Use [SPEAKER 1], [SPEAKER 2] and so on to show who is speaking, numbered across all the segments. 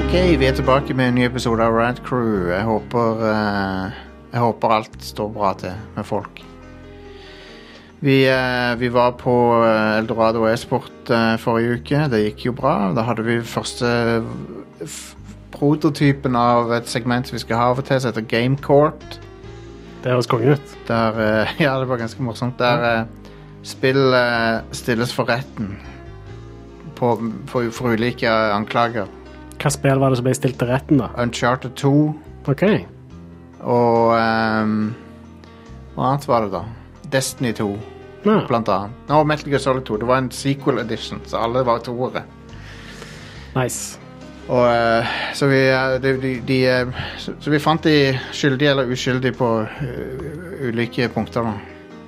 [SPEAKER 1] Ok, vi er tilbake med en ny episode av Rad Crew. Jeg håper, eh, jeg håper alt står bra til med folk. Vi, eh, vi var på eh, Eldorado e-sport eh, forrige uke. Det gikk jo bra. Da hadde vi første f prototypen av et segment som vi skal ha av og til, som heter Game Court.
[SPEAKER 2] Det høres konge ut.
[SPEAKER 1] Der, eh, ja, det var ganske morsomt. Der eh, spill eh, stilles for retten på, for, for ulike anklager.
[SPEAKER 2] Hva spill var det som ble stilt til retten, da?
[SPEAKER 1] Uncharted 2.
[SPEAKER 2] Ok,
[SPEAKER 1] Og ehm, Hva annet var det, da? Destiny 2,
[SPEAKER 2] ja.
[SPEAKER 1] blant annet. Nå, Metal Gear Solid 2. Det var en sequel edition, så alle var toere.
[SPEAKER 2] nice.
[SPEAKER 1] Og, eh, så, vi, eh, de, de, de, eh, så, så vi fant de skyldige eller uskyldige på eh, ulike punkter.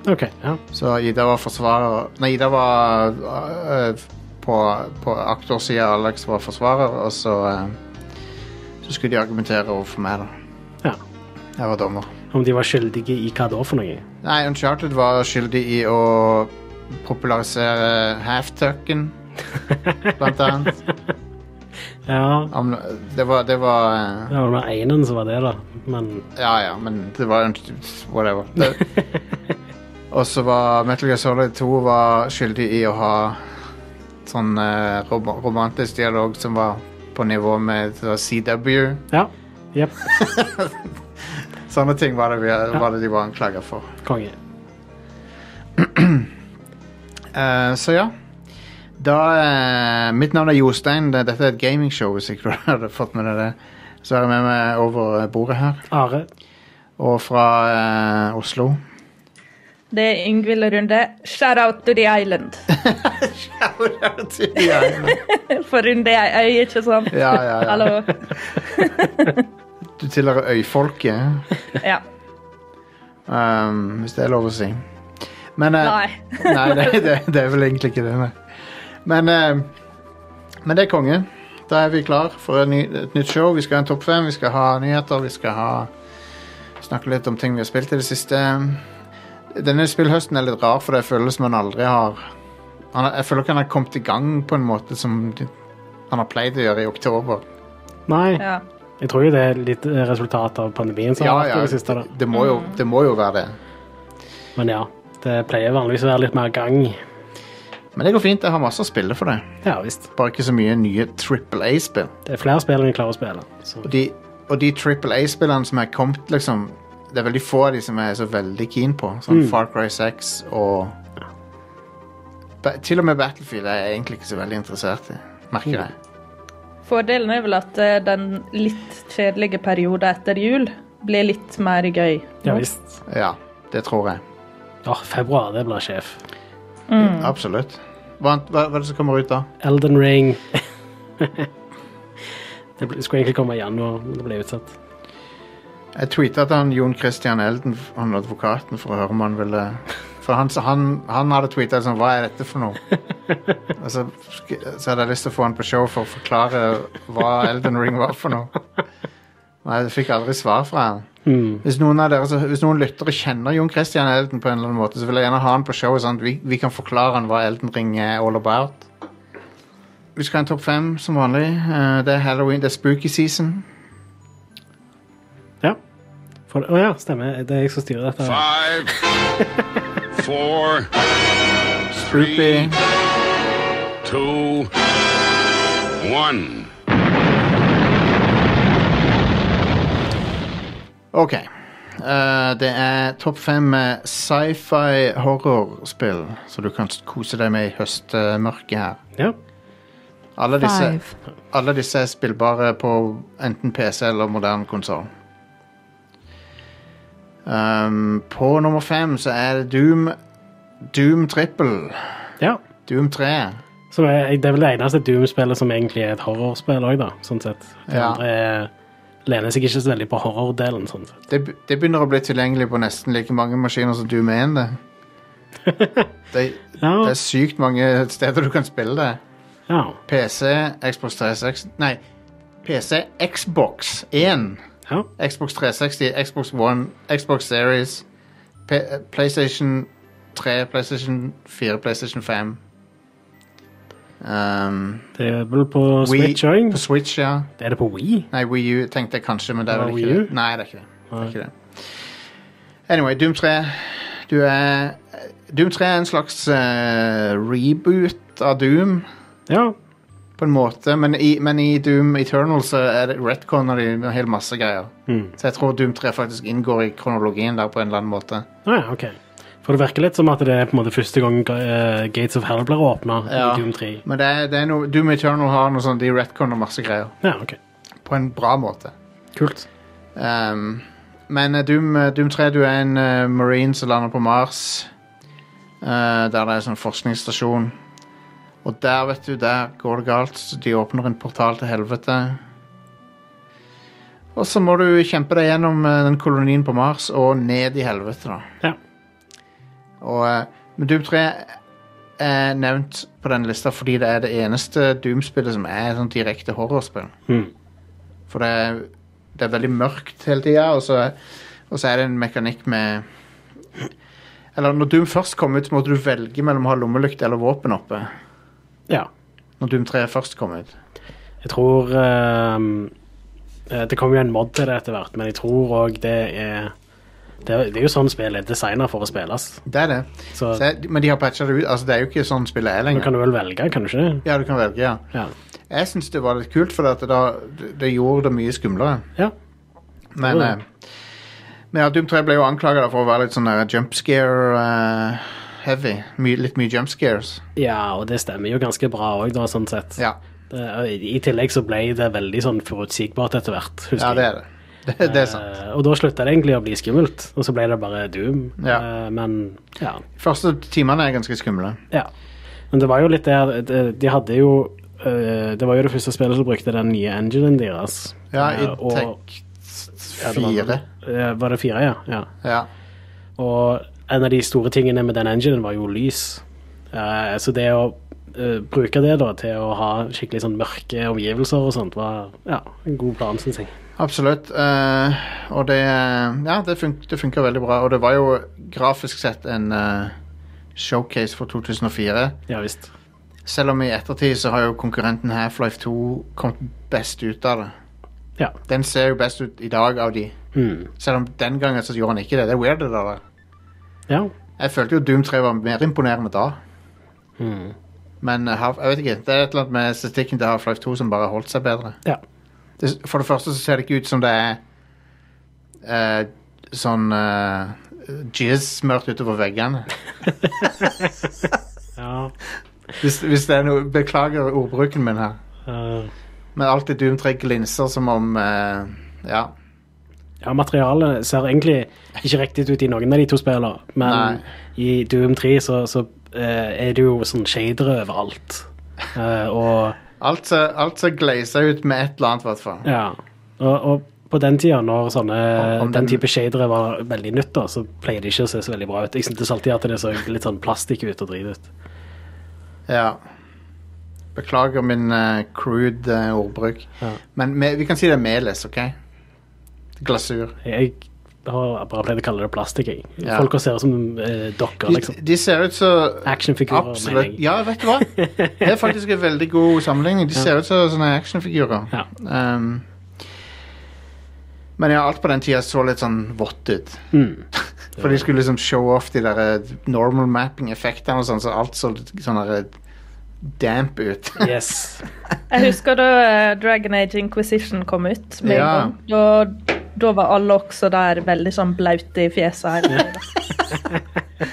[SPEAKER 1] Da.
[SPEAKER 2] Ok, ja.
[SPEAKER 1] Så Ida var forsvarer Nei, Ida var eh, på, på aktorsida, Alex var forsvarer, og så, eh, så skulle de argumentere overfor meg, da.
[SPEAKER 2] ja.
[SPEAKER 1] Jeg var dommer.
[SPEAKER 2] Om de var skyldige i hva da for noe?
[SPEAKER 1] Nei, Uncharted var skyldig i å popularisere halftucken, blant annet.
[SPEAKER 2] Ja,
[SPEAKER 1] Om, det var, det var eh,
[SPEAKER 2] det var under enen som var det, da. Men
[SPEAKER 1] Ja ja, men det var un- whatever. Det. Og så var Metal Gear Solid 2 var skyldig i å ha sånn eh, rom romantisk dialog som var på nivå med det var CW.
[SPEAKER 2] ja. Jepp.
[SPEAKER 1] Sånne ting var det, vi, var det de var anklaga for.
[SPEAKER 2] Konge.
[SPEAKER 1] Eh, så ja. Da, eh, mitt navn er Jostein. Det- Dette er et gamingshow, hvis ikke du hadde fått med deg det. Så er jeg med meg over bordet her,
[SPEAKER 2] Are.
[SPEAKER 1] og fra eh, Oslo.
[SPEAKER 3] Det er Yngvild Runde. Shout out to the island.
[SPEAKER 1] ja,
[SPEAKER 3] For Runde er ei øy, ikke sant?
[SPEAKER 1] ja, ja.
[SPEAKER 3] Hallo.
[SPEAKER 1] Du tilhører øyfolket,
[SPEAKER 3] Ja.
[SPEAKER 1] um, hvis det er lov å si. Men, eh,
[SPEAKER 3] Nei.
[SPEAKER 1] nei, det, det, det er vel egentlig ikke det. Nei. Men, eh, men det er konge. Da er vi klar for en ny, et nytt show. Vi skal ha en topp fem, vi skal ha nyheter, vi skal ha snakke litt om ting vi har spilt i det siste. Denne spillhøsten er litt rar, for det føles som han aldri har han, har- Jeg føler ikke han har kommet i gang på en måte som de- han har pleid å gjøre i oktober.
[SPEAKER 2] Nei,
[SPEAKER 3] Ja.
[SPEAKER 2] jeg tror jo det er litt eh, resultat av pandemien som har vært i det siste, da.
[SPEAKER 1] det, det, må jo, det må jo være det.
[SPEAKER 2] Men ja, det pleier vanligvis å være litt mer gang.
[SPEAKER 1] Men det går fint. Jeg har masse å spille for det.
[SPEAKER 2] Ja visst.
[SPEAKER 1] Bare ikke så mye nye Triple A-spill.
[SPEAKER 2] Det er flere spill enn jeg klarer å spille. Så.
[SPEAKER 1] Og de, og de AAA-spillene som er kommet, liksom Det er veldig få av de som jeg er så veldig keen på. Sånn Far Cry 6 og Ba- Til og med Battlefield er jeg egentlig ikke så veldig interessert i, merker jeg.
[SPEAKER 3] Fordelen er vel at eh, den litt kjedelige perioden etter jul blir litt mer gøy.
[SPEAKER 2] Ja visst.
[SPEAKER 1] Ja, det tror jeg.
[SPEAKER 2] Åh, februar, det blir sjef.
[SPEAKER 1] Absolutt. Hva, hva, hva er det som kommer ut da?
[SPEAKER 2] Elden Ring. det ble, skulle egentlig komme i januar, men det ble utsatt.
[SPEAKER 1] Jeg tweeta til han Jon Christian Elden, han advokaten, for å høre om han ville For han, han, han hadde tweeta sånn Hva er dette for noe? Og så, så hadde jeg lyst til å få han på show for å forklare hva Elden Ring var for noe. Nei, jeg fikk aldri svar fra han.
[SPEAKER 2] Hmm.
[SPEAKER 1] Hvis noen av dere, så- hvis noen lyttere kjenner Jon Christian Elden på en eller annen måte, så vil jeg gjerne ha han på showet sånn at vi, vi kan forklare han hva Elden Ring er all about. Vi skal ha en topp fem som vanlig. Eh, Det er halloween, det er spooky season.
[SPEAKER 2] Ja. For, å ja, stemmer. Det er jeg som styrer dette.
[SPEAKER 4] Five, four,
[SPEAKER 1] Spoopy.
[SPEAKER 4] two, one.
[SPEAKER 1] Ok. Eh, det er topp fem eh, sci-fi horrorspill som du kan s- kose deg med i høstmørket her.
[SPEAKER 2] Ja.
[SPEAKER 1] Alle disse,
[SPEAKER 5] Five.
[SPEAKER 1] alle disse er spillbare på enten PC eller moderne konsoll. Um, på nummer fem så er det Doom Doom Triple.
[SPEAKER 2] ja.
[SPEAKER 1] Doom 3.
[SPEAKER 2] Så det er, det er vel det eneste Doom-spillet som egentlig er et horrorspill òg, da. Sånn sett. Det
[SPEAKER 1] Ja.
[SPEAKER 2] andre er, lener seg ikke så veldig på horrordelen, sånn sett.
[SPEAKER 1] Det, be- det begynner å bli tilgjengelig på nesten like mange maskiner som Doom 1. Det, det,
[SPEAKER 2] Ja.
[SPEAKER 1] det er sykt mange steder du kan spille det.
[SPEAKER 2] ja.
[SPEAKER 1] PC, Xbox 360 Nei, PC, Xbox 1,
[SPEAKER 2] ja.
[SPEAKER 1] Xbox 360, Xbox One, Xbox Series, P eh, PlayStation 3, PlayStation 4, PlayStation 5. Um,
[SPEAKER 2] Det er vel på
[SPEAKER 1] Wii-
[SPEAKER 2] Switch òg?
[SPEAKER 1] På Switch, ja.
[SPEAKER 2] Er det på Wii?
[SPEAKER 1] Nei, Wii U tenkte jeg kanskje, men det er
[SPEAKER 2] Var
[SPEAKER 1] vel
[SPEAKER 2] det
[SPEAKER 1] ikke
[SPEAKER 2] Wii
[SPEAKER 1] det.
[SPEAKER 2] U?
[SPEAKER 1] Nei, det er ikke det. det,
[SPEAKER 2] Nei.
[SPEAKER 1] er ikke det. Anyway, Doom 3. Du er Doom 3 er en slags eh, reboot av Doom,
[SPEAKER 2] Ja.
[SPEAKER 1] på en måte. Men i, men i Doom Eternal så er det retconner de en hel masse greier.
[SPEAKER 2] Mm.
[SPEAKER 1] Så jeg tror Doom 3 faktisk inngår i kronologien der på en eller annen måte.
[SPEAKER 2] Ah, ja, ok. For det virker litt som at det er på en måte første gang eh, Gates of Hell blir åpna
[SPEAKER 1] Ja.
[SPEAKER 2] i Doom 3.
[SPEAKER 1] Men det er, det er noe, Doom Eternal har noe sånn, de retconner masse greier.
[SPEAKER 2] Ja, ok.
[SPEAKER 1] På en bra måte.
[SPEAKER 2] Kult.
[SPEAKER 1] Um, men eh, Doom, eh, Doom 3, du er en eh, marine som lander på Mars. eh, der det er en sånn forskningsstasjon. Og der, vet du, der går det galt. Så de åpner en portal til helvete. Og så må du kjempe deg gjennom eh, den kolonien på Mars og ned i helvete, da.
[SPEAKER 2] Ja.
[SPEAKER 1] Og, eh, men Doom 3 er nevnt på den lista fordi det er det eneste Doom-spillet som er sånn direkte horrorspill.
[SPEAKER 2] Mm.
[SPEAKER 1] For det er, det er veldig mørkt hele tida, og, så- og så er det en mekanikk med Eller når Doom først kom ut, så måtte du velge mellom å ha lommelykt eller våpen oppe.
[SPEAKER 2] ja.
[SPEAKER 1] Når Doom 3 først kom ut.
[SPEAKER 2] Jeg tror ehm, eh, Det kommer jo en mod til det etter hvert, men jeg tror òg det er det, er- det er jo sånn spill er designa for å spilles.
[SPEAKER 1] Det er det.
[SPEAKER 2] Så
[SPEAKER 1] Så jeg, men de har patcha det ut. Altså, det er jo ikke sånn spillet er
[SPEAKER 2] nå
[SPEAKER 1] lenger.
[SPEAKER 2] kan du vel velge, kan du ikke det?
[SPEAKER 1] Ja, du kan velge, ja.
[SPEAKER 2] Ja.
[SPEAKER 1] Jeg syns det var litt kult, for det, da, det gjorde det mye skumlere.
[SPEAKER 2] ja.
[SPEAKER 1] Men,
[SPEAKER 2] Ja.
[SPEAKER 1] eh, men ja, Doom 3 ble jo anklaga for å være litt sånn der jump scare eh, heavy. My, litt mye jump scares.
[SPEAKER 2] Ja, og det stemmer jo ganske bra òg, da, sånn sett.
[SPEAKER 1] Ja,
[SPEAKER 2] Det, I i tillegg så ble det veldig sånn forutsigbart etter hvert, husker
[SPEAKER 1] ja det er det. det. Det er sant.
[SPEAKER 2] Eh, og da slutta det egentlig å bli skummelt, og så ble det bare Doom.
[SPEAKER 1] Ja.
[SPEAKER 2] Eh, men ja.
[SPEAKER 1] første timene er ganske skumle.
[SPEAKER 2] ja. Men det var jo litt der det- De hadde jo eh, Det var jo det første spillet som brukte den nye enginen deres.
[SPEAKER 1] Ja, i
[SPEAKER 2] Eh, og-
[SPEAKER 1] Tech
[SPEAKER 2] ja, det var-
[SPEAKER 1] 4.
[SPEAKER 2] eh, var det fire, ja. ja.
[SPEAKER 1] Ja.
[SPEAKER 2] Og en av de store tingene med den enginen var jo lys. Eh, så det å eh, bruke det da til å ha skikkelig sånn mørke omgivelser og sånt, var ja, en god plan, syns jeg.
[SPEAKER 1] Absolutt. eh, og det Ja, det, fun det funka veldig bra. Og det var jo grafisk sett en eh, showcase for 2004.
[SPEAKER 2] Ja visst.
[SPEAKER 1] Selv om i ettertid så har jo konkurrenten Half-Life 2 kommet best ut av det.
[SPEAKER 2] Ja.
[SPEAKER 1] Den ser jo best ut i dag av de.
[SPEAKER 2] Mm.
[SPEAKER 1] Selv om den gangen så gjorde han ikke det. Det er weird, det der.
[SPEAKER 2] ja.
[SPEAKER 1] Jeg følte jo Doom 3 var mer imponerende da.
[SPEAKER 2] Mm.
[SPEAKER 1] Men eh, Half- jeg vet ikke, det er et eller annet med estetikken til Half-Life 2 som bare har holdt seg bedre.
[SPEAKER 2] Ja.
[SPEAKER 1] det, For det første så ser det ikke ut som det er eh, sånn eh, jizz smørt utover veggene.
[SPEAKER 2] ja.
[SPEAKER 1] Hvis, hvis det er noe Beklager ordbruken min her.
[SPEAKER 2] Eh,
[SPEAKER 1] Men alt i Doom 3 glinser som om eh, Ja.
[SPEAKER 2] Ja, materialet ser egentlig ikke riktig ut i noen av de to spillene, men
[SPEAKER 1] Nei.
[SPEAKER 2] i Doom 3 så, så eh, er det jo sånn shadere overalt. Eh, og
[SPEAKER 1] Alt ser alt ser glaza ut med et eller annet, i hvert fall.
[SPEAKER 2] ja. Og, og på den tida, når sånne,
[SPEAKER 1] Om- om
[SPEAKER 2] den
[SPEAKER 1] den-
[SPEAKER 2] type shadere var veldig nytt, da, så pleier det ikke å se så veldig bra ut. Jeg syntes alltid at det så litt sånn plastikk ut og drit ut.
[SPEAKER 1] Ja. Beklager min eh, crude eh, ordbruk.
[SPEAKER 2] Ja.
[SPEAKER 1] Men me- vi kan si det er melis, OK? Glasur.
[SPEAKER 2] Jeg har bare pleid å kalle det plastikk, jeg.
[SPEAKER 1] Ja.
[SPEAKER 2] Folk ser ut som eh, dokker,
[SPEAKER 1] De,
[SPEAKER 2] liksom.
[SPEAKER 1] de ser ut så
[SPEAKER 2] Actionfigurer, mener
[SPEAKER 1] Absolutt.
[SPEAKER 2] jeg.
[SPEAKER 1] Ja, vet du hva? Det er faktisk en veldig god sammenligning. De ser ut som sånne actionfigurer.
[SPEAKER 2] Ja.
[SPEAKER 1] Um, men ja, alt på den tida så litt sånn vått ut.
[SPEAKER 2] Mm.
[SPEAKER 1] For de skulle liksom show off de der eh, normal mapping-effektene og sånn, så alt så litt sånn der eh, damp ut.
[SPEAKER 2] Yes.
[SPEAKER 3] Jeg husker da eh, Dragon Age Inquisition kom ut. Med
[SPEAKER 1] Ja.
[SPEAKER 3] en gang. Og da var alle også der veldig sånn blaute i fjeset. hele tiden.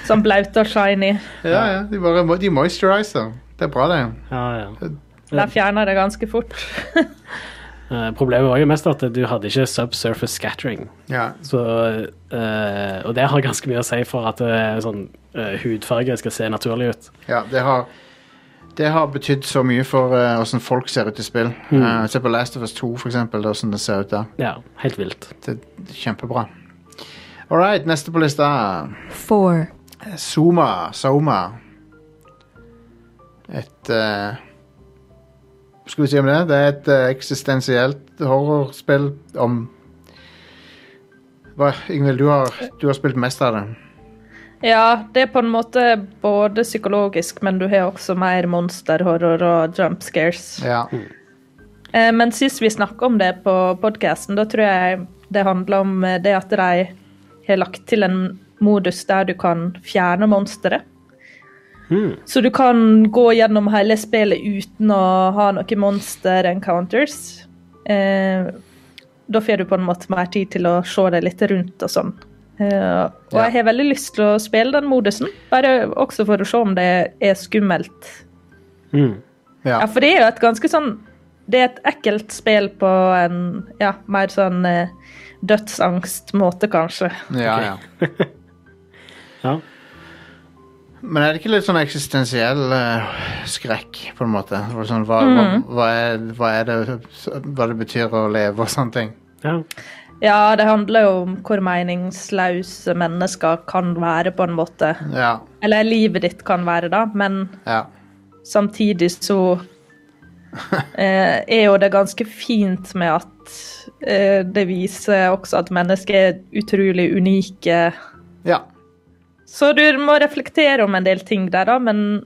[SPEAKER 3] sånn blaute og shiny.
[SPEAKER 1] ja, ja, de bare mo- de moisturizer. Det er bra, det.
[SPEAKER 2] Ja, ja.
[SPEAKER 3] Der fjerna det ganske fort.
[SPEAKER 2] Eh, problemet var jo mest at du hadde ikke subsurface scattering.
[SPEAKER 1] Ja.
[SPEAKER 2] Så, eh, og det har ganske mye å si for at eh, sånn, eh, hudfarge skal se naturlig ut.
[SPEAKER 1] ja det har det har betydd så mye for eh, åssen folk ser ut i spill. Eh, se på Last of Us 2, for eksempel. det er Åssen det ser ut der.
[SPEAKER 2] Ja, helt vilt.
[SPEAKER 1] Det er kjempebra. All right, neste på lista.
[SPEAKER 5] four,
[SPEAKER 1] Zuma. Soma. Et eh, Skal vi si om det? Det er et eh, eksistensielt horrorspill om Hva, Ingvild, du har, du har spilt mest av det.
[SPEAKER 3] Ja, det er på en måte både psykologisk, men du har også mer monsterhorror og jump scares.
[SPEAKER 1] Ja.
[SPEAKER 3] Eh, Men sist vi snakka om det på podkasten, da tror jeg det handla om eh, det at de har lagt til en modus der du kan fjerne monsteret. Så du kan gå gjennom hele spillet uten å ha noen monster encounters. Eh, da får du på en måte mer tid til å se deg litt rundt og sånn. Eh, og
[SPEAKER 1] Ja.
[SPEAKER 3] jeg har veldig lyst til å spille den modusen, bare også for å se om det er skummelt
[SPEAKER 2] Mm.
[SPEAKER 1] ja.
[SPEAKER 3] ja, for det er jo et ganske sånn Det er et ekkelt spill på en ja, mer sånn eh, dødsangstmåte, kanskje.
[SPEAKER 1] ja, ja.
[SPEAKER 2] Ja.
[SPEAKER 1] Men er det ikke litt sånn eksistensiell eh, skrekk, på en måte? Hvor Sånn, hva, hva, hva, er, hva er det Hva det betyr å leve og sånne ting?
[SPEAKER 2] ja.
[SPEAKER 3] Ja, det handler jo om hvor meningsløse mennesker kan være, på en måte.
[SPEAKER 1] Ja.
[SPEAKER 3] Eller livet ditt kan være, da, men
[SPEAKER 1] ja.
[SPEAKER 3] samtidig så eh, er jo det ganske fint med at eh, det viser også at mennesker er utrolig unike.
[SPEAKER 1] ja.
[SPEAKER 3] Så du må reflektere om en del ting der, da, men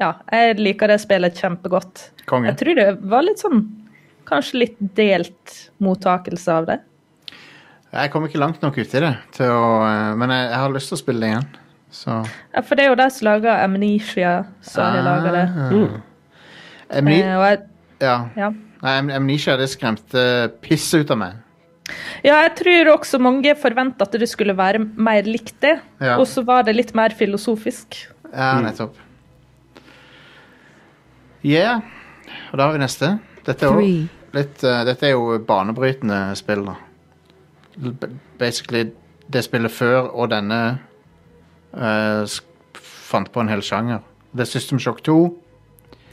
[SPEAKER 3] ja, jeg liker det spillet kjempegodt.
[SPEAKER 1] Konge.
[SPEAKER 3] Jeg tror det var litt sånn Kanskje litt delt mottakelse av det.
[SPEAKER 1] Jeg kom ikke langt nok uti det, til å, eh, men jeg, jeg har lyst til å spille det igjen. Så
[SPEAKER 3] Ja, for det er jo de som lager Amnesia, som har laga det.
[SPEAKER 1] Ah.
[SPEAKER 2] Mm.
[SPEAKER 1] Amni
[SPEAKER 3] Eh, og jeg,
[SPEAKER 1] ja.
[SPEAKER 3] ja.
[SPEAKER 1] Nei, Am- Amnesia, det skremte pisset ut av meg.
[SPEAKER 3] ja, jeg tror også mange forventa at det skulle være mer likt det.
[SPEAKER 1] Ja.
[SPEAKER 3] Og så var det litt mer filosofisk.
[SPEAKER 1] Ja, nettopp. Yeah. Og da har vi neste. Dette er, jo-
[SPEAKER 5] Three.
[SPEAKER 1] litt, eh, dette er jo banebrytende spill, da. L- b- Basically det spillet før og denne eh, sk- fant på en hel sjanger. Det er System Shock 2.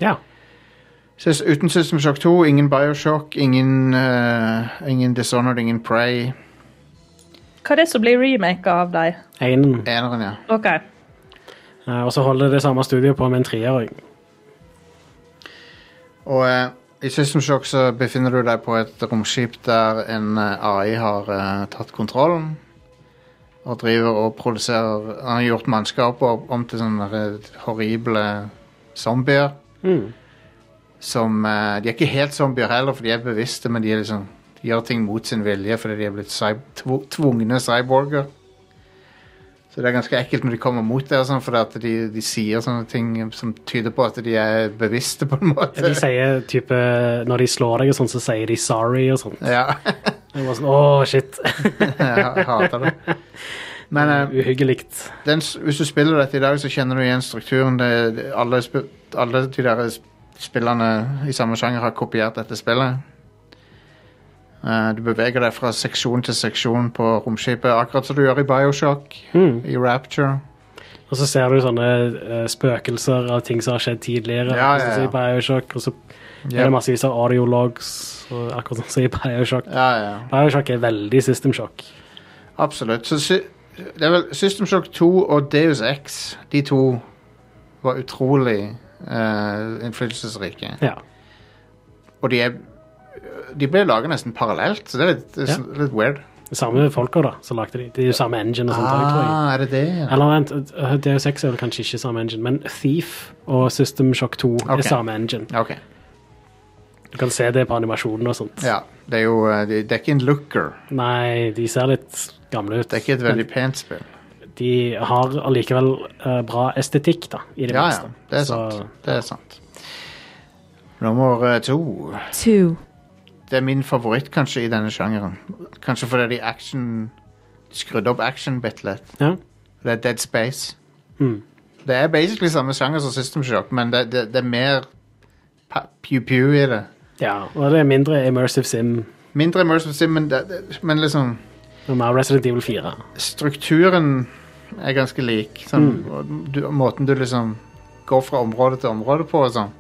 [SPEAKER 2] ja.
[SPEAKER 1] Sys- Uten System Shock 2, ingen Bioshock, ingen, eh, ingen Dishonored, ingen Prey.
[SPEAKER 3] Hva er det som blir remaka av dem?
[SPEAKER 2] Einen.
[SPEAKER 1] Eneren, ja.
[SPEAKER 3] OK.
[SPEAKER 2] Eh, Og så holder det samme studiet på med en treer. også.
[SPEAKER 1] Og eh, i System Shock så befinner du deg på et romskip der en eh, AI har eh, tatt kontrollen. Og driver og produserer Han har gjort mannskapet om til sånne eh, horrible zombier.
[SPEAKER 2] Mm.
[SPEAKER 1] Som eh, De er ikke helt zombier heller, for de er bevisste, men de, er liksom, de gjør ting mot sin vilje fordi de er blitt cy tv tvungne cyborger. Så det er ganske ekkelt når de kommer mot det, og sånn, for at de, de sier sånne ting som tyder på at de er bevisste, på en måte.
[SPEAKER 2] Ja, De sier type Når de slår deg og sånn, så sier de 'sorry' og sånn.
[SPEAKER 1] Ja.
[SPEAKER 2] Det var sånn, Åh, shit.
[SPEAKER 1] jeg hater det. Men eh,
[SPEAKER 2] Uhyggelig.
[SPEAKER 1] den, s- hvis du spiller dette i dag, så kjenner du igjen strukturen. Det, det- alle, sp alle de der sp- spillerne i samme sjanger har kopiert dette spillet. Eh, du beveger deg fra seksjon til seksjon på romskipet, akkurat som du gjør i Bioshock,
[SPEAKER 2] Mm.
[SPEAKER 1] i Rapture.
[SPEAKER 2] Og så ser du sånne eh, spøkelser av ting som har skjedd tidligere.
[SPEAKER 1] Ja, ja,
[SPEAKER 2] akkurat
[SPEAKER 1] ja.
[SPEAKER 2] som i Bioshock, og så er
[SPEAKER 1] Ja.
[SPEAKER 2] det massevis av audiologs, og akkurat sånn som i Bioshock.
[SPEAKER 1] Ja, ja.
[SPEAKER 2] Bioshock er veldig system shock.
[SPEAKER 1] Absolutt. Så sy det er vel System Shock 2 og Deus X, de to var utrolig eh, innflytelsesrike.
[SPEAKER 2] Ja.
[SPEAKER 1] Og de er De ble laget nesten parallelt, så det er litt, det er
[SPEAKER 2] Ja.
[SPEAKER 1] sånn- litt weird.
[SPEAKER 2] De samme folka, da, som lagde de. Det er jo samme engine og sånt. også, tror jeg.
[SPEAKER 1] Ah, er det det? ja?
[SPEAKER 2] Eller vent, eh, Deus Ex er vel kanskje ikke samme engine, men Thief og System Shock 2
[SPEAKER 1] Ok.
[SPEAKER 2] er samme engine.
[SPEAKER 1] Ok.
[SPEAKER 2] Du kan se det på animasjonen og sånt.
[SPEAKER 1] Ja. Det er jo eh, Det det er ikke en looker.
[SPEAKER 2] Nei, de ser litt gamle ut.
[SPEAKER 1] Det er ikke et veldig pent spill.
[SPEAKER 2] De har allikevel eh, bra estetikk, da, i det
[SPEAKER 1] Ja, ja.
[SPEAKER 2] minste.
[SPEAKER 1] Det er
[SPEAKER 2] Så-
[SPEAKER 1] sant. Det er sant. Nummer eh, to.
[SPEAKER 5] two,
[SPEAKER 1] Det er min favoritt kanskje i denne sjangeren. Kanskje fordi de action de skrudde opp action bitte litt.
[SPEAKER 2] Ja.
[SPEAKER 1] Det er Dead Space.
[SPEAKER 2] Mm.
[SPEAKER 1] Det er basically samme sjanger som System Shock, men det, det, det er mer pa- pew-pew i det.
[SPEAKER 2] Ja, og det er mindre Immersive Sim
[SPEAKER 1] Mindre immersive sim, men, det, det, men liksom
[SPEAKER 2] og mer Resident Evil 4.
[SPEAKER 1] strukturen er ganske lik. Sånn, og du, måten du liksom går fra område til område på og sånn.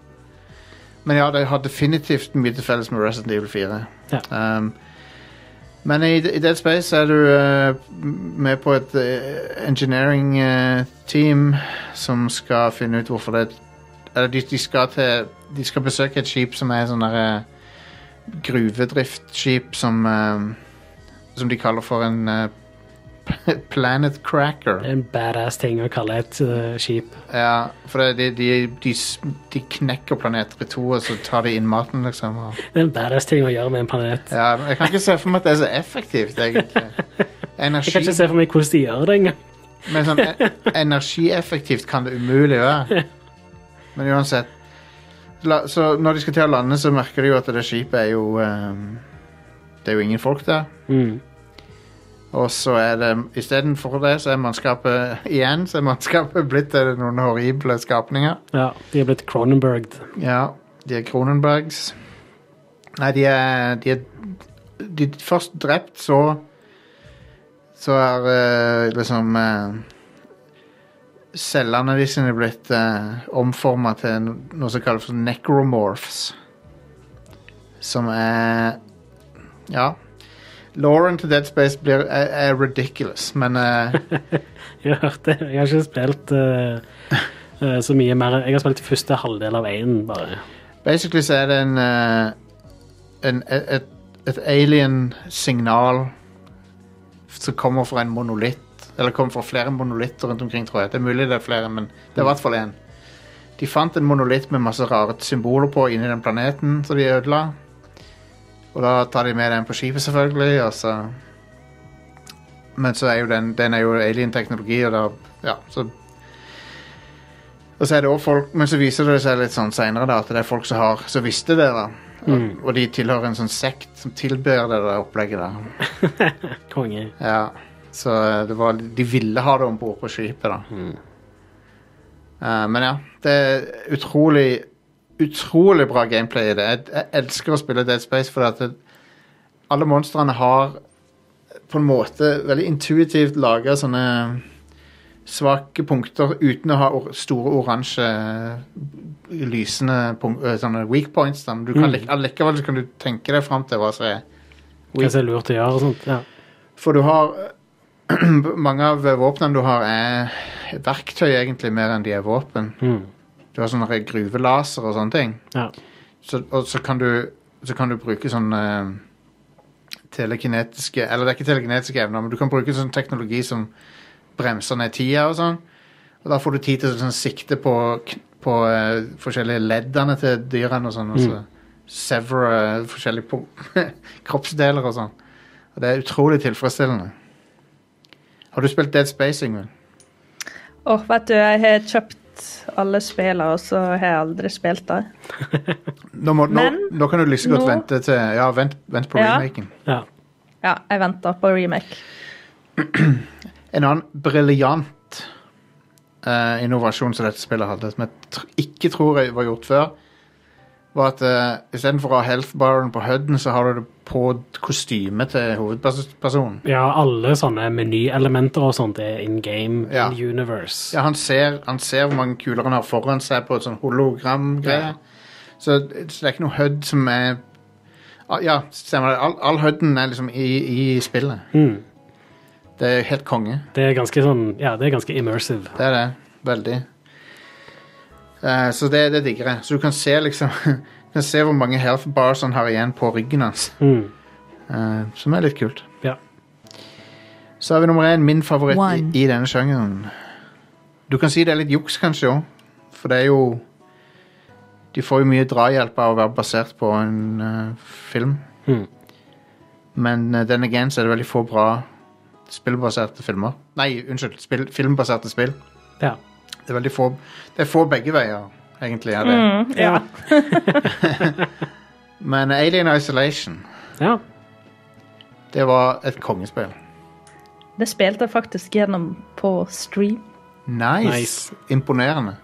[SPEAKER 1] Men ja, det har definitivt mye til felles med Resident Evil 4.
[SPEAKER 2] Ja.
[SPEAKER 1] Um, men i, i Dead Space er du eh, med på et eh, engineering eh, team som skal finne ut hvorfor det Eller de, de skal til De skal besøke et skip som er sånn derre gruvedriftskip som eh, Som de kaller for en eh, Planet Cracker.
[SPEAKER 2] En badass ting å kalle et eh, skip.
[SPEAKER 1] Ja, for det, de, de, de, s- de knekker planeter i to, og så tar de inn maten, liksom. Og,
[SPEAKER 2] Det er en badass ting å gjøre med en planet.
[SPEAKER 1] ja, men jeg kan ikke se for meg at det er så effektivt, egentlig.
[SPEAKER 2] Jeg kan
[SPEAKER 1] Energi,
[SPEAKER 2] ikke se for meg hvordan de gjør det engang.
[SPEAKER 1] men sånn, e- energieffektivt kan det umulig være. Men uansett. La, så når de skal til å lande, så merker de jo at det skipet er jo ehm, Det er jo ingen folk der.
[SPEAKER 2] Mm.
[SPEAKER 1] Og så er det istedenfor det, så er mannskapet igjen så er mannskapet blitt til noen horrible skapninger.
[SPEAKER 2] Ja, de er blitt Cronenberged.
[SPEAKER 1] Ja, de er Kronenbergs. Nei, de er, de er de er først drept, så Så er eh, liksom eh, Cellene de sine blitt uh, omforma til no- noe som kalles for necromorphs. Som er Ja. Lauren til Dead Space blir, er, er ridiculous, men eh,
[SPEAKER 2] Jeg har hørt det. Jeg har ikke spilt eh, eh, så mye mer. Jeg har spilt første halvdel av én, bare.
[SPEAKER 1] Basically så er det en, eh, en et, et alien signal som kommer fra en monolitt. Eller kommer fra flere monolitter rundt omkring, tror jeg. Det er mulig det er flere, men det er i hvert fall én. De fant en monolitt med masse rare symboler på inni den planeten som de ødela. Og da tar de med den på skipet, selvfølgelig, og så Men så er jo den, den er jo alien-teknologi, og da Ja, så og så er det også folk, Men så viser det seg litt sånn senere da, at det er folk som har, som visste det. da. Og, og de tilhører en sånn sekt som tilber det der opplegget der.
[SPEAKER 2] Konge.
[SPEAKER 1] Ja. Så eh, det var, de ville ha det om bord på skipet, da. Eh, men ja. Det er utrolig utrolig bra gameplay i det. Jeg, jeg elsker å spille Dead Space fordi at det, alle monstrene har på en måte veldig intuitivt laga sånne svake punkter uten å ha or store oransje lysende punk øh, sånne weak points. Da. Men du kan
[SPEAKER 2] Mm.
[SPEAKER 1] lik- allikevel så kan du tenke deg fram til hva som er
[SPEAKER 2] Hva som er lurt å gjøre og sånt. Ja.
[SPEAKER 1] For du har Mange av våpnene du har, er verktøy egentlig mer enn de er våpen.
[SPEAKER 2] Mm.
[SPEAKER 1] Du har sånne gruvelaser og sånne ting.
[SPEAKER 2] ja.
[SPEAKER 1] Så, og så kan du Så kan du bruke sånn eh, Telekinetiske Eller det er ikke telekinetiske evner Men du kan bruke sånn teknologi som Bremser ned tida og sånn Og da får du tid til å sånn, sikte på kn- På eh, forskjellige leddene til dyrene Og sånn og så Severe eh, forskjellige pu- kroppsdeler og sånn Og det er utrolig tilfredsstillende Har du spilt Dead Space, Yngvild?
[SPEAKER 3] Åh, vet du, jeg har kjøpt alle spillene, og så har jeg aldri spilt det.
[SPEAKER 1] Nå, må, nå,
[SPEAKER 3] Men-
[SPEAKER 1] nå kan du lyst godt
[SPEAKER 3] nå-
[SPEAKER 1] vente til Ja, vent, vent på
[SPEAKER 3] Ja.
[SPEAKER 1] remaken
[SPEAKER 2] ja.
[SPEAKER 3] Ja, jeg venter på remake.
[SPEAKER 1] En annen briljant eh, innovasjon som dette spillet hadde, som jeg tr ikke tror jeg var gjort før, var at eh, istedenfor å ha healthbaren på huden, så har du det på kostymet til hovedpersonen.
[SPEAKER 2] ja, alle sånne menyelementer og sånt er in game,
[SPEAKER 1] Ja.
[SPEAKER 2] in universe.
[SPEAKER 1] Ja, han ser, han ser hvor mange kuler han har foran seg på et sånn hologram-greie.
[SPEAKER 2] Ja.
[SPEAKER 1] Så, så det er ikke noe HUD som er Ah, Ja, stemmer det. All, all HUD-en er liksom i, i spillet.
[SPEAKER 2] Mm.
[SPEAKER 1] Det er helt konge.
[SPEAKER 2] Det er ganske sånn Ja, det er ganske immersive.
[SPEAKER 1] Det er det. Veldig. Eh, så det, det digger jeg. Så du kan se liksom Du kan se hvor mange health bars han har igjen på ryggen hans.
[SPEAKER 2] Mm.
[SPEAKER 1] eh, som er litt kult.
[SPEAKER 2] Ja.
[SPEAKER 1] Så har vi nummer én, min favoritt i,
[SPEAKER 3] One.
[SPEAKER 1] i denne sjangeren. Du kan si det er litt juks, kanskje òg. For det er jo De får jo mye drahjelp av å være basert på en eh, film.
[SPEAKER 2] Mm.
[SPEAKER 1] Men uh, den again så er det veldig få bra spillbaserte filmer. Nei, unnskyld. Spill, filmbaserte spill.
[SPEAKER 2] ja.
[SPEAKER 1] Det er veldig få Det er få begge veier, egentlig. Er det.
[SPEAKER 2] Ja.
[SPEAKER 1] Men Alien Isolation,
[SPEAKER 2] ja.
[SPEAKER 1] det var et kongespill.
[SPEAKER 3] Det spilte jeg faktisk gjennom på stream.
[SPEAKER 1] Nice.
[SPEAKER 2] Nice.
[SPEAKER 1] Imponerende.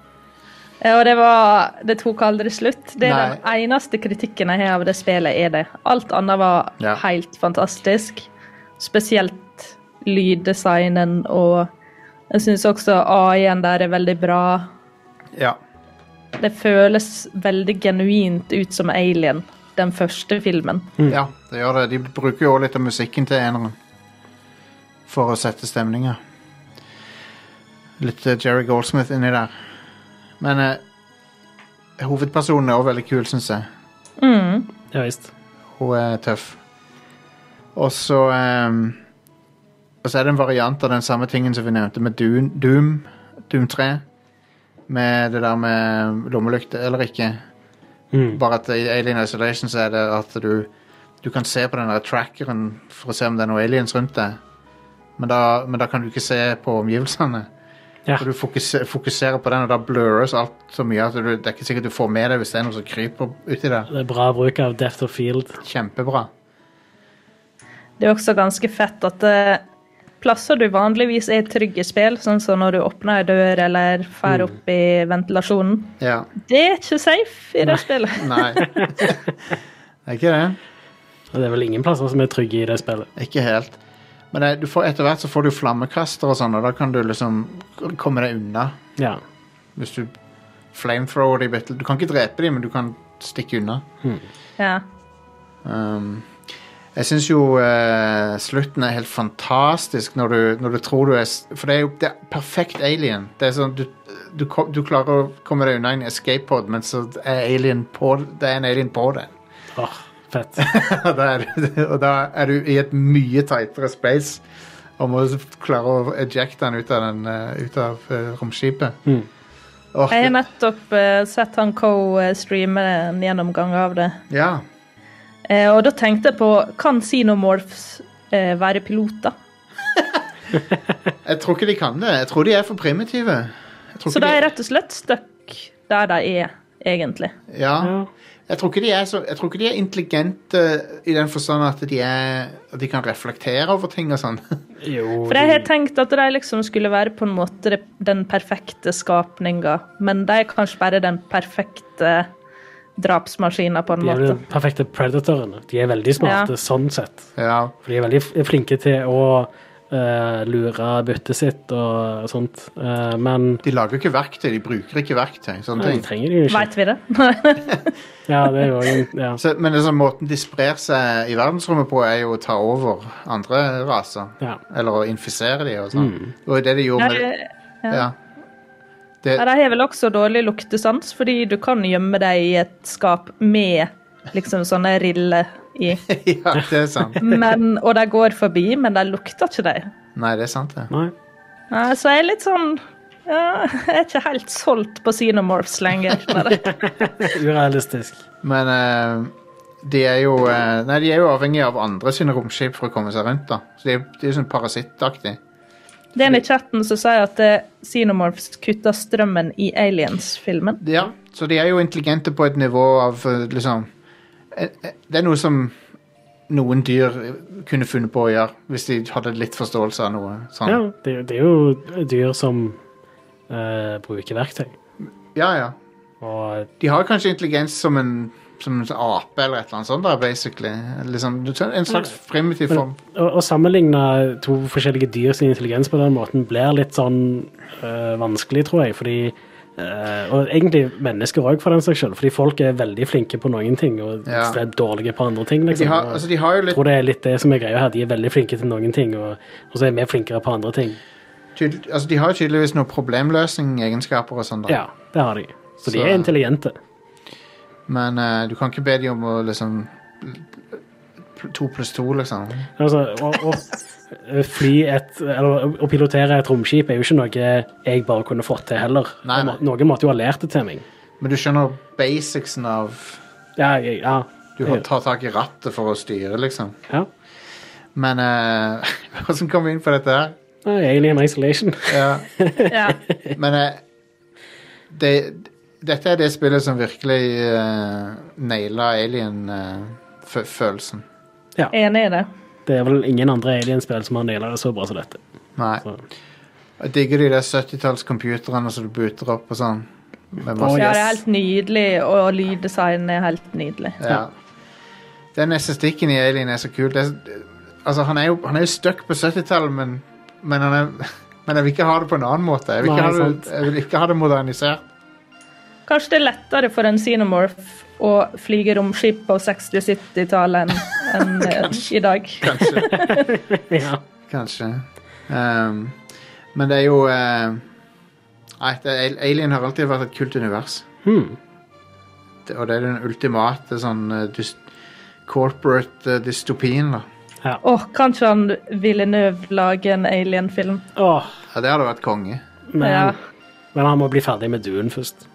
[SPEAKER 3] Eh, Og det var Det tok aldri slutt. Det er den
[SPEAKER 1] Nei.
[SPEAKER 3] eneste kritikken jeg har av det spillet, er det. Alt annet var
[SPEAKER 1] Ja.
[SPEAKER 3] helt fantastisk. Spesielt lyddesignen og Jeg syns også AI-en der er veldig bra.
[SPEAKER 1] Ja.
[SPEAKER 3] Det føles veldig genuint ut som Alien, den første filmen.
[SPEAKER 1] ja, det gjør det. De bruker jo også litt av musikken til eneren for å sette stemninga. Litt eh, Jerry Goldsmith inni der. Men eh, hovedpersonen er òg veldig kul, syns jeg.
[SPEAKER 3] Mm.
[SPEAKER 2] Ja visst.
[SPEAKER 1] Hun er tøff. Og så ehm, Og så er det en variant av den samme tingen som vi nevnte med Doom, Doom, Doom 3. Med det der med lommelykte eller ikke.
[SPEAKER 2] Mm.
[SPEAKER 1] Bare at i Alien Isolation så er det at du Du kan se på den der trackeren for å se om det er noen aliens rundt deg. Men da, men da kan du ikke se på omgivelsene.
[SPEAKER 2] Ja.
[SPEAKER 1] Og du fokuser, fokuserer på den, og da blurres alt så mye at du, det er ikke sikkert du får med deg hvis det er noe som kryper uti der.
[SPEAKER 2] Det er bra bruk av Death of Field.
[SPEAKER 1] Kjempebra.
[SPEAKER 3] Det er også ganske fett at eh, plasser du vanligvis er trygge i spill, sånn som når du åpner ei dør eller drar
[SPEAKER 1] Mm.
[SPEAKER 3] opp i ventilasjonen,
[SPEAKER 1] Ja.
[SPEAKER 3] det er ikke safe i det spillet.
[SPEAKER 1] Nei. det er ikke det.
[SPEAKER 2] Og det er vel ingen plasser som er trygge i det spillet.
[SPEAKER 1] Ikke helt. Men det, du får, etter hvert så får du flammekaster og sånn, og da kan du liksom komme deg unna.
[SPEAKER 2] Ja.
[SPEAKER 1] Hvis du flamethrower de bitte Du kan ikke drepe de, men du kan stikke unna.
[SPEAKER 3] Ja.
[SPEAKER 1] Um, jeg syns jo eh, slutten er helt fantastisk når du, når du tror du er s- For det er jo det er perfekt alien. Det er sånn, du, du, ko- du klarer å komme deg unna en escape pod, men så er alien på, det er en alien på deg.
[SPEAKER 2] Åh, fett.
[SPEAKER 1] og, da er, du- og da er du i et mye tightere space og må klare å ejecte den ut av, den, eh, ut av eh, romskipet.
[SPEAKER 2] Mm.
[SPEAKER 1] Åh,
[SPEAKER 3] Jeg har nettopp eh, sett han Co eh, streame en gjennomgang av det.
[SPEAKER 1] ja.
[SPEAKER 3] Eh, og da tenkte jeg på Kan Xenomorphs eh, være piloter?
[SPEAKER 1] Jeg tror ikke de kan det. Jeg tror de er for primitive. Jeg tror
[SPEAKER 3] Så
[SPEAKER 1] ikke
[SPEAKER 3] de
[SPEAKER 1] de-
[SPEAKER 3] er rett og slett stuck der de er, egentlig.
[SPEAKER 1] Ja.
[SPEAKER 2] Ja.
[SPEAKER 1] Jeg tror ikke de er så Jeg tror ikke de er intelligente i den forstand at de er At de kan reflektere over ting og sånn.
[SPEAKER 2] Jo,
[SPEAKER 3] For jeg har tenkt at de liksom skulle være på en måte det- den perfekte skapninga, men de er kanskje bare den perfekte drapsmaskina, på en
[SPEAKER 2] de er jo
[SPEAKER 3] måte.
[SPEAKER 2] de perfekte predatorene. De er veldig smarte
[SPEAKER 3] Ja.
[SPEAKER 2] sånn sett.
[SPEAKER 1] Ja.
[SPEAKER 2] For de er veldig f- flinke til å eh, lure byttet sitt og sånt. Eh, men
[SPEAKER 1] De lager jo ikke verktøy, de bruker ikke verktøy. Sånne
[SPEAKER 2] de
[SPEAKER 1] ting.
[SPEAKER 2] trenger de jo ikke.
[SPEAKER 3] Veit vi det?
[SPEAKER 2] Ja, det er jo en, ja.
[SPEAKER 1] Så, men liksom, måten de sprer seg i verdensrommet på, er jo å ta over andre raser.
[SPEAKER 2] Ja.
[SPEAKER 1] Eller å infisere de og sånn. Og det de gjorde med
[SPEAKER 3] Nei,
[SPEAKER 1] Ja. Det,
[SPEAKER 3] Ja, de har vel også dårlig luktesans, fordi du kan gjemme deg i et skap med liksom sånne riller i.
[SPEAKER 1] ja, det er sant.
[SPEAKER 3] Men, og de går forbi, men de lukter ikke de.
[SPEAKER 1] Nei, det er sant, det.
[SPEAKER 2] Nei.
[SPEAKER 3] Ja, Så jeg er litt sånn ja, Jeg er ikke helt solgt på Xenomorphs lenger. bare.
[SPEAKER 2] Urealistisk.
[SPEAKER 1] Men eh, de er jo eh, Nei, de er jo avhengig av andre sine romskip for å komme seg rundt, da. Så de, de er jo sånn parasittaktige.
[SPEAKER 3] Det er en i chatten som sier at eh, Xenomorphs kutter strømmen i Aliens-filmen.
[SPEAKER 1] Ja, så de er jo intelligente på et nivå av eh, liksom eh, eh, Det er noe som noen dyr kunne funnet på å gjøre, hvis de hadde litt forståelse av noe sånn.
[SPEAKER 2] Ja, det, det er jo dyr som eh, bruker verktøy.
[SPEAKER 1] ja. ja.
[SPEAKER 2] Og
[SPEAKER 1] De har kanskje intelligens som en som en ape eller et eller annet sånt, da, basically. Liksom, en slags primitiv
[SPEAKER 2] Men-
[SPEAKER 1] form.
[SPEAKER 2] Å å sammenligne to forskjellige dyr sin intelligens på den måten blir litt sånn øh, vanskelig, tror jeg. Fordi, øh, og egentlig mennesker òg, for den saks skyld. Fordi folk er veldig flinke på noen ting og
[SPEAKER 1] Ja.
[SPEAKER 2] er dårlige på andre ting.
[SPEAKER 1] De
[SPEAKER 2] Liksom.
[SPEAKER 1] har, altså, de har jo
[SPEAKER 2] Jeg
[SPEAKER 1] litt
[SPEAKER 2] tror det er litt det som er greia her. De er veldig flinke til noen ting, og, og så er vi flinkere på andre ting.
[SPEAKER 1] tydel, altså, de har jo tydeligvis noen problemløsningegenskaper og sånn, da.
[SPEAKER 2] Ja, det har de. Så, de
[SPEAKER 1] Så-
[SPEAKER 2] er intelligente.
[SPEAKER 1] Men eh, du kan ikke be de om å liksom pl- To pluss to, liksom.
[SPEAKER 2] Altså, å, å fly et Eller å pilotere et romskip er jo ikke noe jeg bare kunne fått til heller.
[SPEAKER 1] Nei, nei.
[SPEAKER 2] Noen måtte jo ha lært det til meg.
[SPEAKER 1] Men du skjønner basicsen av
[SPEAKER 2] Ja, jeg, ja.
[SPEAKER 1] Du har- tar tak i rattet for å styre, liksom.
[SPEAKER 2] ja.
[SPEAKER 1] Men eh, hvordan kom vi inn på dette her?
[SPEAKER 2] Nei, Alien Isolation.
[SPEAKER 1] Ja,
[SPEAKER 3] Ja.
[SPEAKER 1] men eh, det, dette er det spillet som virkelig uh, naila eh, alien-følelsen.
[SPEAKER 3] Enig i det.
[SPEAKER 2] Det er vel ingen andre Alien-spill som har naila det så bra som dette.
[SPEAKER 1] Nei.
[SPEAKER 2] Så.
[SPEAKER 1] Jeg digger de der 70-tallscomputerne som du booter opp og sånn. Med masse-
[SPEAKER 2] Å,
[SPEAKER 3] Ja, det er
[SPEAKER 2] yes.
[SPEAKER 3] helt nydelig, og lyddesignet er helt nydelig.
[SPEAKER 1] Ja. Den estetikken i Alien er så kul. Det er, altså, han er jo, han er jo stuck på 70-tallet, men, men, han er- men jeg vil ikke ha det på en annen måte. Jeg vil ikke,
[SPEAKER 2] Nei,
[SPEAKER 1] ha, det,
[SPEAKER 2] sant.
[SPEAKER 1] jeg vil ikke ha det modernisert.
[SPEAKER 3] Kanskje det er lettere for en xenomorph å flyge romskip på 60-70-tallet enn enn, eh, i dag.
[SPEAKER 1] Kanskje.
[SPEAKER 2] Ja.
[SPEAKER 1] Kanskje. Ehm, men det er jo eh, Nei, det er, Alien har alltid vært et kult univers.
[SPEAKER 2] Hmm.
[SPEAKER 1] Det- Og det er den ultimate sånn eh, dys, corporate eh, dystopien, da.
[SPEAKER 2] Ja.
[SPEAKER 3] Åh, kanskje han Villeneuve lager en alien-film.
[SPEAKER 2] Åh,
[SPEAKER 1] Ja, det hadde vært konge.
[SPEAKER 2] men,
[SPEAKER 3] Ja.
[SPEAKER 2] men han må bli ferdig med Dune først.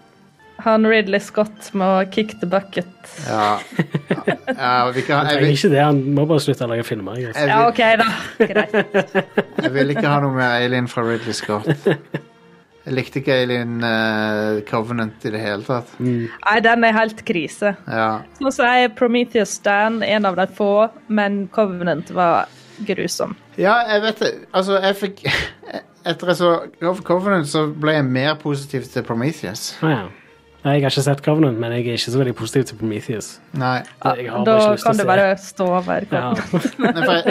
[SPEAKER 3] Han Ridley Scott må kick the bucket.
[SPEAKER 1] Ja. ja vi kan,
[SPEAKER 2] Han
[SPEAKER 1] jeg,
[SPEAKER 2] trenger
[SPEAKER 1] vil,
[SPEAKER 2] ikke det, han må bare slutte å lage filmer. jeg guess.
[SPEAKER 1] jeg,
[SPEAKER 3] Ja,
[SPEAKER 1] vil,
[SPEAKER 3] OK, da. Greit.
[SPEAKER 1] jeg vil ikke ha noe med Alien fra Ridley Scott. Jeg likte ikke Alien eh, Covenant i det hele tatt.
[SPEAKER 2] Hmm.
[SPEAKER 3] Nei, den er helt krise.
[SPEAKER 1] Ja.
[SPEAKER 3] Nå sier Prometheus Stan en av de få, men Covenant var grusom.
[SPEAKER 1] Ja, jeg vet det. Altså, jeg fikk Etter jeg så Cov- Covenant, så ble jeg mer positiv til Prometheus.
[SPEAKER 2] Å, ja. Nei, jeg har ikke sett Covenant, men jeg er ikke så veldig positiv til Prometheus.
[SPEAKER 1] Nei.
[SPEAKER 3] Ja,
[SPEAKER 2] Jeg har
[SPEAKER 3] da
[SPEAKER 2] bare ikke lyst til
[SPEAKER 3] kan
[SPEAKER 2] å
[SPEAKER 3] du
[SPEAKER 2] se.
[SPEAKER 3] bare stå over.
[SPEAKER 2] Ja.
[SPEAKER 3] Covenant.
[SPEAKER 1] Nei, for jeg,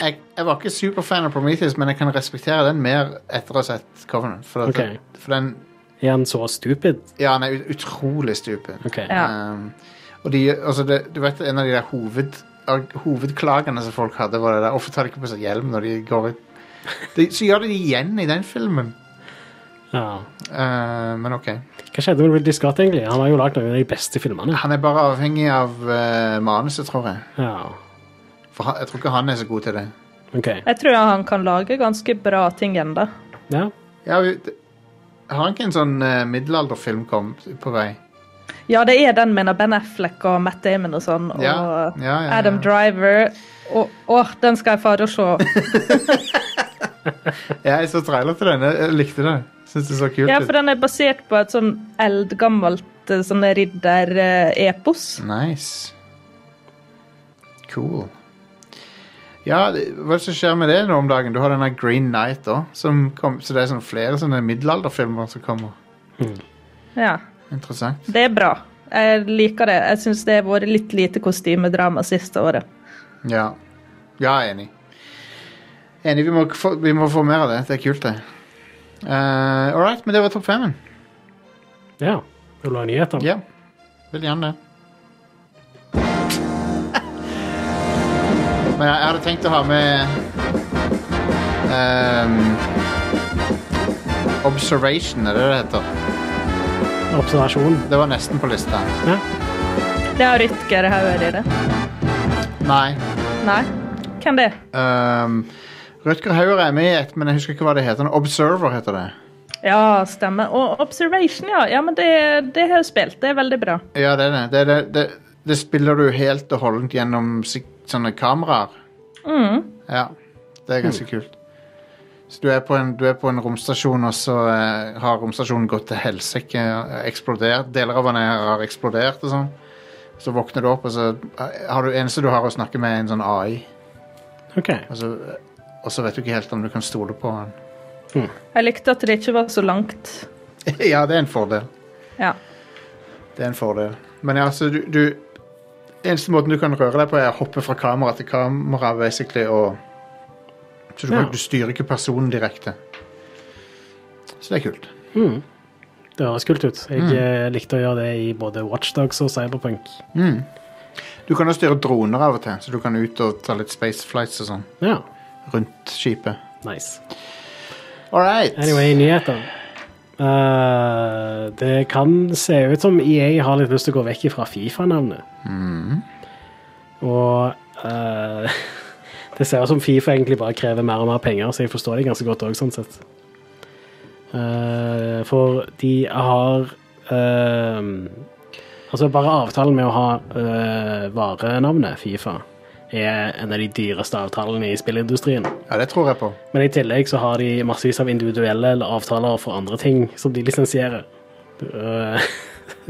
[SPEAKER 1] jeg, jeg var ikke superfan av Prometheus, men jeg kan respektere den mer etter å ha sett Covenant. For, at-
[SPEAKER 2] Ok.
[SPEAKER 1] for den
[SPEAKER 2] Er han så stupid?
[SPEAKER 1] Ja, han er ut- utrolig stupid.
[SPEAKER 2] Ok.
[SPEAKER 3] Ja.
[SPEAKER 1] Um, og de, altså det, du vet, en av de der hoved, arg- hovedklagene som folk hadde, var det der Hvorfor tar de ikke på seg hjelm når de går ut? De, så gjør de det igjen i den filmen.
[SPEAKER 2] Ja.
[SPEAKER 1] Uh, men OK.
[SPEAKER 2] Hva skjedde med Ridley Scott, egentlig? Han har jo lagd noen av de beste filmene.
[SPEAKER 1] Han er bare avhengig av uh, manuset, tror jeg.
[SPEAKER 2] Ja.
[SPEAKER 1] For han, jeg tror ikke han er så god til det.
[SPEAKER 2] OK.
[SPEAKER 3] Jeg tror han kan lage ganske bra ting ennå.
[SPEAKER 2] Ja.
[SPEAKER 1] Ja, vi, d- har han ikke en sånn uh, middelalderfilm kom, på vei?
[SPEAKER 3] Ja, det er den med Ben Affleck og Matt Damon og sånn, og
[SPEAKER 1] Ja, ja, ja, ja.
[SPEAKER 3] Adam Driver. Og, åh, den skal jeg fare og se.
[SPEAKER 1] Ja, jeg så trailer til den. Jeg, jeg likte det. Syns det så kult
[SPEAKER 3] Ja,
[SPEAKER 1] ut.
[SPEAKER 3] for den er basert på et sånn eldgammelt eh, sånn ridder-epos.
[SPEAKER 1] Nice. Cool. Ja, det- hva er det som skjer med det nå om dagen? Du har denne Green Night òg. Så det er sånn flere sånne middelalderfilmer som kommer.
[SPEAKER 3] Ja,
[SPEAKER 1] Interessant.
[SPEAKER 3] det er bra. Jeg liker det. Jeg syns det har vært litt lite kostymedrama siste året.
[SPEAKER 1] Ja. Ja, jeg er enig. Enig. Vi må, k- få, vi må få mer av det. Det er kult, det. Uh, All right, men det var topp femmen.
[SPEAKER 2] ja. Vil du ha nyheter?
[SPEAKER 1] Ja. Vil gjerne det. Men jeg, jeg hadde tenkt å ha med ehm, Observation, er det det heter?
[SPEAKER 2] Observasjon?
[SPEAKER 1] Det var nesten på lista.
[SPEAKER 2] Ja.
[SPEAKER 3] Det har Rytger Hauger i det.
[SPEAKER 1] Nei.
[SPEAKER 3] Nei, hvem det er?
[SPEAKER 1] ehm, Rutger Hauer er med i et, men jeg husker ikke hva det heter. Observer heter det.
[SPEAKER 3] Ja, stemmer. Og Observation, ja. ja men det, det har jeg spilt. Det er veldig bra.
[SPEAKER 1] Ja, det er det. Det, det, det, det spiller du helt og holdent gjennom sik- sånne kameraer. Ja, det er ganske kult. Så du er på en, du er på en romstasjon, og så eh, har romstasjonen gått til helsike. eh, Eksplodert. Deler av den her har eksplodert og sånn. Så våkner du opp, og så eh, har du eneste du har å snakke med, er en sånn AI.
[SPEAKER 2] OK.
[SPEAKER 1] Og så, eh, og så vet du ikke helt om du kan stole på han.
[SPEAKER 3] Jeg likte at det ikke var så langt.
[SPEAKER 1] ja, det er en fordel.
[SPEAKER 3] Ja.
[SPEAKER 1] Det er en fordel. Men ja, altså, du, du Eneste måten du kan røre deg på, er å hoppe fra kamera til kamera, basically, og Så du, kan,
[SPEAKER 2] Ja.
[SPEAKER 1] du styrer ikke personen direkte. Så det er kult.
[SPEAKER 2] Det høres kult ut. Jeg
[SPEAKER 1] Hmm.
[SPEAKER 2] eh, likte å gjøre det i både Watchdogs og Cyberpunk.
[SPEAKER 1] Du kan også styre droner av og til, så du kan ut og ta litt space flights og sånn
[SPEAKER 2] Ja.
[SPEAKER 1] rundt skipet.
[SPEAKER 2] Nice.
[SPEAKER 1] All right.
[SPEAKER 2] Anyway, nyheter. Eh, det kan se ut som EA har litt lyst til å gå vekk fra Fifa-navnet. Og eh, det ser ut som Fifa egentlig bare krever mer og mer penger, så jeg forstår det ganske godt òg, sånn sett. Eh, for de har eh, Altså, bare avtalen med å ha eh, varenavnet Fifa er en av de dyreste avtalene i spillindustrien.
[SPEAKER 1] Ja, det tror jeg på.
[SPEAKER 2] Men i tillegg så har de massevis av individuelle eller avtaler for andre ting som de lisensierer. Eh,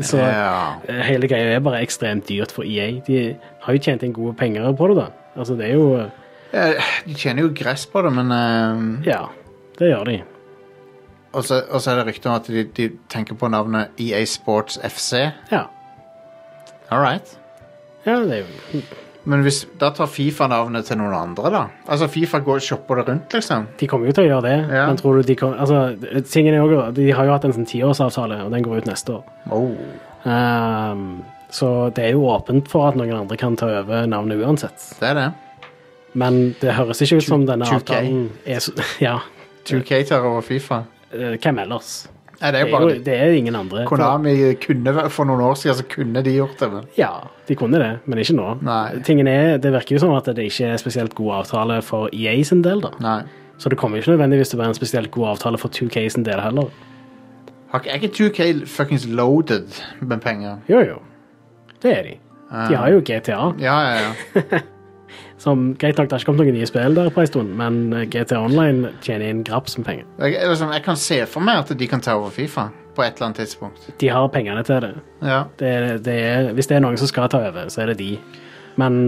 [SPEAKER 2] Så
[SPEAKER 1] Ja.
[SPEAKER 2] eh, hele greia er bare ekstremt dyrt for EA. De har jo tjent inn gode penger på det, da. Altså, det er jo eh,
[SPEAKER 1] Ja, De tjener jo gress på det, men eh,
[SPEAKER 2] Ja, det gjør de.
[SPEAKER 1] Og så og så er det rykte om at de, de tenker på navnet EA Sports FC.
[SPEAKER 2] Ja.
[SPEAKER 1] All right.
[SPEAKER 2] ja det er jo
[SPEAKER 1] Men hvis, da tar Fifa navnet til noen andre, da? Altså, Fifa går og shopper det rundt, liksom?
[SPEAKER 2] De kommer jo til å gjøre det.
[SPEAKER 1] Ja.
[SPEAKER 2] Men tror du de kommer Altså, tingen er jo også- De har jo hatt en sånn tiårsavtale, og den går ut neste år.
[SPEAKER 1] Oh.
[SPEAKER 2] Ehm, så det er jo åpent for at noen andre kan ta over navnet uansett.
[SPEAKER 1] Det er det.
[SPEAKER 2] Men det høres ikke ut som denne
[SPEAKER 1] 2K.
[SPEAKER 2] avtalen er så Ja.
[SPEAKER 1] 2K tar over Fifa.
[SPEAKER 2] Eh, hvem ellers?
[SPEAKER 1] Nei, det er
[SPEAKER 2] Det
[SPEAKER 1] jo
[SPEAKER 2] er,
[SPEAKER 1] bare
[SPEAKER 2] jo,
[SPEAKER 1] de.
[SPEAKER 2] det er ingen andre.
[SPEAKER 1] Konami kunne væ- for noen år siden, så kunne de gjort det, men
[SPEAKER 2] Ja, de kunne det, men ikke nå.
[SPEAKER 1] Nei.
[SPEAKER 2] Tingen er, Det virker jo som at det ikke er spesielt god avtale for EA sin del, da.
[SPEAKER 1] nei.
[SPEAKER 2] Så det kommer jo ikke nødvendigvis til å være en spesielt god avtale for 2K sin del heller.
[SPEAKER 1] Har ikke- Er ikke 2K fuckings loaded med penger?
[SPEAKER 2] Jo, jo. Det er de. De har jo GTA.
[SPEAKER 1] Ja, ja, ja.
[SPEAKER 2] Som, greit nok, Det har ikke kommet noen nye spill der på en stund, men eh, GTA Online tjener inn graps med penger.
[SPEAKER 1] Jeg, eller sånn, jeg kan se for meg at de kan ta over Fifa på et eller annet tidspunkt.
[SPEAKER 2] De har pengene til det.
[SPEAKER 1] Ja,
[SPEAKER 2] det, det er, hvis det er noen som skal ta over, så er det de. Men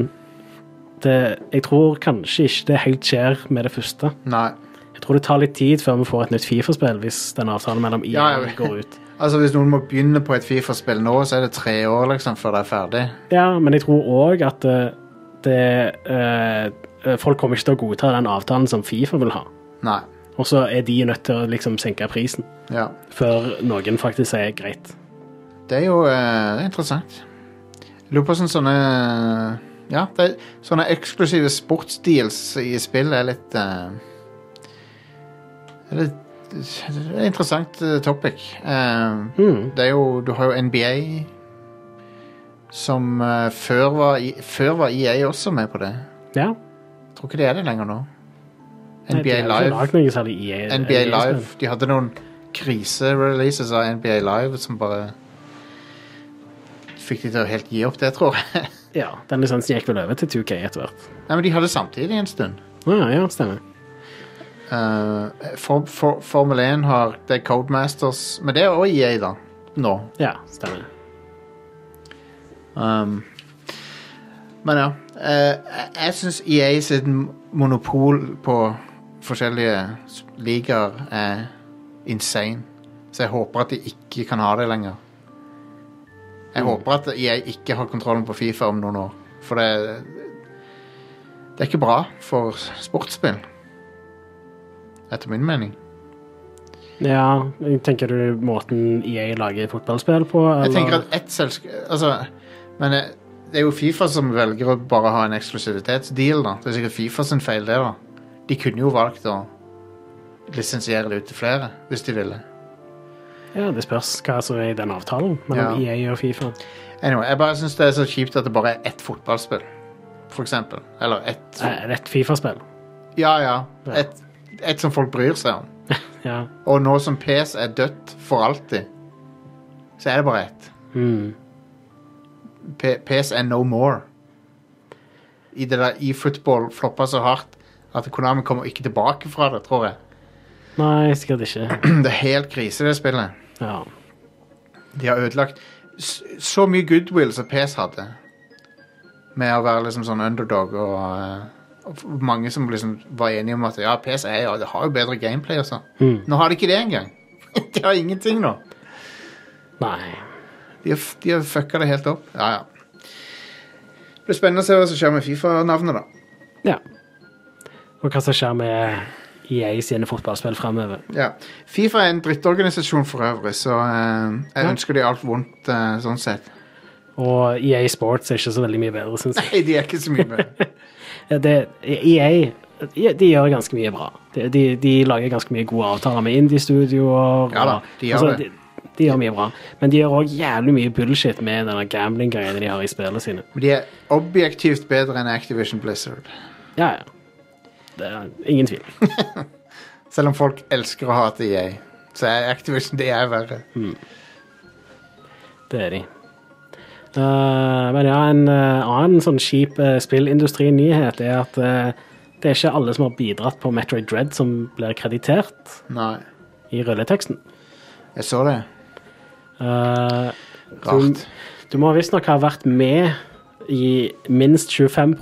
[SPEAKER 2] det, jeg tror kanskje ikke det helt skjer med det første.
[SPEAKER 1] nei.
[SPEAKER 2] Jeg tror det tar litt tid før vi får et nytt Fifa-spill hvis den avtalen mellom E IA
[SPEAKER 1] Ja, ja.
[SPEAKER 2] går ut.
[SPEAKER 1] Altså Hvis noen må begynne på et Fifa-spill nå, så er det tre år liksom før det er ferdig.
[SPEAKER 2] Ja, men jeg tror òg at eh, det, eh, folk kommer ikke til å godta den avtalen som Fifa vil ha.
[SPEAKER 1] Nei.
[SPEAKER 2] Og så er de nødt til å liksom senke prisen
[SPEAKER 1] Ja.
[SPEAKER 2] før noen faktisk sier greit.
[SPEAKER 1] Det er jo eh, det er interessant. Jeg Lurer på sånn sånne Ja, det, er- sånne eksklusive sportsdeals i spill er litt eh, er litt- Det er et interessant eh, topic. Eh,
[SPEAKER 2] Mm.
[SPEAKER 1] Det er jo Du har jo NBA, som eh, før, var, I- før var EA også med på det.
[SPEAKER 2] Ja.
[SPEAKER 1] Jeg tror ikke det er det lenger nå.
[SPEAKER 2] Nei, de
[SPEAKER 1] NBA
[SPEAKER 2] har ikke
[SPEAKER 1] Live.
[SPEAKER 2] lagd noe særlig E EA
[SPEAKER 1] NBA
[SPEAKER 2] spill.
[SPEAKER 1] Live. De hadde noen krisereleases av NBA Live som bare Fikk de til å helt gi opp det, tror jeg.
[SPEAKER 2] Ja, Den lisensen gikk vel over til 2K etter hvert.
[SPEAKER 1] Nei, men de hadde samtidig en stund.
[SPEAKER 2] Ja, ja, stemmer.
[SPEAKER 1] Eh, for, for, Formel 1 har Det er Codemasters, men det er også EA, da. Nå.
[SPEAKER 2] Ja, stemmer.
[SPEAKER 1] Um, men ja. eh, jeg- jeg syns EA sitt monopol på forskjellige s- ligaer er insane. Så jeg håper at de ikke kan ha det lenger. Jeg håper at EA ikke har kontrollen på Fifa om noen år. For det Det er ikke bra for sportsspill. Etter min mening.
[SPEAKER 2] Ja, tenker du måten EA lager fotballspill på? Eller?
[SPEAKER 1] Jeg tenker at ett selskap Altså, men eh, det er jo Fifa som velger å bare ha en eksklusivitetsdeal, da. Det er sikkert Fifa sin feil, det, da. De kunne jo valgt å lisensiere det ut til flere, hvis de ville.
[SPEAKER 2] Ja, Det spørs hva som er i den avtalen mellom
[SPEAKER 1] Ja.
[SPEAKER 2] EA og Fifa.
[SPEAKER 1] Anyway, jeg bare syns det er så kjipt at det bare er ett fotballspill, for eksempel. Eller ett
[SPEAKER 2] Eh, Rett Fifa-spill.
[SPEAKER 1] Ja, ja. Ett et som folk bryr seg om.
[SPEAKER 2] Ja.
[SPEAKER 1] Og nå som PS er dødt for alltid, så er det bare ett.
[SPEAKER 2] Mm.
[SPEAKER 1] P- PS er no more. I det der eFootball floppa så hardt at Konami kommer ikke tilbake fra det, tror jeg.
[SPEAKER 2] Nei, sikkert ikke.
[SPEAKER 1] Det er helt krise, det spillet.
[SPEAKER 2] Ja.
[SPEAKER 1] De har ødelagt s- så mye goodwill som PS hadde. Med å være liksom sånn underdog og, eh, og f- mange som liksom var enige om at ja, PS er jo, det har jo bedre gameplay og sånn.
[SPEAKER 2] Mm.
[SPEAKER 1] Nå har de ikke det engang. de har ingenting nå.
[SPEAKER 2] Nei.
[SPEAKER 1] De har, f- de har fucka det helt opp. Ja, ja. Det blir spennende å se hva som skjer med Fifa-navnet, da.
[SPEAKER 2] Ja. Og hva som skjer med EA sine fotballspill fremover.
[SPEAKER 1] Ja. Fifa er en drittorganisasjon for øvrig, så eh, jeg
[SPEAKER 2] Ja.
[SPEAKER 1] ønsker de alt vondt eh, sånn sett.
[SPEAKER 2] Og EA Sports er ikke så veldig mye bedre, syns jeg.
[SPEAKER 1] Nei, de er ikke så mye bedre.
[SPEAKER 2] Ja, Det, EA de gjør ganske mye bra. De, de, de lager ganske mye gode avtaler med indie-studioer.
[SPEAKER 1] Ja da,
[SPEAKER 2] og- altså,
[SPEAKER 1] de gjør det.
[SPEAKER 2] De, de gjør mye bra. Men de gjør òg jævlig mye bullshit med denne gambling-greiene de har i spillene sine.
[SPEAKER 1] Men de er objektivt bedre enn Activision Blizzard.
[SPEAKER 2] Ja, ja. Det er ingen tvil.
[SPEAKER 1] Selv om folk elsker å hate EA, så er Activision det er verre.
[SPEAKER 2] Det er de. Eh, men ja, en eh, annen sånn kjip uh, spillindustrinyhet er at eh, det er ikke alle som har bidratt på Metroid Dread som blir kreditert
[SPEAKER 1] Nei.
[SPEAKER 2] i rulleteksten.
[SPEAKER 1] Jeg så det.
[SPEAKER 2] Eh,
[SPEAKER 1] Rart.
[SPEAKER 2] Du må visstnok ha vært med i minst 25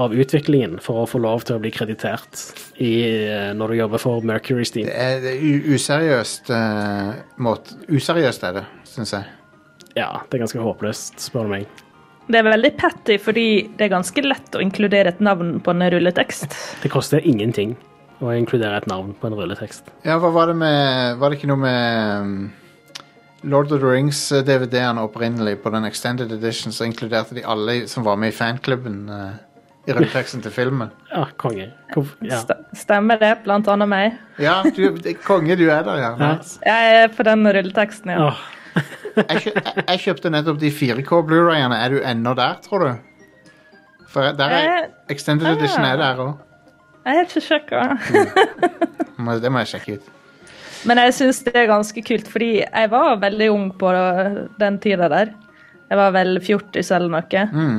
[SPEAKER 2] av utviklingen for å få lov til å bli kreditert i, eh, når du jobber for Mercury Steam.
[SPEAKER 1] Det er, det er u- useriøst eh, måte. Useriøst er det, syns jeg.
[SPEAKER 2] Ja, det er ganske håpløst, spør du meg.
[SPEAKER 3] Det er veldig patty, fordi det er ganske lett å inkludere et navn på en rulletekst.
[SPEAKER 2] Det koster ingenting å inkludere et navn på en rulletekst.
[SPEAKER 1] Ja, hva var det med Var det ikke noe med um, Lord of the Rings-DVD-ene opprinnelig på den extended edition, så inkluderte de alle som var med i fanklubben eh, i rulleteksten til filmen.
[SPEAKER 2] Ja, konge. Hvorf- Ja.
[SPEAKER 3] St- Stemmer det, blant annet meg.
[SPEAKER 1] Ja, du, det er konge, du er der, ja. Nice.
[SPEAKER 3] Jeg er på den rulleteksten, ja.
[SPEAKER 2] Åh,
[SPEAKER 1] Jeg, kjø, jeg, jeg kjøpte nettopp de 4K Blu-rayene. Er du ennå der, tror du? For jeg- der er
[SPEAKER 3] Eh,
[SPEAKER 1] Extended Edition er der òg.
[SPEAKER 3] Jeg er ikke sjekka.
[SPEAKER 1] Må- Det må jeg sjekke ut.
[SPEAKER 3] Men jeg syns det er ganske kult, fordi jeg var veldig ung på den tida der. Jeg var vel 40 eller noe.
[SPEAKER 1] Mm.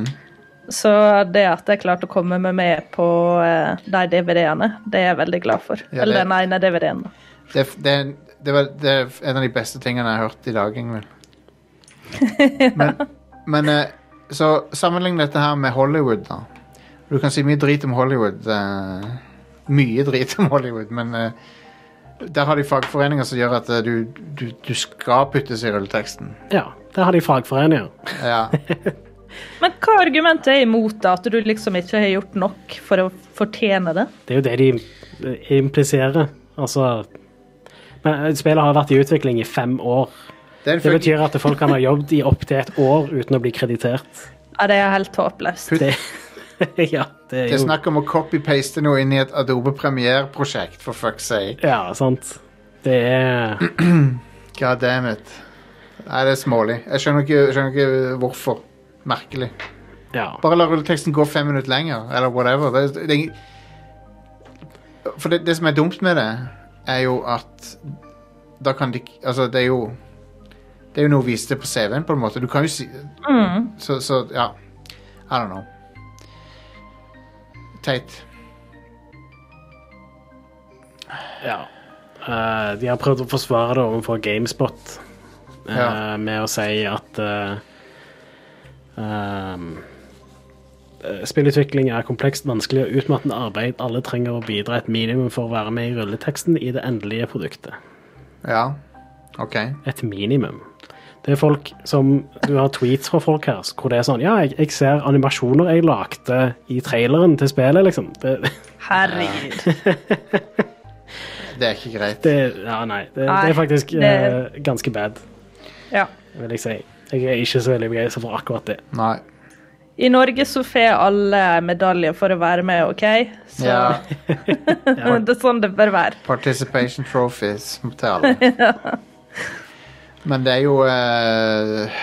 [SPEAKER 3] Så det at jeg klarte å komme meg med på eh, de DVD-ene, det er jeg veldig glad for.
[SPEAKER 1] Ja, det-
[SPEAKER 3] Eller den ene DVD-en.
[SPEAKER 1] Det, er f- det, er en- det, var, det er f- en av de beste tingene jeg har hørt i dag, Ingvild. Men, men eh, så sammenlign dette her med Hollywood, da. Du kan si mye drit om Hollywood. eh, mye drit om Hollywood, men eh, der har de fagforeninger som gjør at eh, du, du, du skal puttes i rulleteksten.
[SPEAKER 2] ja. Der har de fagforeninger.
[SPEAKER 1] Ja.
[SPEAKER 3] Men hva argumentet er imot det? At du liksom ikke har gjort nok for å fortjene det?
[SPEAKER 2] Det er jo det de eh, impliserer. Altså Men eh, spillet har vært i utvikling i fem år.
[SPEAKER 1] Det er en
[SPEAKER 2] Det
[SPEAKER 1] fuck-
[SPEAKER 2] betyr at folk kan ha jobbet i opptil et år uten å bli kreditert.
[SPEAKER 3] Ja, det er helt håpløst.
[SPEAKER 1] Putt-
[SPEAKER 2] Det, ja,
[SPEAKER 1] Det
[SPEAKER 2] det er
[SPEAKER 1] er
[SPEAKER 2] jo
[SPEAKER 1] snakk om å copy-paste noe inn i et Adobe Premiere-prosjekt, for fuck's sake.
[SPEAKER 2] Ja, sant. Det er
[SPEAKER 1] God damn it. Nei, det er smålig. Jeg skjønner ikke, skjønner ikke hvorfor. Merkelig.
[SPEAKER 2] Ja.
[SPEAKER 1] Bare la rulleteksten gå fem minutter lenger, eller whatever. Det, er- det, er ingen- for det, det som er dumt med det, er jo at da kan de ikke- Altså, det er jo Det er jo noe å vise til på CV-en, på en måte. Du kan jo si Så, så ja. I don't know. Teit.
[SPEAKER 2] ja. Eh, de har prøvd å forsvare det overfor GameSpot eh,
[SPEAKER 1] Ja.
[SPEAKER 2] med å si at eh, ehm, eh, Spillutvikling er komplekst, vanskelig og utmattende arbeid. Alle trenger å bidra et minimum for å være med i rulleteksten i det endelige produktet.
[SPEAKER 1] Ja. OK.
[SPEAKER 2] et minimum. Det er folk som Du har tweets fra folk her hvor det er sånn Ja, jeg, jeg ser animasjoner jeg lagde i traileren til spillet, liksom. Det,
[SPEAKER 3] Herregud.
[SPEAKER 1] Det er ikke greit.
[SPEAKER 2] det Ja, nei. Det, det
[SPEAKER 3] Nei,
[SPEAKER 2] er faktisk
[SPEAKER 3] det-
[SPEAKER 2] eh, ganske bad,
[SPEAKER 3] Ja.
[SPEAKER 2] vil jeg si. Jeg er ikke så veldig begeistra for akkurat det.
[SPEAKER 1] Nei.
[SPEAKER 3] I Norge så får alle medalje for å være med, OK? Så
[SPEAKER 1] Ja,
[SPEAKER 3] det er sånn det bør være.
[SPEAKER 1] participation trophies til alle. Men det er jo eh,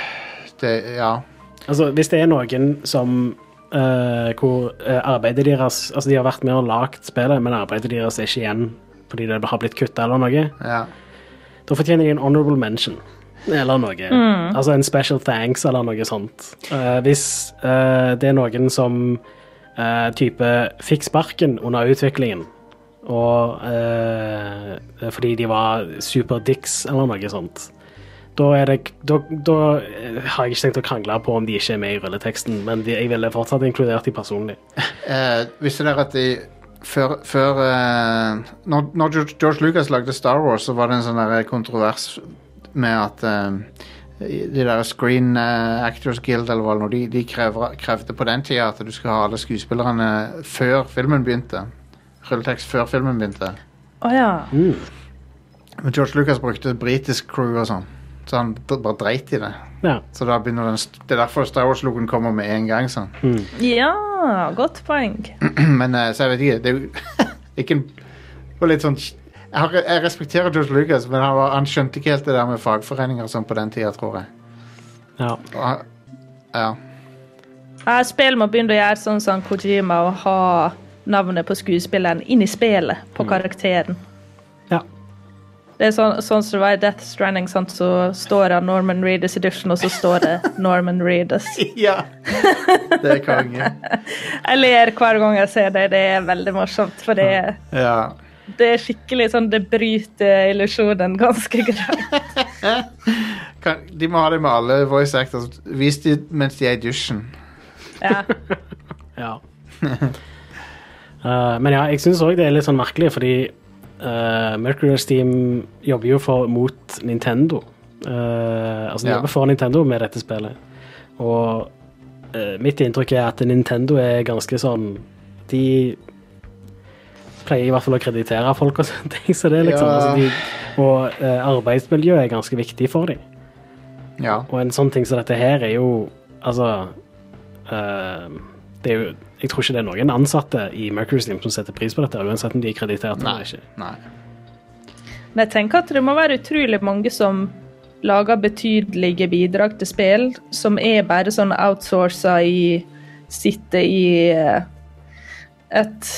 [SPEAKER 1] det, Ja.
[SPEAKER 2] Altså, hvis det er noen som eh, Hvor eh, arbeidet deres Altså, de har vært med og lagd spillet, men arbeidet deres er ikke igjen fordi det har blitt kutta eller noe,
[SPEAKER 1] ja.
[SPEAKER 2] Da fortjener de en honorable mention. Eller noe. Altså en special thanks eller noe sånt. Eh, hvis eh, det er noen som eh, type fikk sparken under utviklingen, og eh, fordi de var superdicks eller noe sånt, da, er det, da, da eh, har jeg ikke tenkt å krangle på om de ikke er med i rulleteksten, men de, jeg ville fortsatt inkludert de personlig.
[SPEAKER 1] Eh, visste dere at de før, før eh, når, når George, George Lucas lagde Star Wars, så var det en sånn der kontrovers med at eh, de der Screen eh, Actors Guild eller hva det nå, de, de krever, krevde på den tida at du skulle ha alle skuespillerne før filmen begynte. Rulletekst før filmen begynte.
[SPEAKER 3] Å ja.
[SPEAKER 1] Men George Lucas brukte britisk crew og sånn, så han d- bare dreit i det.
[SPEAKER 2] Ja.
[SPEAKER 1] Så da begynner den, st- Det er derfor Star Wars-logoen kommer med en gang. sånn.
[SPEAKER 3] Ja, godt poeng.
[SPEAKER 1] Men eh, så jeg vet ikke Det er jo ikke en det var litt sånn jeg, har, jeg respekterer George Lucas, men han, var, han skjønte ikke helt det der med fagforeninger og sånn på den tida, tror jeg.
[SPEAKER 2] ja.
[SPEAKER 1] Og han, ja.
[SPEAKER 3] Jeg spiller må begynne å gjøre sånn som Kojima og ha navnet på skuespilleren inn i spillet, på karakteren.
[SPEAKER 2] ja.
[SPEAKER 3] Det er sånn, sånn som det var i Death Stranding, sant? så står det Norman Reedus Edition, og så står det Norman Reedus.
[SPEAKER 1] ja. Det er konge.
[SPEAKER 3] Jeg ler hver gang jeg ser det, det er veldig morsomt, for det er
[SPEAKER 1] Ja.
[SPEAKER 3] Det er skikkelig sånn, det bryter illusjonen ganske greit.
[SPEAKER 1] Kan, de må ha det med alle voice actors. Vis de mens de er i dusjen.
[SPEAKER 3] Ja.
[SPEAKER 2] Ja. Eh, men ja, jeg syns òg det er litt sånn merkelig, fordi uh, Mercury Steam jobber jo for, mot Nintendo. Eh, altså, de
[SPEAKER 1] Ja.
[SPEAKER 2] jobber for Nintendo med dette spillet. Og eh, mitt inntrykk er at Nintendo er ganske sånn De pleier i hvert fall å kreditere folk og sånne ting, så det er liksom
[SPEAKER 1] Ja.
[SPEAKER 2] altså, de, Og eh, arbeidsmiljø er ganske viktig for dem.
[SPEAKER 1] Ja.
[SPEAKER 2] Og en sånn ting som dette her er jo Altså eh, Det er jo Jeg tror ikke det er noen ansatte i Mercury Steam som setter pris på dette, uansett om de er kreditert eller ikke.
[SPEAKER 1] Nei.
[SPEAKER 3] Men jeg tenker at det må være utrolig mange som lager betydelige bidrag til spill, som er bare sånn outsourca i Sitte i eh, et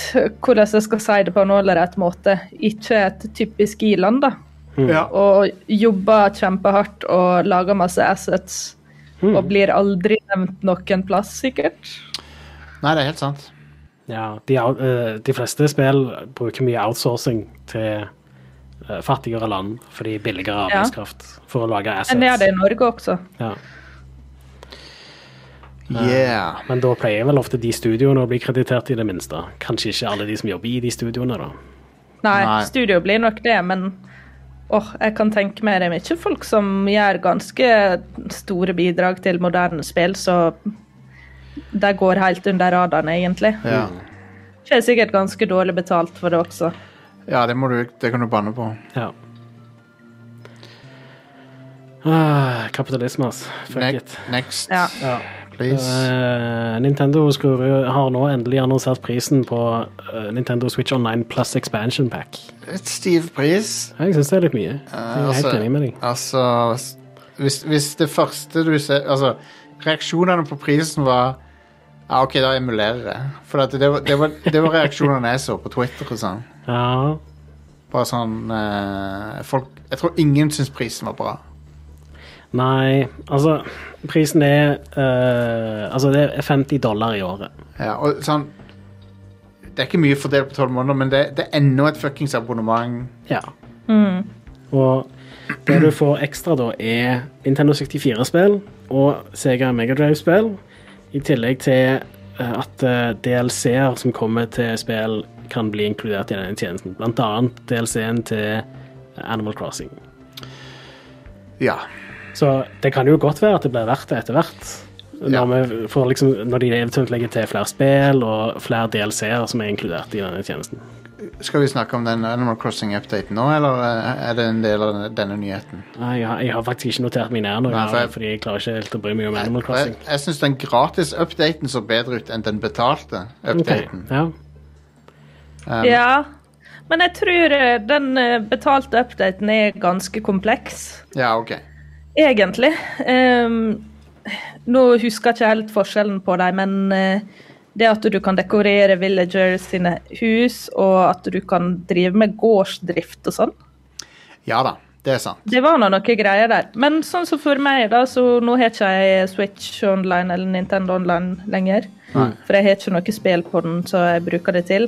[SPEAKER 3] Hvordan jeg skal si det på en ålreit måte. Ikke et typisk i-land, da.
[SPEAKER 2] Mm.
[SPEAKER 1] Ja.
[SPEAKER 3] Og jobber kjempehardt og lager masse assets. Og blir aldri nevnt noen plass, sikkert.
[SPEAKER 1] Nei, det er helt sant.
[SPEAKER 2] Ja, de, out- eh, de fleste spill bruker mye outsourcing til eh, fattigere land fordi billigere
[SPEAKER 3] Ja.
[SPEAKER 2] arbeidskraft for å lage assets.
[SPEAKER 3] Men det er det i Norge også.
[SPEAKER 2] Ja.
[SPEAKER 1] Yeah.
[SPEAKER 2] Men da pleier vel ofte de studioene å bli kreditert i det minste. Kanskje ikke alle de som jobber i de studioene, da.
[SPEAKER 3] Nei,
[SPEAKER 1] Nei.
[SPEAKER 3] studio blir nok det, men åh, jeg kan tenke meg det er mye folk som gjør ganske store bidrag til moderne spill, så de går helt under radaren, egentlig.
[SPEAKER 1] Ja.
[SPEAKER 2] Mm.
[SPEAKER 3] Det er sikkert ganske dårlig betalt for det også.
[SPEAKER 1] ja, det må du Det kan du banne på.
[SPEAKER 2] Ja. Ah, kapitalisme, ass. Fuck it.
[SPEAKER 1] Next, next
[SPEAKER 3] Ja.
[SPEAKER 2] Ja.
[SPEAKER 1] please.
[SPEAKER 2] Eh, Nintendo skrur, har nå endelig annonsert prisen på eh, Nintendo Switch Online pluss expansion pack.
[SPEAKER 1] Et stiv pris.
[SPEAKER 2] Jeg syns det er litt mye. Jeg er
[SPEAKER 1] altså-
[SPEAKER 2] helt enig med deg.
[SPEAKER 1] Altså s- hvis, hvis det første du ser Altså, reaksjonene på prisen var Ja, OK, da emulerer jeg. For at det, var, det, var, det var reaksjonene jeg så på Twitter og sånn.
[SPEAKER 2] Ja.
[SPEAKER 1] Bare sånn eh, folk, Jeg tror ingen syns prisen var bra.
[SPEAKER 2] Nei, altså Prisen er eh, Altså, det er 50 dollar i året.
[SPEAKER 1] Ja, og sånn Det er ikke mye fordelt på tolv måneder, men det, det er ennå et fuckings abonnement.
[SPEAKER 2] Ja. Og det du får ekstra, da, er Nintendo 64-spill og Sega Megadrive-spill. I tillegg til eh, at eh, DLC-er som kommer til spill, kan bli inkludert i denne tjenesten. Blant annet DLC-en til Animal Crossing.
[SPEAKER 1] Ja.
[SPEAKER 2] Så det kan jo godt være at det blir verdt det etter hvert. Når,
[SPEAKER 1] Ja.
[SPEAKER 2] vi får liksom, når de eventuelt legger til flere spill og flere DLC-er som er inkludert i denne tjenesten.
[SPEAKER 1] Skal vi snakke om den Animal Crossing-updaten nå, eller eh, er det en del av denne nyheten?
[SPEAKER 2] Nei, Jeg har, jeg har faktisk ikke notert meg ned noe,
[SPEAKER 1] Nei, for jeg-
[SPEAKER 2] fordi jeg klarer ikke helt å bry meg om Animal
[SPEAKER 1] Jeg,
[SPEAKER 2] Crossing.
[SPEAKER 1] jeg syns den gratis-updaten så bedre ut enn den betalte
[SPEAKER 2] Ok,
[SPEAKER 1] updaten. Um,
[SPEAKER 2] ja.
[SPEAKER 3] Ja, men jeg tror eh, den eh, betalte updaten er ganske kompleks.
[SPEAKER 1] Ja, ok.
[SPEAKER 3] Egentlig. Ehm, nå husker jeg ikke helt forskjellen på dem, men eh, det at du kan dekorere villagers sine hus, og at du kan drive med gårdsdrift og sånn,
[SPEAKER 1] Ja da, det er sant.
[SPEAKER 3] det var nå noe greier der. Men sånn som for meg, da, så nå har ikke jeg Switch online eller Nintendo online lenger. For jeg har ikke noe spill på den, så jeg bruker det til.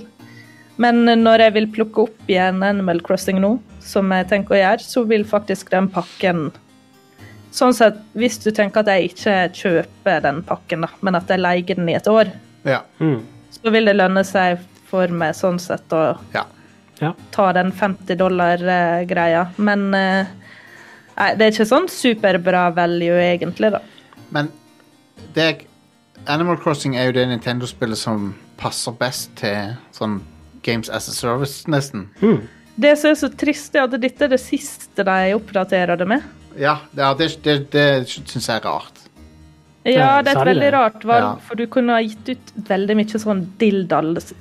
[SPEAKER 3] Men når jeg vil plukke opp igjen Animal Crossing nå, som jeg tenker å gjøre, så vil faktisk den pakken Sånn sett, hvis du tenker at jeg ikke kjøper den pakken, da, men at jeg leier den i et år,
[SPEAKER 1] Ja.
[SPEAKER 3] så vil det lønne seg for meg sånn sett å
[SPEAKER 1] ja.
[SPEAKER 2] ja.
[SPEAKER 3] ta den 50 dollar-greia. Men eh, nei, det er ikke sånn superbra value, egentlig, da.
[SPEAKER 1] Men det er, Animal Crossing er jo det Nintendo-spillet som passer best til sånn Games as a Service, nesten.
[SPEAKER 3] Det som er så trist, er at dette er det siste de oppdaterer det med.
[SPEAKER 1] Ja, ja det, det, det syns jeg er rart.
[SPEAKER 3] Ja,
[SPEAKER 2] Ja,
[SPEAKER 3] det
[SPEAKER 2] sa
[SPEAKER 3] er et
[SPEAKER 2] de
[SPEAKER 3] veldig
[SPEAKER 2] det?
[SPEAKER 3] rart valg,
[SPEAKER 1] Ja.
[SPEAKER 3] for du kunne ha gitt ut veldig mye sånn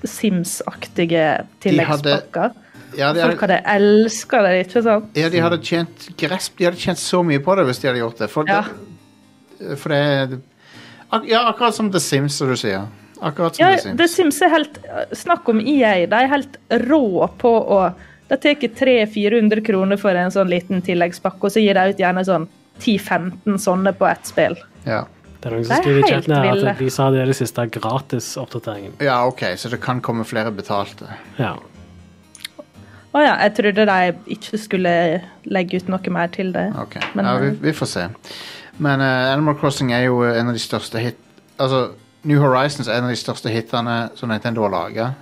[SPEAKER 3] Dildal-Sims-aktige tilleggspakker.
[SPEAKER 1] Ja, de
[SPEAKER 3] Folk
[SPEAKER 1] hadde,
[SPEAKER 3] hadde elska det, ikke sant?
[SPEAKER 1] ja, de hadde tjent gress, de hadde tjent så mye på det hvis de hadde gjort det. For,
[SPEAKER 3] Ja.
[SPEAKER 1] det, for det ak Ja, akkurat som The Sims, som du sier. Akkurat som
[SPEAKER 3] Ja,
[SPEAKER 1] The Sims.
[SPEAKER 3] The Sims er helt Snakk om EA. De er helt rå på å De tar 300-400 kroner for en sånn liten tilleggspakke, og så gir de ut gjerne sånn 10-15 sånne på ett spill.
[SPEAKER 1] Ja.
[SPEAKER 2] Det er noen
[SPEAKER 3] Det
[SPEAKER 2] som
[SPEAKER 3] er
[SPEAKER 2] skriver i
[SPEAKER 3] helt
[SPEAKER 2] chatten her
[SPEAKER 3] ville.
[SPEAKER 2] at de sa det er det siste gratis-oppdateringen.
[SPEAKER 1] ja, OK, så det kan komme flere betalte.
[SPEAKER 2] Ja.
[SPEAKER 3] Å ja, jeg trodde de ikke skulle legge ut noe mer til det.
[SPEAKER 1] Ok,
[SPEAKER 3] Men,
[SPEAKER 1] ja, vi,
[SPEAKER 3] eh,
[SPEAKER 1] vi får se. Men eh, Animal Crossing er jo eh, en av de største hit... Altså, New Horizons er en av de største hitene som Nintendo har laga.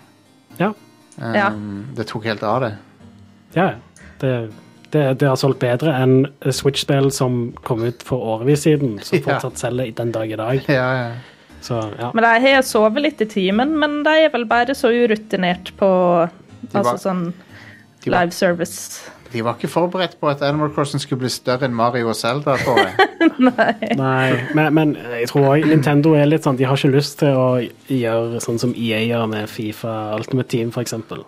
[SPEAKER 2] Ja.
[SPEAKER 1] Um,
[SPEAKER 3] Ja.
[SPEAKER 1] Det tok helt av, det.
[SPEAKER 2] ja. ja. Det, det, det har solgt bedre enn Switch-spill som kom ut for årevis siden, som
[SPEAKER 1] Ja.
[SPEAKER 2] fortsatt selger den dag i dag.
[SPEAKER 1] Ja, ja.
[SPEAKER 2] Så ja.
[SPEAKER 3] Men de har sovet litt i timen, men de er vel bare så urutinert på
[SPEAKER 1] var-
[SPEAKER 3] Altså sånn
[SPEAKER 1] De var,
[SPEAKER 3] Live service.
[SPEAKER 1] de var ikke forberedt på at Animal Crossing skulle bli større enn Mario og Zelda, tror jeg.
[SPEAKER 2] Nei, men, men jeg tror også Nintendo er litt sånn De har ikke lyst til å gjøre sånn som EA gjør med Fifa Ultimate Team, f.eks. De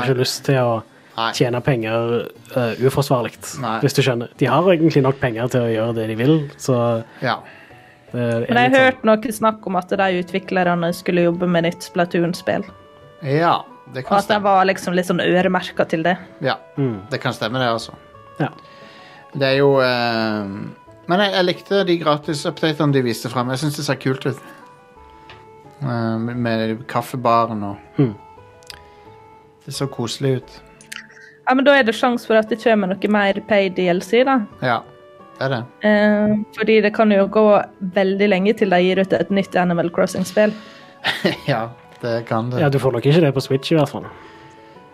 [SPEAKER 1] Nei.
[SPEAKER 2] ikke lyst til å
[SPEAKER 1] Nei.
[SPEAKER 2] tjene penger uh, uforsvarlig,
[SPEAKER 1] Nei.
[SPEAKER 2] hvis du skjønner. De har egentlig nok penger til å gjøre det de vil, så
[SPEAKER 1] Ja.
[SPEAKER 2] det er
[SPEAKER 3] Men jeg
[SPEAKER 2] litt
[SPEAKER 3] har
[SPEAKER 2] sånn-
[SPEAKER 3] hørt noe snakk om at de utviklerne skulle jobbe med nytt Splatoon-spill.
[SPEAKER 1] ja. Det
[SPEAKER 3] Og
[SPEAKER 1] kan
[SPEAKER 3] at de
[SPEAKER 1] stemme.
[SPEAKER 3] var liksom litt sånn øremerka til det.
[SPEAKER 1] Ja, det kan stemme, det, altså.
[SPEAKER 2] Ja.
[SPEAKER 1] Det er jo eh, Men jeg, jeg likte de gratis-updatene de viste fram. Jeg syns det ser kult ut. Eh, med- med kaffebaren og
[SPEAKER 2] Mhm.
[SPEAKER 1] Det så koselig ut.
[SPEAKER 3] Ja, men Da er det sjanse for at det kommer noe mer paid DLC, da.
[SPEAKER 1] Ja, det er det.
[SPEAKER 3] Eh, fordi det kan jo gå veldig lenge til de gir ut et nytt Animal Crossing-spill.
[SPEAKER 1] ja, det kan det.
[SPEAKER 2] ja, du får nok ikke det på Switch, i hvert fall.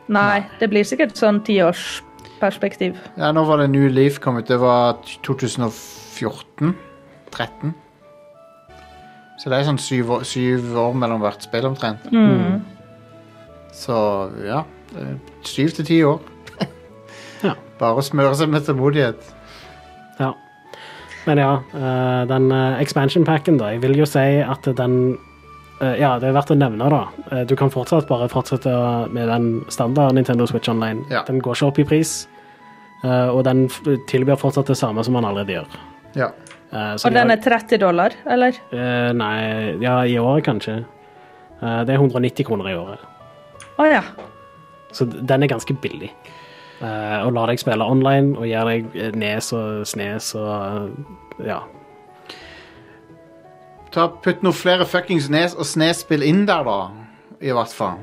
[SPEAKER 3] Nei, det blir sikkert sånn tiårsperspektiv.
[SPEAKER 1] Ja, nå var det New Leaf kom ut. Det var t- 2014? 13? Så det er sånn syv år, syv år mellom hvert spill omtrent.
[SPEAKER 2] Mm.
[SPEAKER 1] Så ja eh, Syv til ti år.
[SPEAKER 2] Ja.
[SPEAKER 1] Bare å smøre seg med tålmodighet.
[SPEAKER 2] Ja. Men ja, eh, den eh, expansion packen, da. Jeg vil jo si at den eh, Ja, det er verdt å nevne, da. Eh, Du kan fortsatt bare fortsette med den standard Nintendo Switch Online.
[SPEAKER 1] Ja.
[SPEAKER 2] Den går ikke opp i pris, eh, og den f- tilbyr fortsatt det samme som man allerede gjør.
[SPEAKER 1] Ja.
[SPEAKER 2] Eh, så
[SPEAKER 3] Og
[SPEAKER 2] de har-
[SPEAKER 3] den er 30 dollar, eller?
[SPEAKER 2] Eh, nei, ja, i året kanskje. Eh, det er 190 kroner i året.
[SPEAKER 3] Å ja.
[SPEAKER 2] Så d- den er ganske billig. Eh, og lar deg spille online og gir deg eh, nes og snes og eh, ja.
[SPEAKER 1] Ta, putt noen flere fuckings Nes og Snes-spill inn der, da. I hvert fall.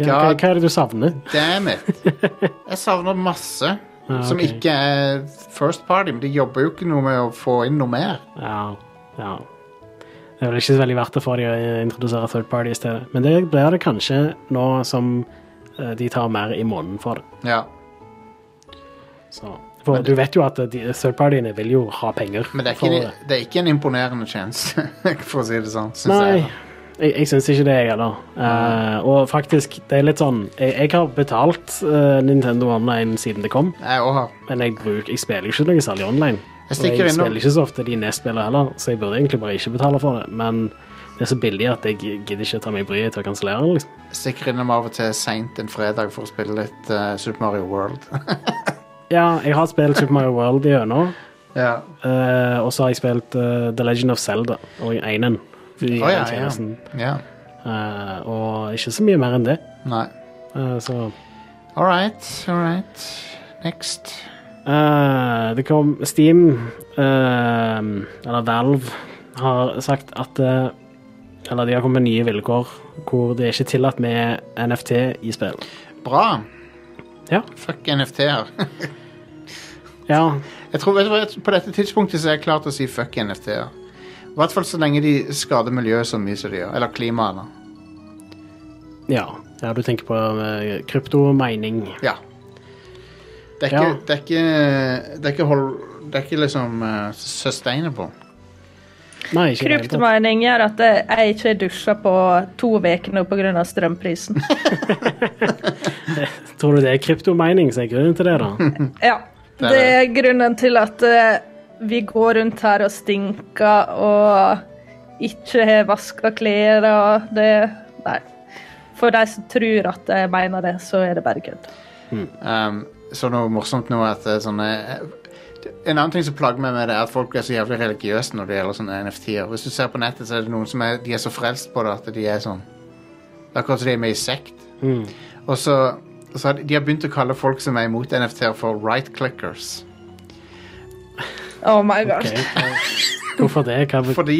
[SPEAKER 2] ja hva,
[SPEAKER 1] Ja.
[SPEAKER 2] hva er det du savner?
[SPEAKER 1] Damn it. Jeg savner masse
[SPEAKER 2] Ja,
[SPEAKER 1] som
[SPEAKER 2] ok.
[SPEAKER 1] ikke er first party, men de jobber jo ikke noe med å få inn noe mer.
[SPEAKER 2] Ja, ja. Det er vel ikke så veldig verdt det for dem å introdusere third party i stedet. Men det blir det kanskje nå som eh, de tar mer i måneden for det.
[SPEAKER 1] Ja.
[SPEAKER 2] Så. For du vet jo at de, third partyene vil jo ha penger.
[SPEAKER 1] Men det er,
[SPEAKER 2] for
[SPEAKER 1] ikke, det er ikke en imponerende tjeneste, for å si det sånn. Synes
[SPEAKER 2] Nei,
[SPEAKER 1] jeg.
[SPEAKER 2] jeg, jeg syns ikke det, jeg heller. Eh, og faktisk, det er litt sånn Jeg, jeg har betalt eh, Nintendo Online siden det kom,
[SPEAKER 1] Jeg òg har.
[SPEAKER 2] men jeg, bruker, jeg spiller ikke noe særlig online.
[SPEAKER 1] Jeg
[SPEAKER 2] og jeg
[SPEAKER 1] stikker innom-
[SPEAKER 2] spiller ikke så ofte de nedspillene heller, så jeg burde egentlig bare ikke betale for det. Men det er så billig at jeg gidder ikke ta meg bryet til å kansellere den. Liksom.
[SPEAKER 1] Stikker innom av og til seint en fredag for å spille litt eh, Super Mario World.
[SPEAKER 2] Ja, jeg har spilt Super Mario World igjennom,
[SPEAKER 1] ja.
[SPEAKER 2] uh, og så har jeg spilt eh, The Legend of Zelda og Einen.
[SPEAKER 1] Å ja, ja. ja.
[SPEAKER 2] Eh, og ikke så mye mer enn det.
[SPEAKER 1] Nei.
[SPEAKER 2] Eh, så
[SPEAKER 1] All right, all right. Next.
[SPEAKER 2] Eh, det kom Steam, eh, eller Valve, har sagt at eh, Eller de har kommet med nye vilkår hvor det er ikke tillatt med NFT i spill.
[SPEAKER 1] Bra.
[SPEAKER 2] Ja.
[SPEAKER 1] Fuck NFT-er.
[SPEAKER 2] Ja,
[SPEAKER 1] Jeg tror, vet du hva, jeg- På dette tidspunktet så er jeg klar til å si fuck NFT-er. I hvert fall så lenge de skader miljøet så mye som de gjør. Eller klimaet. da.
[SPEAKER 2] ja, ja du tenker på eh, kryptomining.
[SPEAKER 1] Ja. Det er ikke,
[SPEAKER 2] Ja.
[SPEAKER 1] det er ikke, det er ikke, hold, det er ikke liksom eh, sustainable.
[SPEAKER 2] Nei, ikke i det hele tatt.
[SPEAKER 3] Kryptomining gjør at jeg ikke dusjer på to uker nå pga. strømprisen.
[SPEAKER 2] Tror du det er kryptomining som er grunnen til det, da?
[SPEAKER 3] Ja.
[SPEAKER 1] Der
[SPEAKER 3] Det
[SPEAKER 1] er
[SPEAKER 3] er grunnen til at eh, vi går rundt her og stinker og ikke har vaska klær og det Nei. For de som tror at jeg mener det, så er det bare kødd.
[SPEAKER 1] Um, så noe morsomt nå er at det er sånne eh, En annen ting som plager meg med det, er at folk er så jævlig religiøse når det gjelder sånne NFT-er. Hvis du ser på nettet, så er det noen som er, de er så frelst på det at de er sånn Det er akkurat som de er med i sekt.
[SPEAKER 2] Mm.
[SPEAKER 1] Og så, så har de, de har begynt å kalle folk som er imot NFT-er, for right clickers.
[SPEAKER 3] Oh my god.
[SPEAKER 2] Ok. Hvorfor det? Hva Å
[SPEAKER 1] Fordi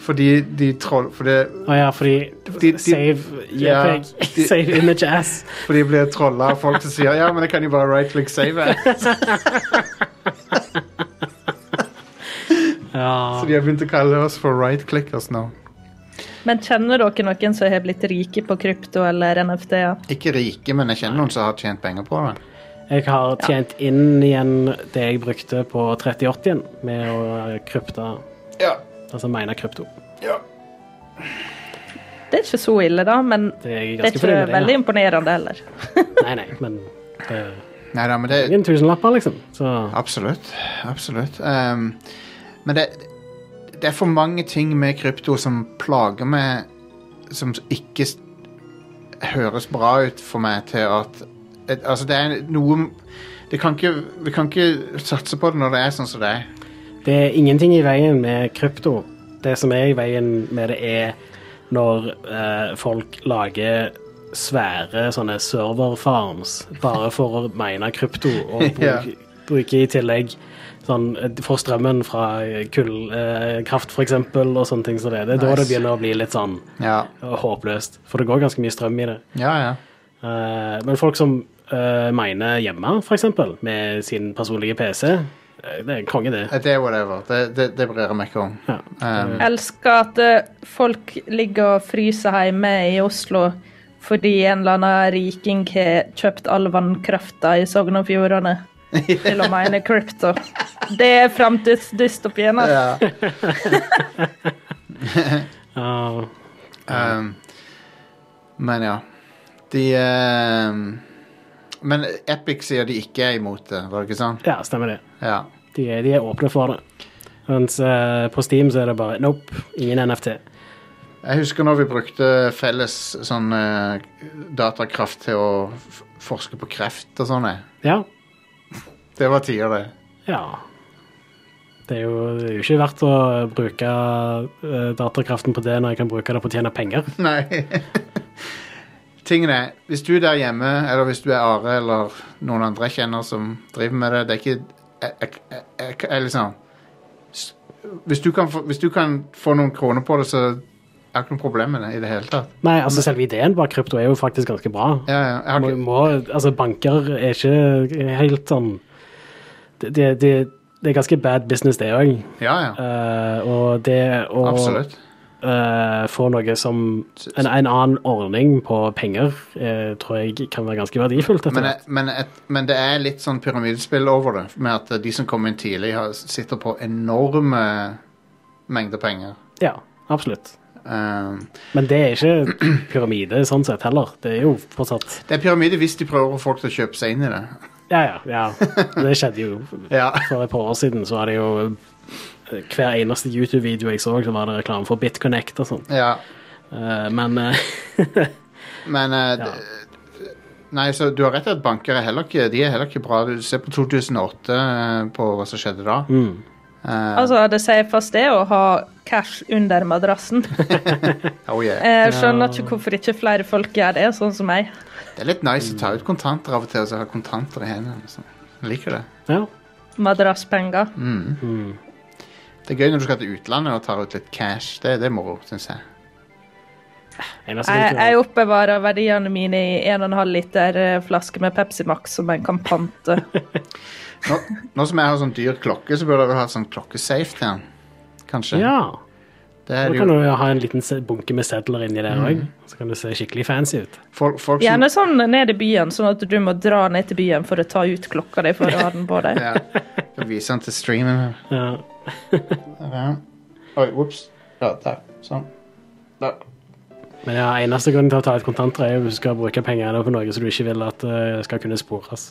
[SPEAKER 1] Fordi de troll... Fordi,
[SPEAKER 2] ja, fordi
[SPEAKER 1] de- de-
[SPEAKER 2] Save
[SPEAKER 1] Ja,
[SPEAKER 2] JPEG.
[SPEAKER 1] de-
[SPEAKER 2] Save image ass.
[SPEAKER 1] fordi de blir trolla av folk som sier Ja, men jeg kan jo bare right click save. it."
[SPEAKER 2] Ja.
[SPEAKER 1] Så de har begynt å kalle oss for right clickers nå.
[SPEAKER 3] Men kjenner dere noen som har blitt rike på krypto eller NFT-er?
[SPEAKER 1] Ikke rike, men jeg kjenner noen som har tjent penger på det.
[SPEAKER 2] Jeg har tjent inn igjen det jeg brukte på 3080-en med å krypta,
[SPEAKER 1] Ja,
[SPEAKER 2] altså mine krypto.
[SPEAKER 1] ja.
[SPEAKER 3] Det er ikke så ille, da, men
[SPEAKER 2] Det er jeg
[SPEAKER 3] det er
[SPEAKER 2] ganske
[SPEAKER 3] ikke
[SPEAKER 2] fornøyd med.
[SPEAKER 3] veldig
[SPEAKER 2] det,
[SPEAKER 3] imponerende heller.
[SPEAKER 2] Ja. Nei, nei, men det er
[SPEAKER 1] Nei da, men det
[SPEAKER 2] ingen tusenlapper, liksom. Så
[SPEAKER 1] Absolutt. Absolutt. Ehm, men det, det er for mange ting med krypto som plager meg, som ikke s- høres bra ut for meg til at et, Altså, det er noe det kan ikke, Vi kan ikke satse på det når det er sånn som det er.
[SPEAKER 2] Det er ingenting i veien med krypto. Det som er i veien med det, er når eh, folk lager svære sånne serverfarms bare for å mine krypto og bruke,
[SPEAKER 1] Ja.
[SPEAKER 2] bruke i tillegg sånn eh, Få strømmen fra kullkraft, for eksempel, og sånne ting som det. Det er da det
[SPEAKER 1] Nice.
[SPEAKER 2] begynner å bli litt sånn
[SPEAKER 1] Ja,
[SPEAKER 2] eh, håpløst. For det går ganske mye strøm i det.
[SPEAKER 1] ja. ja.
[SPEAKER 2] Eh, men folk som eh, miner hjemme, for eksempel, med sin personlige PC, eh, det er konge, det.
[SPEAKER 1] Det er whatever. Det, det, det bryr jeg meg ikke om.
[SPEAKER 2] Ja.
[SPEAKER 1] Ehm,
[SPEAKER 3] Jeg elsker at eh, folk ligger og fryser hjemme i Oslo fordi en eller annen riking har kjøpt all vannkrafta i Sogn og Fjordane til å mine krypto. Det er framtidsdystopien. altså. ass.
[SPEAKER 1] ja.
[SPEAKER 2] Ja.
[SPEAKER 1] Ehm, men ja. De ehm, Men Epic sier de ikke er imot det, var det ikke sånn?
[SPEAKER 2] Ja, stemmer det.
[SPEAKER 1] Ja.
[SPEAKER 2] De er, de er åpne for det. Mens eh, på Steam så er det bare nope, ingen NFT.
[SPEAKER 1] Jeg husker når vi brukte felles sånn eh, datakraft til å f- forske på kreft og sånn. jeg.
[SPEAKER 2] Ja.
[SPEAKER 1] Det var tider, det.
[SPEAKER 2] ja. Det er jo, det er jo ikke verdt å bruke eh, datakraften på det når jeg kan bruke det på å tjene penger.
[SPEAKER 1] Nei. Tingen er, hvis du der hjemme, eller hvis du er Are eller noen andre jeg kjenner som driver med det, det er ikke jeg, jeg, jeg, jeg, jeg liksom s- hvis du, kan få, hvis du kan få noen kroner på det, så er det ikke noe problem med det i det hele tatt.
[SPEAKER 2] Nei, altså selve ideen bak krypto er jo faktisk ganske bra.
[SPEAKER 1] Ja, ja, jeg har
[SPEAKER 2] Må,
[SPEAKER 1] ikke,
[SPEAKER 2] må, altså banker er ikke helt sånn Det, det, det, det er ganske bad business, det òg.
[SPEAKER 1] ja, ja.
[SPEAKER 2] og det å
[SPEAKER 1] Absolutt.
[SPEAKER 2] eh, få noe som en, en annen ordning på penger, eh, tror jeg kan være ganske verdifullt. etter
[SPEAKER 1] Men,
[SPEAKER 2] hvert.
[SPEAKER 1] men, et, men det er litt sånn pyramidespill over det, med at de som kom inn tidlig, har, sitter på enorme mengder penger.
[SPEAKER 2] Ja, absolutt.
[SPEAKER 1] Ehm,
[SPEAKER 2] Men det er ikke pyramide sånn sett heller. Det er jo fortsatt
[SPEAKER 1] det er pyramide hvis de prøver å få folk til å kjøpe seg inn i det.
[SPEAKER 2] Ja, ja. ja. Det skjedde jo
[SPEAKER 1] Ja,
[SPEAKER 2] for et par år siden. Så var det jo eh, hver eneste YouTube-video jeg så, så var det reklame for BitConnect og sånn.
[SPEAKER 1] ja.
[SPEAKER 2] Eh, men eh,
[SPEAKER 1] Men eh, d- Nei, så du har rett i at banker er heller ikke, de er heller ikke bra. Du ser på 2008, eh, på hva som skjedde da.
[SPEAKER 2] mm.
[SPEAKER 1] Eh,
[SPEAKER 3] Altså, det safeste er å ha cash under madrassen.
[SPEAKER 1] oh yeah.
[SPEAKER 3] Jeg skjønner ikke hvorfor ikke flere folk gjør det, sånn som meg.
[SPEAKER 1] Det er litt nice å ta ut kontanter av og til, og så ha kontanter i hendene. Liksom. Jeg liker det.
[SPEAKER 2] ja.
[SPEAKER 3] Madrasspenger.
[SPEAKER 1] Det er gøy når du skal til utlandet og tar ut litt cash. Det, det er moro, syns jeg.
[SPEAKER 2] Eneste
[SPEAKER 3] Jeg,
[SPEAKER 2] som-
[SPEAKER 3] jeg oppbevarer verdiene mine i 1,5 liter eh, flaske med Pepsi Max som en eh, kan pante.
[SPEAKER 1] Nå, nå som jeg har sånn dyr klokke, så burde jeg vel ha et sånn klokkesafe til den. Kanskje.
[SPEAKER 2] Ja.
[SPEAKER 1] Det er
[SPEAKER 2] Da
[SPEAKER 1] det
[SPEAKER 2] kan
[SPEAKER 1] jo. Mm.
[SPEAKER 2] du ha en liten se- bunke med sedler inni der òg, så kan du se skikkelig fancy ut.
[SPEAKER 1] Folk, folk som,
[SPEAKER 3] Gjerne sånn ned i byen, sånn at du må dra ned til byen for å ta ut klokka di for å ha den på deg.
[SPEAKER 1] ja, kan vise den til streamen.
[SPEAKER 2] Ja.
[SPEAKER 1] Ja. Oi, whoops. Ja, der. Sånn. Der.
[SPEAKER 2] Men ja, eneste grunnen til å ta ut kontanter er jo hvis du skal bruke pengene på noe som du ikke vil at eh, skal kunne spores.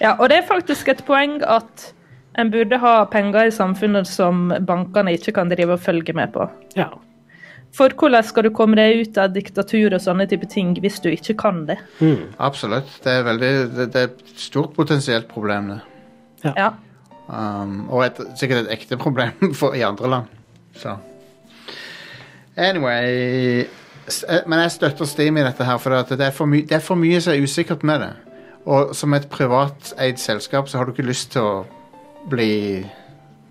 [SPEAKER 3] Ja, og det er faktisk et poeng at en burde ha penger i samfunnet som bankene ikke kan drive og følge med på.
[SPEAKER 2] Ja.
[SPEAKER 3] For hvordan skal du komme deg ut av diktatur og sånne type ting hvis du ikke kan det?
[SPEAKER 1] Absolutt. Det er, veldig, det, det er et stort potensielt problem, det.
[SPEAKER 3] Ja.
[SPEAKER 1] Um, og et, sikkert et ekte problem for, i andre land. Så. Anyway s- eh, Men jeg støtter Steam i dette her, for det, at det, er for my, det er for mye som er usikkert med det. Og som et privateid selskap så har du ikke lyst til å bli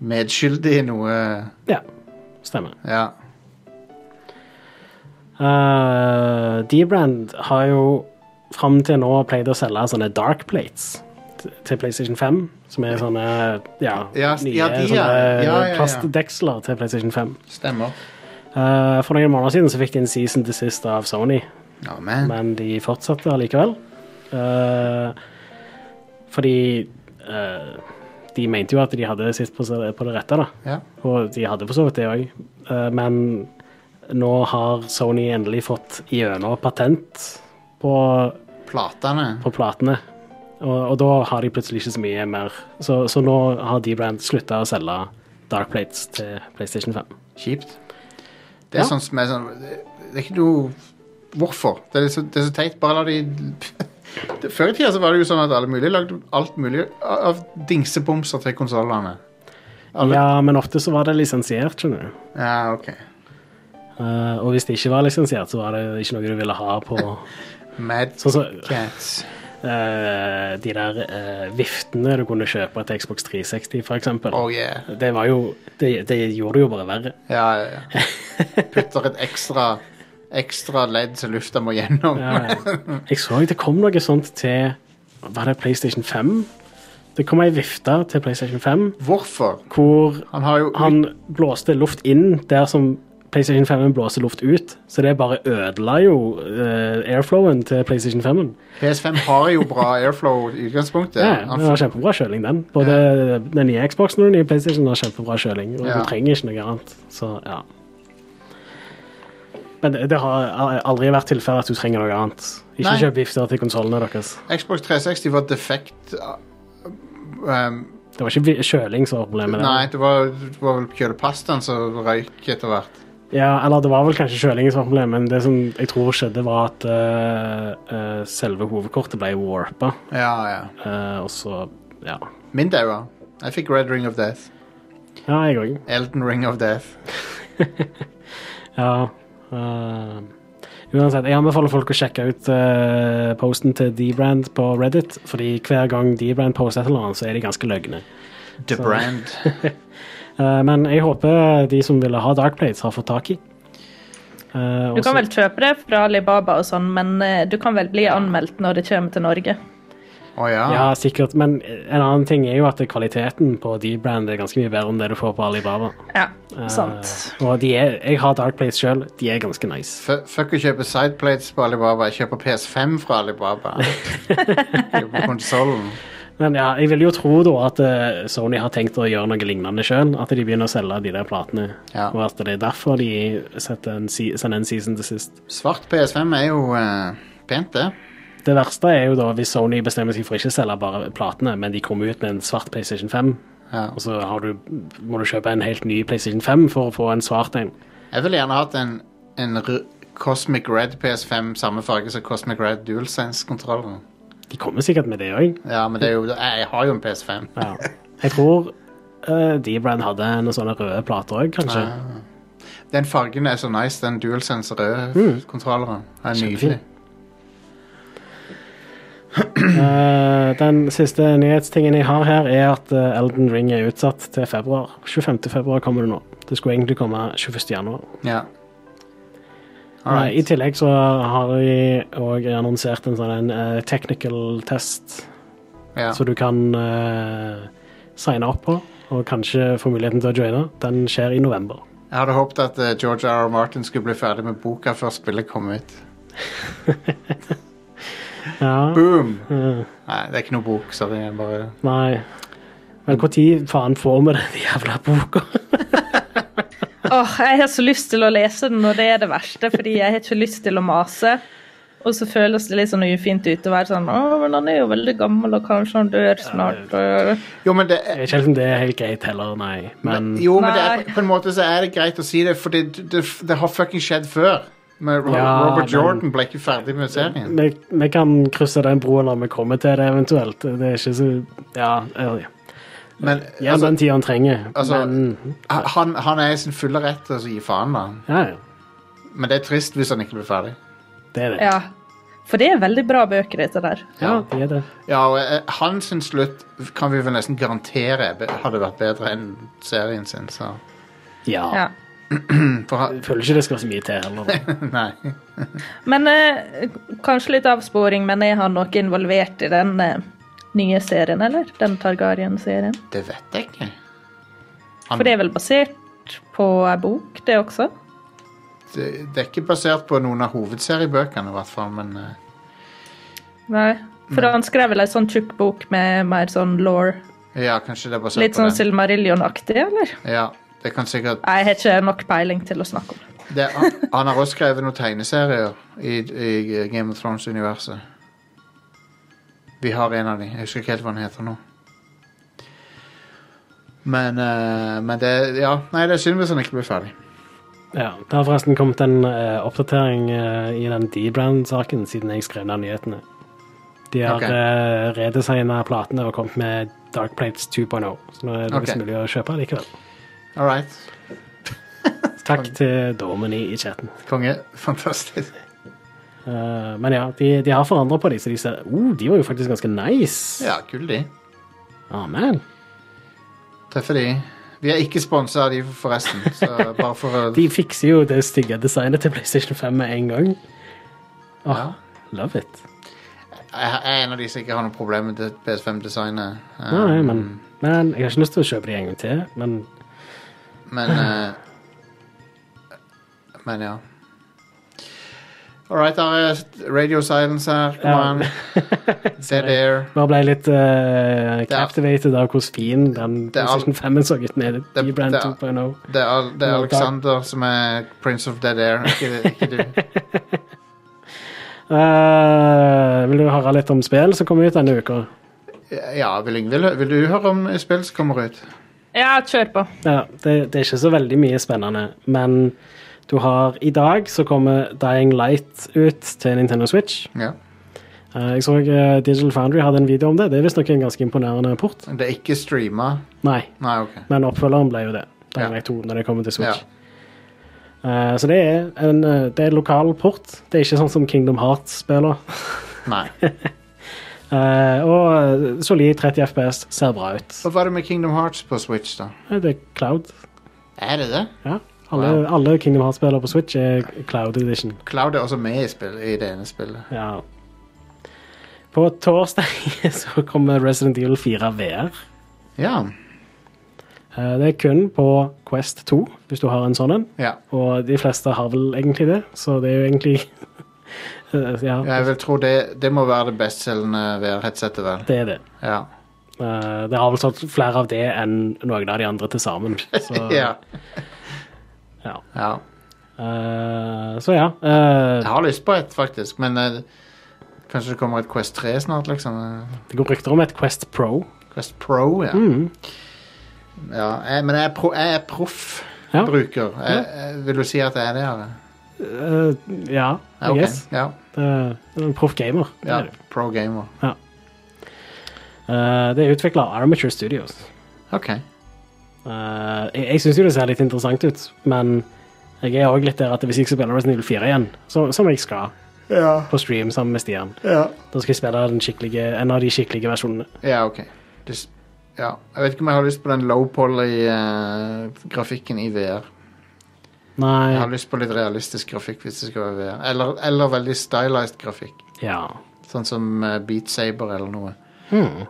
[SPEAKER 1] medskyldig i noe
[SPEAKER 2] ja. Stemmer.
[SPEAKER 1] Ja.
[SPEAKER 2] Eh, D-Brand har jo fram til nå pleid å selge sånne dark plates t- til PlayStation 5, som er sånne ja,
[SPEAKER 1] Ja,
[SPEAKER 2] nye
[SPEAKER 1] ja, de, ja.
[SPEAKER 2] sånne
[SPEAKER 1] Ja, ja, ja.
[SPEAKER 2] plastdeksler til PlayStation 5.
[SPEAKER 1] Stemmer.
[SPEAKER 2] Eh, for noen måneder siden så fikk de en season desist av Sony,
[SPEAKER 1] Ja, men.
[SPEAKER 2] men de fortsatte allikevel. Eh, fordi eh, de mente jo at de hadde sitt på, på det rette, da.
[SPEAKER 1] Ja.
[SPEAKER 2] Og de hadde for så vidt det òg, men Nå har Sony endelig fått gjennom patent på,
[SPEAKER 1] Platene.
[SPEAKER 2] på platene. Og, og da har de plutselig ikke så mye mer. Så, så nå har D-Brand slutta å selge Dark Plates til PlayStation 5.
[SPEAKER 1] Kjipt. Det er
[SPEAKER 2] Ja.
[SPEAKER 1] sånn som er sånn Det det er ikke noe Hvorfor? Det er så, det er så teit. Bare la de Det- Før i tida så var det jo sånn at alle mulige lagde alt mulig av dingsebomser til konsollene. Alle-
[SPEAKER 2] Ja, men ofte så var det lisensiert, skjønner du.
[SPEAKER 1] Ja, OK.
[SPEAKER 2] Eh, og hvis det ikke var lisensiert, så var det ikke noe du ville ha på
[SPEAKER 1] Mad
[SPEAKER 2] Sånn som
[SPEAKER 1] Cats.
[SPEAKER 2] eh, de der eh, viftene du kunne kjøpe til Xbox 360, for eksempel.
[SPEAKER 1] Oh yeah.
[SPEAKER 2] Det var jo det, det gjorde det jo bare verre.
[SPEAKER 1] Ja, ja, ja. Putter et ekstra Ekstra ledd som lufta må gjennom.
[SPEAKER 2] Ja. Jeg så det kom noe sånt til Var det PlayStation 5? Det kom ei vifte til PlayStation 5
[SPEAKER 1] Hvorfor?
[SPEAKER 2] hvor
[SPEAKER 1] Han har jo
[SPEAKER 2] han blåste luft inn der som PlayStation 5 blåser luft ut. Så det bare ødela jo eh, airflowen til PlayStation 5.
[SPEAKER 1] PS5 har jo bra airflow i utgangspunktet.
[SPEAKER 2] Ja,
[SPEAKER 1] Han
[SPEAKER 2] den har kjempebra kjøling, den. Både den nye Xboxen og den nye PlayStation har kjempebra kjøling. Og
[SPEAKER 1] Ja.
[SPEAKER 2] du trenger ikke noe annet. Så, ja. Men det, det har aldri vært tilfellet at du trenger noe annet. Ikke
[SPEAKER 1] Nei.
[SPEAKER 2] kjøp vifter til konsollene deres.
[SPEAKER 1] Xbox 360 var defekt. uh, Um,
[SPEAKER 2] Det var ikke vi- kjøling som var problemet. der.
[SPEAKER 1] Nei, det var, det var vel kjølepastaen som røyk etter hvert.
[SPEAKER 2] Ja, eller det var vel kanskje kjølingen som var problemet, men det som jeg tror skjedde, var at eh, eh, selve hovedkortet ble warpa,
[SPEAKER 1] Ja, ja.
[SPEAKER 2] eh, og så Ja.
[SPEAKER 1] Min daua. Jeg fikk Red Ring of Death.
[SPEAKER 2] Ja, jeg òg.
[SPEAKER 1] Elden Ring of Death.
[SPEAKER 2] Ja. eh, uansett, jeg anbefaler folk å sjekke ut eh, posten til D-Brand på Reddit, fordi hver gang D-Brand poster et eller annet, så er de ganske løgne.
[SPEAKER 1] The
[SPEAKER 2] Så-
[SPEAKER 1] Brand.
[SPEAKER 2] Eh, men jeg håper de som ville ha Dark Plates, har fått tak i. Eh,
[SPEAKER 3] Du
[SPEAKER 2] og så-
[SPEAKER 3] kan vel kjøpe det fra Alibaba og sånn, men eh, du kan vel bli anmeldt når det kommer til Norge.
[SPEAKER 1] Å ja.
[SPEAKER 2] Ja, sikkert. Men en annen ting er jo at kvaliteten på D-Brand er ganske mye bedre enn det du får på Alibaba.
[SPEAKER 3] Ja,
[SPEAKER 2] Eh,
[SPEAKER 3] sant.
[SPEAKER 2] og de er, jeg har Dark Place sjøl. De er ganske nice.
[SPEAKER 1] F- Fuck å kjøpe sideplates på Alibaba. Jeg kjøper PS5 fra Alibaba. Kjøper konsollen.
[SPEAKER 2] Men ja, jeg vil jo tro da at eh, Sony har tenkt å gjøre noe lignende sjøl. At de begynner å selge de der platene.
[SPEAKER 1] Ja.
[SPEAKER 2] Og at det er derfor de setter en se- sender en season til sist.
[SPEAKER 1] Svart PS5 er jo eh, pent, det.
[SPEAKER 2] Det verste er jo da hvis Sony bestemmer seg for ikke å selge bare platene, men de kommer ut med en svart PlayStation 5.
[SPEAKER 1] Ja.
[SPEAKER 2] Og så har du, må du kjøpe en helt ny PlayStation 5 for å få en svart en.
[SPEAKER 1] Jeg ville gjerne hatt en, en r- Cosmic Red PS5, samme farge som Cosmic Red DualSense-kontrollen.
[SPEAKER 2] De kommer sikkert med det òg.
[SPEAKER 1] Ja, men det er jo, jeg jeg har jo en PS5.
[SPEAKER 2] Ja. Jeg tror uh, D-Brand hadde noen sånne røde plater òg, kanskje.
[SPEAKER 1] Den fargen er så nice, den DualSense røde kontrolleren. Den er
[SPEAKER 2] Mm. Kjempefin.
[SPEAKER 1] nydelig.
[SPEAKER 2] Eh, den siste nyhetstingen jeg har her, er at eh, Elden Ring er utsatt til februar. 25. februar kommer det nå. Det skulle egentlig komme 21. januar.
[SPEAKER 1] Ja.
[SPEAKER 2] Eh, I
[SPEAKER 1] Alright.
[SPEAKER 2] tillegg så har de òg annonsert en sånn eh, technical test
[SPEAKER 1] Ja.
[SPEAKER 2] som du kan eh, signe opp på, og kanskje få muligheten til å joine. Den skjer i november.
[SPEAKER 1] Jeg hadde håpet at eh, George R. R. Martin skulle bli ferdig med boka før spillet kom ut.
[SPEAKER 2] Ja,
[SPEAKER 1] Boom!
[SPEAKER 2] eh,
[SPEAKER 1] Nei, det er ikke noe bok, sorry. Jeg bare
[SPEAKER 2] nei Men når faen får vi den jævla boka?
[SPEAKER 3] Åh, jeg har så lyst til å lese den, og det er det verste, fordi jeg har ikke lyst til å mase. Og så føles det litt sånn ufint ut å være sånn Å, men han er jo veldig gammel, og kanskje han dør snart. og-
[SPEAKER 1] Jo, men det er
[SPEAKER 2] Jeg vet ikke helt om det er helt greit heller, nei. Men
[SPEAKER 1] jo, men det er,
[SPEAKER 3] Nei.
[SPEAKER 1] på en måte så er det greit å si det, for det, det, det har fucking skjedd før. Men Ro-
[SPEAKER 2] Ja,
[SPEAKER 1] Robert
[SPEAKER 2] men-
[SPEAKER 1] Jordan ble ikke ferdig med serien.
[SPEAKER 2] vi, vi kan krysse den broen når vi kommer til det, eventuelt. Det er ikke så Ja, eller-
[SPEAKER 1] Men
[SPEAKER 2] ja
[SPEAKER 1] altså,
[SPEAKER 2] den tida han trenger.
[SPEAKER 1] altså-
[SPEAKER 2] men
[SPEAKER 1] han, han er i sin fulle rett til å gi faen, da.
[SPEAKER 2] ja, ja,
[SPEAKER 1] Men det er trist hvis han ikke blir ferdig.
[SPEAKER 2] det er det. Ja,
[SPEAKER 3] Ja. For det er veldig bra bøker, dette der.
[SPEAKER 2] det er det.
[SPEAKER 1] Ja, og eh, han sin slutt kan vi vel nesten garantere be- hadde vært bedre enn serien sin, så Mm,
[SPEAKER 2] Ja.
[SPEAKER 3] Ja.
[SPEAKER 1] For han
[SPEAKER 2] Jeg føler ikke det skal så mye til heller. da.
[SPEAKER 1] Nei.
[SPEAKER 3] Men eh, kanskje litt avsporing, men er han noe involvert i den eh, nye serien, eller? Den Targaryen-serien?
[SPEAKER 1] Det vet jeg ikke. Han,
[SPEAKER 3] For det er vel basert på ei bok, det også?
[SPEAKER 1] det, det er ikke basert på noen av hovedseriebøkene, i hvert fall, men eh,
[SPEAKER 3] Nei. For
[SPEAKER 1] Mm.
[SPEAKER 3] han skrev vel ei sånn tjukk bok med mer sånn law.
[SPEAKER 1] Ja, kanskje det er basert
[SPEAKER 3] Litt
[SPEAKER 1] på
[SPEAKER 3] sånn
[SPEAKER 1] den.
[SPEAKER 3] Silmarillion-aktig, eller?
[SPEAKER 1] Ja, det kan sikkert
[SPEAKER 3] Jeg har ikke nok peiling til å snakke om det.
[SPEAKER 1] Det, han, han har også skrevet noen tegneserier i, i Game of Thrones-universet. Vi har en av dem. Jeg husker ikke helt hva han heter nå. Men, eh, men det Ja, nei, det er synd hvis han ikke blir ferdig.
[SPEAKER 2] Ja, Det har forresten kommet en eh, oppdatering eh, i den D-Brand-saken siden jeg skrev ned nyhetene. De har
[SPEAKER 1] Ok.
[SPEAKER 2] okay. redesigna platene og kommet med Dark Plates 2.0, så nå er det visst
[SPEAKER 1] Ok.
[SPEAKER 2] mulig å kjøpe likevel.
[SPEAKER 1] All right.
[SPEAKER 2] Takk til Domini i chatten.
[SPEAKER 1] Konge. Fantastisk.
[SPEAKER 2] Eh, men ja, de, de har forandra på de, så de ser oh, de var jo faktisk ganske nice.
[SPEAKER 1] Ja, kul de.
[SPEAKER 2] Amen.
[SPEAKER 1] Treffer de. Vi er ikke sponsa av de forresten, så bare for å
[SPEAKER 2] De fikser jo det stygge designet til PlayStation 5 med en gang. Åh,
[SPEAKER 1] Ja.
[SPEAKER 2] Love it.
[SPEAKER 1] Jeg er en av de som ikke har noe problem med det PS5-designet. Eh,
[SPEAKER 2] Nei, men, men jeg har ikke lyst til å kjøpe de en gang til, men
[SPEAKER 1] Men eh, Men ja. All right, da er Radio Silence her. Kom
[SPEAKER 2] Ja.
[SPEAKER 1] an. Dead air.
[SPEAKER 2] Bare ble jeg litt eh, captivated av hvor fin den
[SPEAKER 1] Det er all-
[SPEAKER 2] PlayStation 5 så ut med
[SPEAKER 1] Det-
[SPEAKER 2] D-Brand
[SPEAKER 1] det er-
[SPEAKER 2] 2.0.
[SPEAKER 1] Det er, Al- det er
[SPEAKER 2] Nå,
[SPEAKER 1] Alexander som er prince of dead air, ikke, ikke du.
[SPEAKER 2] Eh, vil du høre litt om spill som kom ut denne uka?
[SPEAKER 1] Ja, vil, Yng- vil, vil du høre om spill som kommer ut?
[SPEAKER 3] Ja, kjør på.
[SPEAKER 2] Ja, det, det er ikke så veldig mye spennende, men du har I dag så kommer Dying Light ut til Nintendo Switch.
[SPEAKER 1] Ja.
[SPEAKER 2] Eh, jeg så eh, Digital Foundry hadde en video om det. Det er visstnok en ganske imponerende port.
[SPEAKER 1] Det er ikke streama?
[SPEAKER 2] Nei,
[SPEAKER 1] Nei, OK.
[SPEAKER 2] men oppfølgeren ble jo det.
[SPEAKER 1] Ja.
[SPEAKER 2] Dying Light 2, når det kommer til
[SPEAKER 1] Ja.
[SPEAKER 2] Switch. Eh, så det er en eh, det er en lokal port. Det er ikke sånn som Kingdom Hearts spiller.
[SPEAKER 1] Nei.
[SPEAKER 2] Eh, og solid 30 FPS ser bra ut.
[SPEAKER 1] Hva var det med Kingdom Hearts på Switch, da?
[SPEAKER 2] Eh, Det er Cloud.
[SPEAKER 1] Er det det?
[SPEAKER 2] Ja. Alle,
[SPEAKER 1] Wow.
[SPEAKER 2] alle Kingdom Hearts-spillere på Switch er Cloud Edition.
[SPEAKER 1] Cloud er også med i, spill, i det ene spillet.
[SPEAKER 2] Ja. På torsdag så kommer Resident Evil 4 VR.
[SPEAKER 1] Ja.
[SPEAKER 2] Eh, Det er kun på Quest 2, hvis du har en sånn en.
[SPEAKER 1] ja.
[SPEAKER 2] Og de fleste har vel egentlig det, så det er jo egentlig Eh, Ja,
[SPEAKER 1] Jeg vil tro det, det må være det bestselgende VR-headsetet, vel.
[SPEAKER 2] det er det.
[SPEAKER 1] Ja.
[SPEAKER 2] Eh, Det har vel sånn flere av det enn noen av de andre til sammen. Eh, Så
[SPEAKER 1] ja.
[SPEAKER 2] ja.
[SPEAKER 1] ja.
[SPEAKER 2] Eh, Så ja. eh,
[SPEAKER 1] Jeg har lyst på et, faktisk, men eh, kanskje det kommer et Quest 3 snart, liksom. Eh,
[SPEAKER 2] Det går rykter om et Quest Pro.
[SPEAKER 1] Quest Pro, ja.
[SPEAKER 2] Mm.
[SPEAKER 1] ja jeg, men jeg er, pro, jeg er proff
[SPEAKER 2] Ja.
[SPEAKER 1] bruker. Jeg, jeg, vil du si at jeg er det? Eller?
[SPEAKER 2] Eh, Ja,
[SPEAKER 1] Ja,
[SPEAKER 2] I
[SPEAKER 1] ok.
[SPEAKER 2] guess.
[SPEAKER 1] ja,
[SPEAKER 2] Det er en proff gamer. det
[SPEAKER 1] ja.
[SPEAKER 2] er det.
[SPEAKER 1] Pro gamer.
[SPEAKER 2] Eh, Det er utvikla av Armature Studios.
[SPEAKER 1] OK.
[SPEAKER 2] Eh, jeg jeg syns jo det ser litt interessant ut, men jeg er òg litt der at hvis jeg skal spille Resident Evil 4 igjen, så, som jeg skal
[SPEAKER 1] Ja.
[SPEAKER 2] på stream sammen med Stian,
[SPEAKER 1] Ja,
[SPEAKER 2] da skal jeg spille den skikkelige- en av de skikkelige versjonene.
[SPEAKER 1] OK. Det, s- ja. Jeg vet ikke om jeg har lyst på den low poly-grafikken i VR. Jeg har
[SPEAKER 2] Nei
[SPEAKER 1] lyst på litt realistisk grafikk hvis det skal være VR. Eller, eller veldig stylized grafikk.
[SPEAKER 2] Ja.
[SPEAKER 1] Sånn som eh, Beat Saber eller noe.
[SPEAKER 2] Hmm.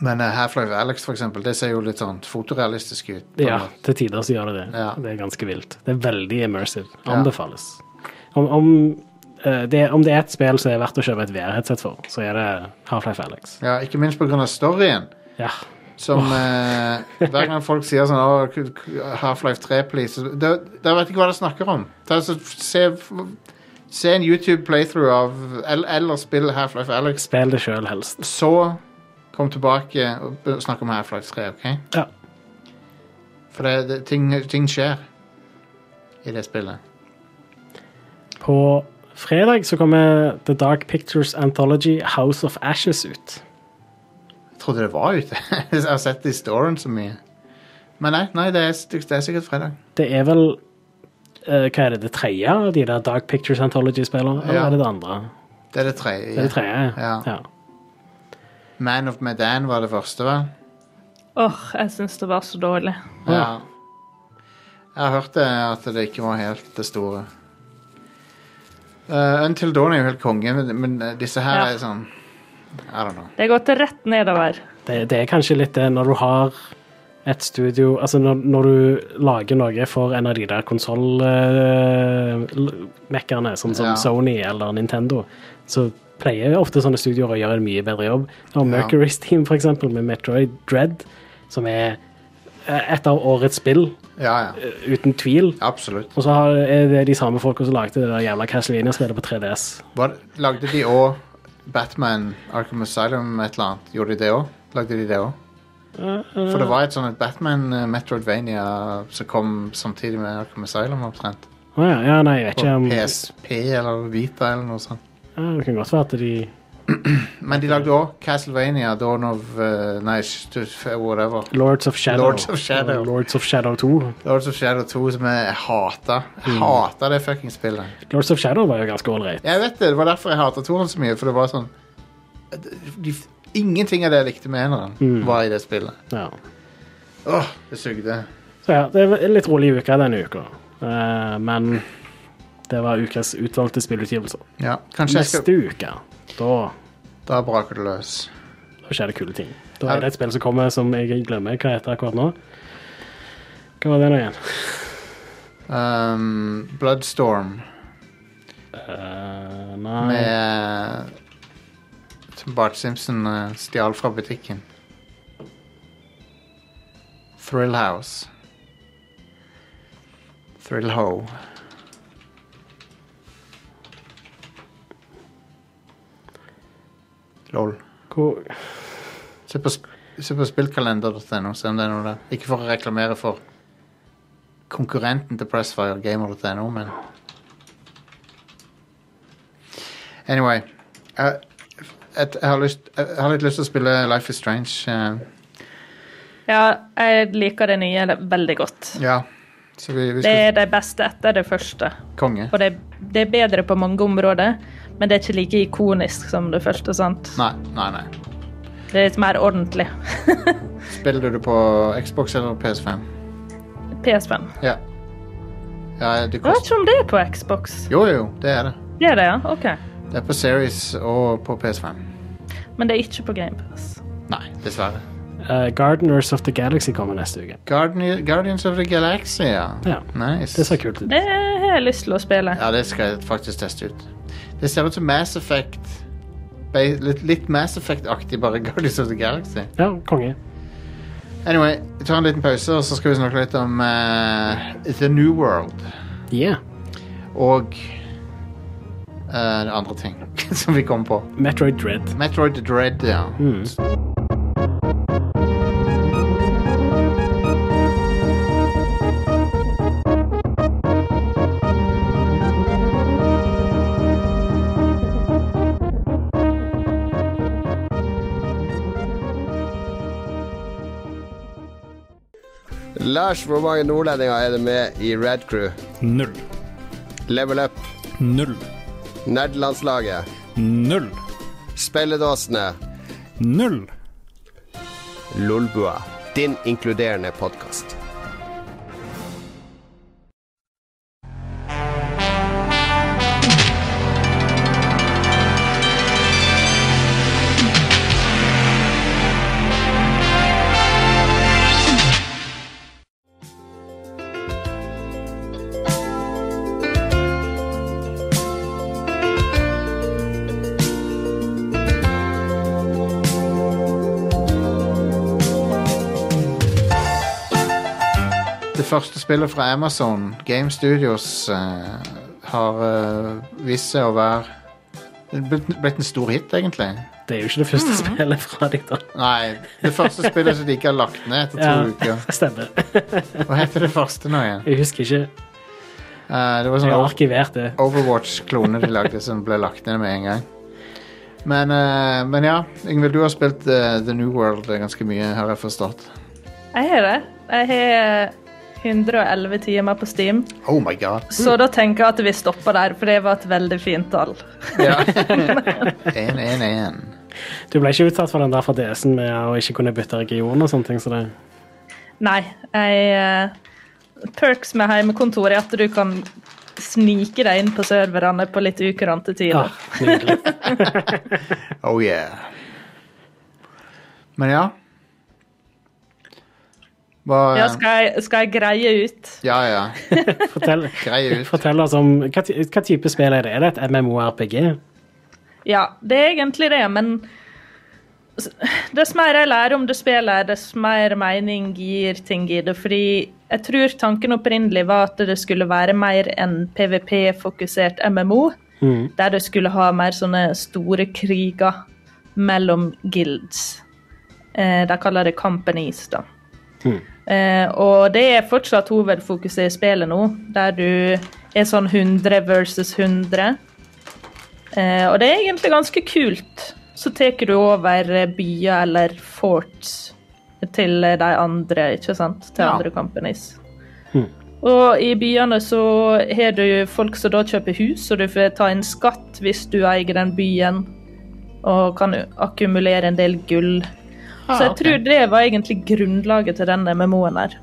[SPEAKER 1] Men eh, Half-Life Alex, for eksempel, det ser jo litt sånn fotorealistisk ut. på en
[SPEAKER 2] ja.
[SPEAKER 1] måte.
[SPEAKER 2] Til tider så gjør det det.
[SPEAKER 1] Ja.
[SPEAKER 2] Det er ganske vilt. Det er veldig immersive.
[SPEAKER 1] Ja.
[SPEAKER 2] Anbefales. Om, om, eh, det, om det er et spill som er verdt å kjøpe et VR-headset for, så er det Half-Life Alex.
[SPEAKER 1] ja ikke minst på grunn av storyen.
[SPEAKER 2] Ja.
[SPEAKER 1] Som eh, Hver gang folk sier sånn «Åh, k- k- Half-Life 3, please så- Da da vet jeg ikke hva de snakker om. Ta, så, se, se en YouTube-playthrough av Eller, eller spill Half-Life Alex.
[SPEAKER 2] Spill det sjøl, helst.
[SPEAKER 1] Så kom tilbake og be- snakk om Half-Life 3, OK?
[SPEAKER 2] Ja.
[SPEAKER 1] For det, det, ting, ting skjer i det spillet.
[SPEAKER 2] På fredag så kommer The Dark Pictures Anthology House of Ashes ut.
[SPEAKER 1] Jeg trodde det var ute. jeg har sett det i storyen så mye. Men nei, nei det, er, det er sikkert fredag.
[SPEAKER 2] Det er vel eh, Hva er det, det tredje av de der Dark Pictures Anthology-spillene? Eller
[SPEAKER 1] Ja.
[SPEAKER 2] er det det andre?
[SPEAKER 1] Det er det tredje.
[SPEAKER 2] Det er det tredje,
[SPEAKER 1] Ja.
[SPEAKER 2] ja.
[SPEAKER 1] Man of Medan var det første, vel?
[SPEAKER 3] Åh, jeg syns det var så dårlig.
[SPEAKER 2] Ja.
[SPEAKER 1] Ja. Jeg har hørt det, at det ikke var helt det store. Eh, Until Dawn er jo helt konge, men, men eh, disse her
[SPEAKER 3] Ja.
[SPEAKER 1] er sånn I don't know.
[SPEAKER 3] Det har gått rett nedover.
[SPEAKER 2] Det, det er kanskje litt det når du har et studio Altså når, når du lager noe for en av de der konsollmekkerne, sånn som
[SPEAKER 1] Ja.
[SPEAKER 2] Sony eller Nintendo, så pleier jo ofte sånne studioer å gjøre en mye bedre jobb. Du har
[SPEAKER 1] Ja.
[SPEAKER 2] Mercury's Team, for eksempel, med Metroid Dread, som er eh, et av årets spill,
[SPEAKER 1] Ja, ja.
[SPEAKER 2] eh, uten tvil.
[SPEAKER 1] Absolutt.
[SPEAKER 2] Og så har- er det de samme folka som lagde det der jævla Castlevania-spillet på 3DS.
[SPEAKER 1] Var, lagde de òg Batman Arkham Asylum et eller annet? Gjorde de det òg? Lagde de det òg? For det var et sånt Batman eh, Metroidvania som kom samtidig med Arkham Asylum, omtrent.
[SPEAKER 2] Å ja, ja, nei, jeg vet
[SPEAKER 1] På
[SPEAKER 2] ikke om
[SPEAKER 1] PSP eller Vita eller noe sånt.
[SPEAKER 2] ja, Det kan godt være at de
[SPEAKER 1] Men de lagde òg Castlevania, Dawn of uh, Nei, sh- whatever.
[SPEAKER 2] Lords of Shadow.
[SPEAKER 1] Lords of Shadow.
[SPEAKER 2] Og Lords of Shadow 2.
[SPEAKER 1] Lords of Shadow 2, som jeg hata. Jeg hata det fuckings spillet.
[SPEAKER 2] Lords of Shadow var jo ganske ålreit.
[SPEAKER 1] Jeg vet det, det var derfor jeg hata toeren så mye. For det var sånn eh, de, Ingenting av det jeg likte med eneren, var i det spillet.
[SPEAKER 2] Ja.
[SPEAKER 1] Åh, det sugde.
[SPEAKER 2] Så ja, det var en litt rolig uke denne uka. Eh, men det var ukas utvalgte spillutgivelser.
[SPEAKER 1] Ja, kanskje jeg skal
[SPEAKER 2] Neste uke, da,
[SPEAKER 1] Da braker det løs.
[SPEAKER 2] da skjer det kule ting. Da er det et spill som kommer som jeg glemmer hva heter akkurat nå. Hva var det nå igjen?
[SPEAKER 1] Um, Bloodstorm
[SPEAKER 2] Eh, nei
[SPEAKER 1] med Som Bart Simpson eh, stjal fra butikken. Thrill House. Thrill Ho. Lol.
[SPEAKER 2] Hvor,
[SPEAKER 1] Se på, sp- se på spillkalender.no, se om det er noe der. Ikke for å reklamere for konkurrenten til Pressfire, gamer.no, men Anyway. Jeg, jeg, jeg, har lyst, jeg, jeg har litt lyst til å spille Life is Strange. eh,
[SPEAKER 3] Ja, jeg liker det nye veldig godt.
[SPEAKER 1] ja. Så vi, vi
[SPEAKER 3] Det
[SPEAKER 1] skal
[SPEAKER 3] er det beste etter det første.
[SPEAKER 1] Konge.
[SPEAKER 3] Og det, det er bedre på mange områder, men det er ikke like ikonisk som det første. sant?
[SPEAKER 1] Nei, nei, nei.
[SPEAKER 3] Det er litt mer ordentlig.
[SPEAKER 1] Spiller du det på Xbox eller PS5?
[SPEAKER 3] PS5.
[SPEAKER 1] Ja. ja det
[SPEAKER 3] Jeg vet
[SPEAKER 1] koster
[SPEAKER 3] ikke om det er på Xbox.
[SPEAKER 1] Jo, jo, det er det.
[SPEAKER 3] Det er det, ja? OK.
[SPEAKER 1] Det er på Series og på PS5.
[SPEAKER 3] Men det er ikke på GamePass.
[SPEAKER 1] Nei, dessverre.
[SPEAKER 2] eh, Gardeners of the Galaxy kommer neste uke.
[SPEAKER 1] Guardian, Guardians of the Galaxy, ja.
[SPEAKER 2] Ja.
[SPEAKER 1] Nice.
[SPEAKER 2] Det ser kult ut.
[SPEAKER 3] Det har jeg lyst til å spille.
[SPEAKER 1] Ja, det skal jeg faktisk teste ut. Det ser ut som Mass Effect. Ba- Litt, litt Mass Effect-aktig, bare Guardians of the Galaxy.
[SPEAKER 2] Ja, konge.
[SPEAKER 1] Anyway, vi tar en liten pause, og så skal vi snakke litt om eh, The New World.
[SPEAKER 2] Yeah.
[SPEAKER 1] Og eh, andre ting som vi kom på.
[SPEAKER 2] Metroid Dread.
[SPEAKER 1] Metroid Dread, ja.
[SPEAKER 5] Lars, hvor mange nordlendinger er det med i Red Crew?
[SPEAKER 6] Null.
[SPEAKER 5] Level Up,
[SPEAKER 6] Null.
[SPEAKER 5] Nerdelandslaget,
[SPEAKER 6] Null.
[SPEAKER 5] Spelledåsene,
[SPEAKER 6] Null.
[SPEAKER 5] Lolbua. Din inkluderende podkast.
[SPEAKER 1] Det første spillet fra Amazon, Game Studios, eh, har eh, vist seg å være Det er blitt, blitt en stor hit, egentlig.
[SPEAKER 2] Det er jo ikke det første spillet fra dem, da.
[SPEAKER 1] Nei, det første spillet som de ikke har lagt ned etter to
[SPEAKER 2] Ja,
[SPEAKER 1] uker.
[SPEAKER 2] stemmer.
[SPEAKER 1] Hva heter det første nå igjen?
[SPEAKER 2] Jeg husker ikke.
[SPEAKER 1] Eh, det var
[SPEAKER 2] Jeg
[SPEAKER 1] sånn
[SPEAKER 2] har
[SPEAKER 1] Over-
[SPEAKER 2] arkivert det.
[SPEAKER 1] Overwatch-klone de lagde som ble lagt ned med en gang. Men, eh, men ja, Ingvild, du har spilt eh, The New World ganske mye, har jeg forstått.
[SPEAKER 3] Jeg har det. Jeg har 111 timer på Steam,
[SPEAKER 1] Oh my god.
[SPEAKER 3] så da tenker jeg at vi stopper der, for det var et veldig fint tall.
[SPEAKER 1] Ja. 1-1-1.
[SPEAKER 2] Du ble ikke utsatt for den der fra DS-en med å ikke kunne bytte region og sånne ting. Så det,
[SPEAKER 3] Nei, jeg eh, Perks med hjemmekontor er at du kan snike deg inn på serverne på litt ukurante
[SPEAKER 2] ja,
[SPEAKER 3] tider.
[SPEAKER 2] Ah, nydelig.
[SPEAKER 1] Oh yeah. Men ja. Hva
[SPEAKER 3] Ja, skal, jeg, skal jeg greie ut?
[SPEAKER 1] Ja, ja.
[SPEAKER 2] Fortell,
[SPEAKER 1] Grei ut.
[SPEAKER 2] fortell oss om hva, ti- hva type spill er det? Er det et MMORPG?
[SPEAKER 3] Ja, det er egentlig det, men Dess mer jeg lærer om det spillet, dess mer mening gir ting i det. Fordi jeg tror tanken opprinnelig var at det skulle være mer enn PVP-fokusert MMO. Der det skulle ha mer sånne store kriger mellom guilds. Eh, de kaller det companies, da. Eh, og det er fortsatt hovedfokuset i spillet nå, der du er sånn 100 versus 100. Eh, og det er egentlig ganske kult. Så tar du over eh, byer eller forts til eh, de andre, ikke sant? Til andre companies. Og i byene så har du folk som da kjøper hus, og du får ta inn skatt hvis du eier den byen, og kan akkumulere en del gull. så jeg tror det var egentlig grunnlaget til denne MMO-en her.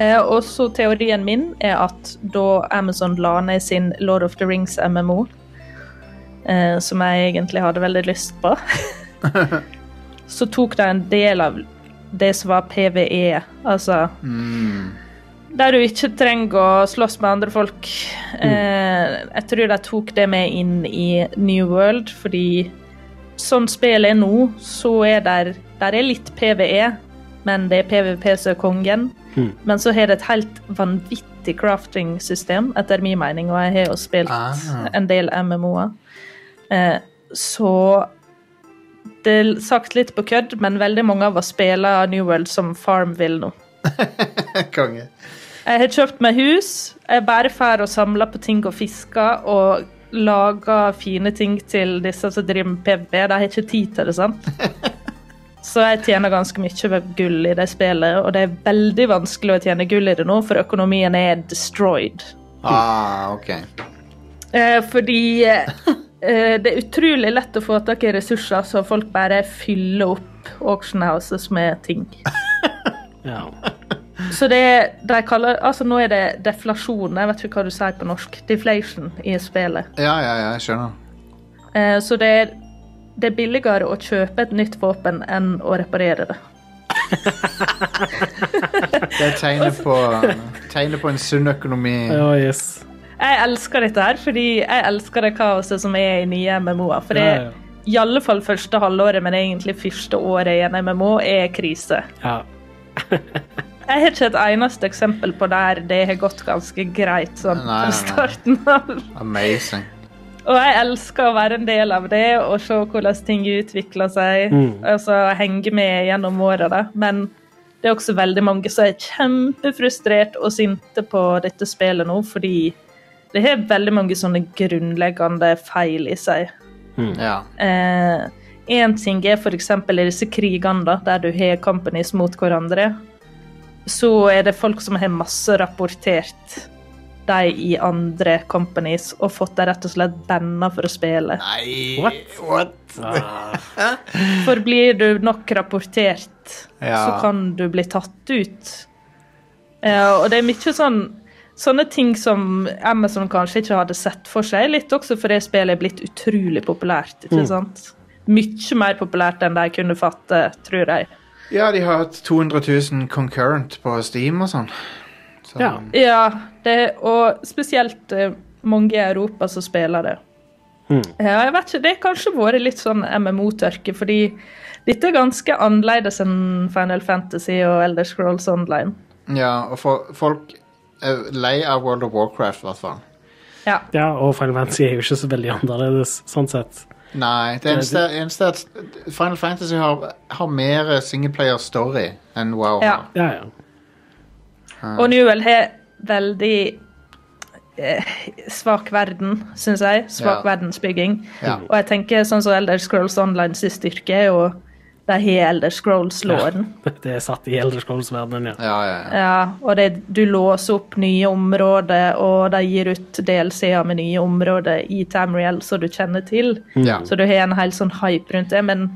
[SPEAKER 3] Eh, og så teorien min er at da Amazon la ned sin Lord of the Rings MMO, eh, som jeg egentlig hadde veldig lyst på, så tok de en del av det som var PVE, altså Der du ikke trenger å slåss med andre folk. Eh, jeg tror de tok det med inn i New World, fordi sånn spillet er nå, så er der, der er litt PVE, men det er PVP som er kongen. Men så har det et helt vanvittig crafting-system, etter min mening, og jeg har jo spilt
[SPEAKER 1] Ah.
[SPEAKER 3] en del MMO-er. Eh, så det er sagt litt på kødd, men veldig mange av oss spiller New World som Farmville nå.
[SPEAKER 1] Konge.
[SPEAKER 3] Jeg har kjøpt meg hus. Jeg bare drar og samler på ting og fisker og lager fine ting til disse som driver med PVP. De har ikke tid til det, sant? Så jeg tjener ganske mye med gull i det spillet, og det er veldig vanskelig å tjene gull i det nå, for økonomien er destroyed.
[SPEAKER 1] Ah, OK.
[SPEAKER 3] Eh, fordi eh, eh, det er utrolig lett å få tak i ressurser, så folk bare fyller opp auction houses med ting.
[SPEAKER 2] Ja.
[SPEAKER 3] Så det de kaller Altså, nå er det deflasjon. Jeg vet ikke hva du sier på norsk. Deflation i spillet.
[SPEAKER 1] Ja, ja, ja, jeg skjønner.
[SPEAKER 3] Eh, så det er, det er billigere å kjøpe et nytt våpen enn å reparere det.
[SPEAKER 1] Det er tegnet på, tegnet på en sunn økonomi.
[SPEAKER 2] ja, yes.
[SPEAKER 3] Jeg elsker dette her, fordi jeg elsker det kaoset som er i nye MMO-er. For det,
[SPEAKER 2] Ja, ja.
[SPEAKER 3] i alle fall første halvåret, men egentlig første året i en MMO, er krise.
[SPEAKER 2] Ja.
[SPEAKER 3] Jeg har ikke et eneste eksempel på der det har gått ganske greit sånn
[SPEAKER 1] Nei, nei, nei.
[SPEAKER 3] fra starten av.
[SPEAKER 1] Amazing.
[SPEAKER 3] Og jeg elsker å være en del av det og se hvordan ting utvikler seg. Altså henge med gjennom året, da. Men det er også veldig mange som er kjempefrustrert og sinte på dette spillet nå, fordi det har veldig mange sånne grunnleggende feil i seg.
[SPEAKER 1] Ja.
[SPEAKER 3] Én Eh, ting er f.eks. i disse krigene, da, der du har companies mot hverandre. Så er det folk som har masse rapportert de i andre companies og fått dem rett og slett banna for å spille.
[SPEAKER 1] Nei
[SPEAKER 2] What?
[SPEAKER 1] What?
[SPEAKER 2] Ah,
[SPEAKER 3] For blir du nok rapportert,
[SPEAKER 1] Ja.
[SPEAKER 3] så kan du bli tatt ut. Eh, og det er mye sånn Sånne ting som Amazon kanskje ikke hadde sett for seg, litt også fordi spillet er blitt utrolig populært. ikke sant? Mye mer populært enn de kunne fatte, tror jeg.
[SPEAKER 1] Ja, de har hatt 200 000 concurrent på Steam og sånn. Så,
[SPEAKER 2] ja.
[SPEAKER 3] Ja, det, og spesielt eh, mange i Europa som spiller det.
[SPEAKER 1] Hmm.
[SPEAKER 3] Ja, jeg vet ikke, Det har kanskje vært litt sånn MMO-tørke, fordi dette er ganske annerledes enn Final Fantasy og Elder Scrolls Online.
[SPEAKER 1] ja og for, folk er lei av World of Warcraft, i hvert fall.
[SPEAKER 3] Ja.
[SPEAKER 2] ja, og Final Fantasy er jo ikke så veldig annerledes, sånn sett.
[SPEAKER 1] Nei, det eneste, eneste er at Final Fantasy har, har mer singleplayer-story enn WoW. har.
[SPEAKER 3] ja.
[SPEAKER 2] Ja, ja.
[SPEAKER 3] Og Newell har veldig eh, svak verden, syns jeg. Svak
[SPEAKER 1] Ja.
[SPEAKER 3] verdensbygging.
[SPEAKER 1] Ja.
[SPEAKER 3] Og jeg tenker sånn som Elder Scrolls Online sin styrke er jo de har Elder Scrolls-låren.
[SPEAKER 2] Det er satt i Elder Scrolls-verdenen, ja.
[SPEAKER 1] Ja, ja, ja.
[SPEAKER 3] Ja, og det, du låser opp nye områder, og de gir ut DLC-er med nye områder i Tamriel som du kjenner til.
[SPEAKER 1] Ja.
[SPEAKER 3] Så du har en hel sånn hype rundt det. Men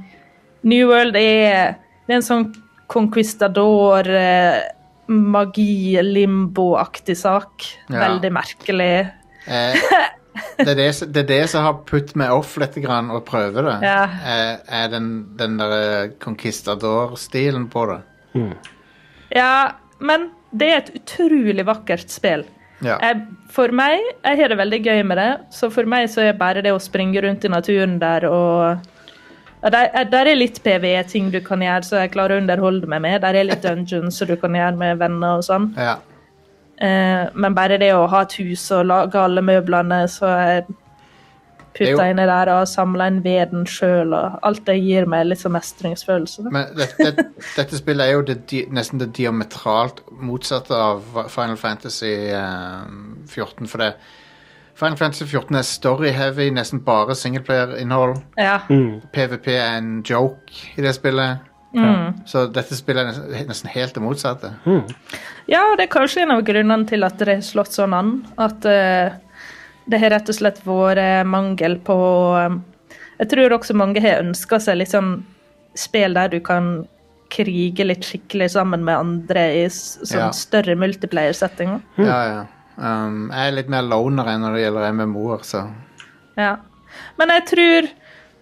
[SPEAKER 3] New World er, det er en sånn conquistador, eh, magi, limbo-aktig sak.
[SPEAKER 1] Ja.
[SPEAKER 3] Veldig merkelig.
[SPEAKER 1] Eh, det, er det, som- det er det som har putt meg off litt grann å prøve det.
[SPEAKER 3] Ja.
[SPEAKER 1] Eh, er den, den der conquistador-stilen på det.
[SPEAKER 3] Ja, men det er et utrolig vakkert spill.
[SPEAKER 1] Ja.
[SPEAKER 3] Jeg, Eh, for meg, jeg har det veldig gøy med det, så for meg så er bare det å springe rundt i naturen der og Ja, Der, eh, der er litt PVE-ting du kan gjøre, så jeg klarer å underholde meg med. Der er litt dungeons som du kan gjøre med venner og sånn.
[SPEAKER 1] Ja.
[SPEAKER 3] Eh, men bare det å ha et hus og lage alle møblene, så jeg
[SPEAKER 1] Det er jo-
[SPEAKER 3] putta inni der og samla inn veden sjøl, og alt det gir meg litt sånn mestringsfølelse. da.
[SPEAKER 1] Men dette, det, dette spillet er jo det, di- nesten det diametralt motsatte av hva- Final Fantasy eh, 14. For det Final Fantasy 14 er story-heavy, nesten bare singleplayer-innhold.
[SPEAKER 3] Ja.
[SPEAKER 1] PVP er en joke i det spillet. Så dette spillet er nesten- nesten helt det motsatte.
[SPEAKER 3] ja, det er kanskje en av grunnene til at det har slått sånn an. At eh, det har rett og slett vært mangel på eh, Jeg tror også mange har ønska seg litt sånn spill der du kan krige litt skikkelig sammen med andre i s-
[SPEAKER 1] Ja.
[SPEAKER 3] sånn større multiplayer-settinger.
[SPEAKER 1] Ja, ja. Um, jeg er litt mer loner enn når det gjelder MMO-er, så
[SPEAKER 3] Ja. Men jeg tror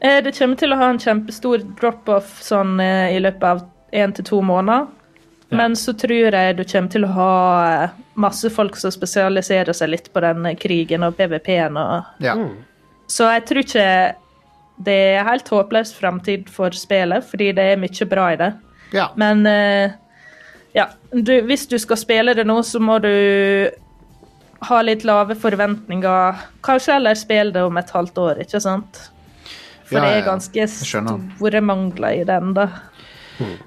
[SPEAKER 3] eh, det kommer til å ha en kjempestor drop-off sånn eh, i løpet av én til to måneder. Men så tror jeg du kommer til å ha eh, masse folk som spesialiserer seg litt på den eh, krigen og PVP-en og
[SPEAKER 1] ja.
[SPEAKER 3] Så jeg tror ikke det er helt håpløs framtid for spillet, fordi det er mye bra i det.
[SPEAKER 1] ja.
[SPEAKER 3] Men eh, ja, du, hvis du skal spille det nå, så må du ha litt lave forventninger. Kanskje heller spille det om et halvt år, ikke sant? For
[SPEAKER 1] Ja,
[SPEAKER 3] det
[SPEAKER 1] ja,
[SPEAKER 3] er
[SPEAKER 1] ja.
[SPEAKER 3] ganske
[SPEAKER 1] skjønner.
[SPEAKER 3] store mangler i den, da.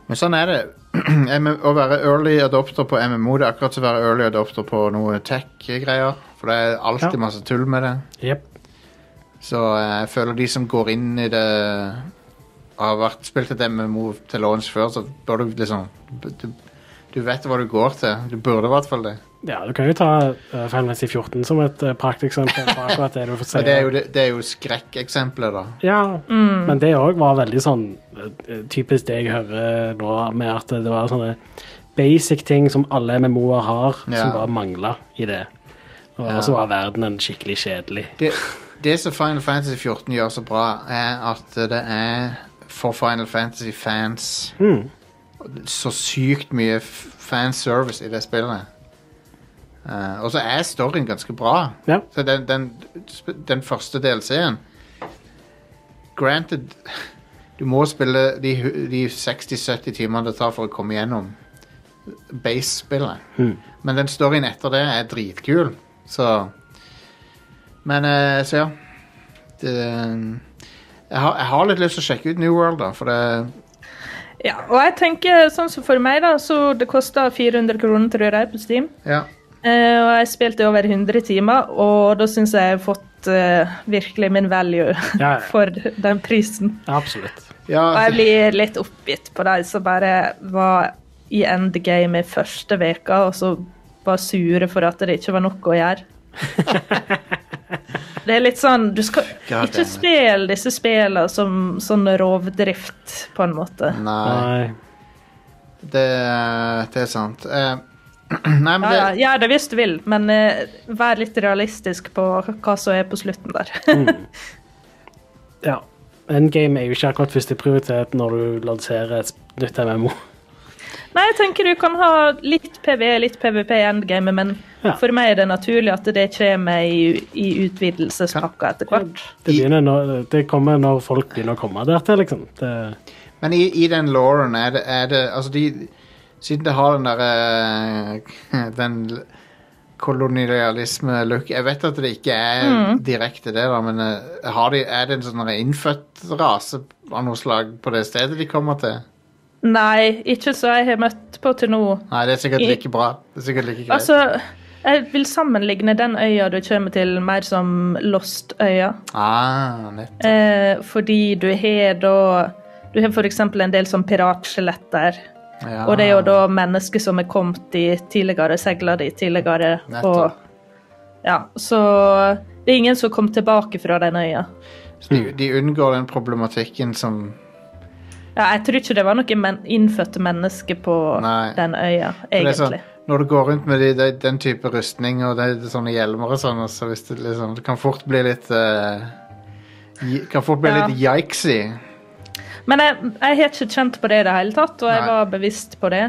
[SPEAKER 1] Men sånn er det. MM å være early adopter på MMO det er akkurat som å være early adopter på noe tech-greier. For det er alltid
[SPEAKER 2] Ja.
[SPEAKER 1] masse tull med det.
[SPEAKER 2] Jep.
[SPEAKER 1] Så eh, jeg føler de som går inn i det har vært spilt et MMO til launch før, så bør du liksom du, du vet hva du går til. Du burde i hvert fall det.
[SPEAKER 2] Ja, du kan jo ta eh, Final Fantasy 14 som et eh, prakteksempel på akkurat det du får si.
[SPEAKER 1] Og det er jo, det, det er jo skrekkeksempelet, da.
[SPEAKER 2] Ja, men det òg var veldig sånn eh, Typisk det jeg hører nå, med at det var sånne basic ting som alle MMO-er har,
[SPEAKER 1] Ja.
[SPEAKER 2] som bare mangla i det. Og så var verden en skikkelig kjedelig.
[SPEAKER 1] det, det som Final Fantasy 14 gjør så bra, er at det er for Final Fantasy-fans så sykt mye f- fanservice i det spillet. Eh, og så er storyen ganske bra.
[SPEAKER 2] Ja.
[SPEAKER 1] Så den, den, den første DLC-en Granted, du må spille de, hu- de 60-70 timene det tar for å komme gjennom base-spillet. Men den storyen etter det er dritkul, så Men eh, så ja. Det, eh, jeg, har, jeg har litt lyst til å sjekke ut New World, da, for det
[SPEAKER 3] Ja, og jeg tenker sånn som for meg, da, så det kosta 400 kroner, tror jeg, på Steam.
[SPEAKER 1] Ja.
[SPEAKER 3] Eh, og jeg spilte i over 100 timer, og da syns jeg jeg har fått eh, virkelig min value
[SPEAKER 2] Ja, ja.
[SPEAKER 3] for den prisen.
[SPEAKER 2] Absolutt.
[SPEAKER 3] Og
[SPEAKER 1] ja
[SPEAKER 3] jeg blir litt oppgitt på de som bare var i endgame i første veka, og så var sure for at det ikke var noe å gjøre. Det er litt sånn Du skal
[SPEAKER 1] God damn
[SPEAKER 3] ikke
[SPEAKER 1] it.
[SPEAKER 3] spille disse spillene som sånn rovdrift, på en måte.
[SPEAKER 1] Mm. Nei,
[SPEAKER 2] Nei.
[SPEAKER 1] det, det er sant. Eh, nei, men
[SPEAKER 3] Ja, ja,
[SPEAKER 1] det,
[SPEAKER 3] gjør det hvis du vil, men eh, vær litt realistisk på hva som er på slutten der.
[SPEAKER 1] Mm.
[SPEAKER 2] Ja. Endgame er jo ikke akkurat førsteprioritet når du lanserer et nytt MMO.
[SPEAKER 3] Nei, jeg tenker du kan ha litt PVE, litt PVP i endgamet, men
[SPEAKER 2] Ja.
[SPEAKER 3] for meg er det naturlig at det kommer i, i utvidelsespakka etter hvert.
[SPEAKER 2] Det, begynner når, det kommer når folk begynner å komme der til, liksom. Det,
[SPEAKER 1] men i, i den lauren er det, er det Altså, de Siden det har den derre Den kolonialisme-look Jeg vet at det ikke er
[SPEAKER 3] Mm.
[SPEAKER 1] direkte det, da, men eh, har de, er det en sånn innfødt rase av noe slag på det stedet de kommer til?
[SPEAKER 3] Nei, ikke så jeg har møtt på til nå.
[SPEAKER 1] Nei, det er sikkert
[SPEAKER 3] I-
[SPEAKER 1] like bra. Det er sikkert like greit.
[SPEAKER 3] Altså, jeg vil sammenligne den øya du kommer til, mer som Lost-øya.
[SPEAKER 1] ah, nett.
[SPEAKER 3] Eh, fordi du har da Du har f.eks. en del sånn piratskjeletter.
[SPEAKER 1] Ja.
[SPEAKER 3] Og det er jo da mennesker som er kommet dit tidligere, seila dit tidligere.
[SPEAKER 1] Nettopp.
[SPEAKER 3] Og, ja, så det er ingen som kom tilbake fra den øya.
[SPEAKER 1] Så de, de unngår den problematikken som
[SPEAKER 3] Ja, jeg tror ikke det var noen men innfødte mennesker på
[SPEAKER 1] Nei.
[SPEAKER 3] den øya,
[SPEAKER 1] For det er sånn,
[SPEAKER 3] egentlig.
[SPEAKER 1] Når du går rundt med de, de, den type rustning og de, de sånne hjelmer og sånn, og så hvis det, liksom, det kan fort bli litt eh, ji- Kan fort bli
[SPEAKER 3] Ja.
[SPEAKER 1] litt yikesy.
[SPEAKER 3] Men jeg, jeg har ikke kjent på det i det hele tatt, og jeg
[SPEAKER 1] Nei.
[SPEAKER 3] var bevisst på det.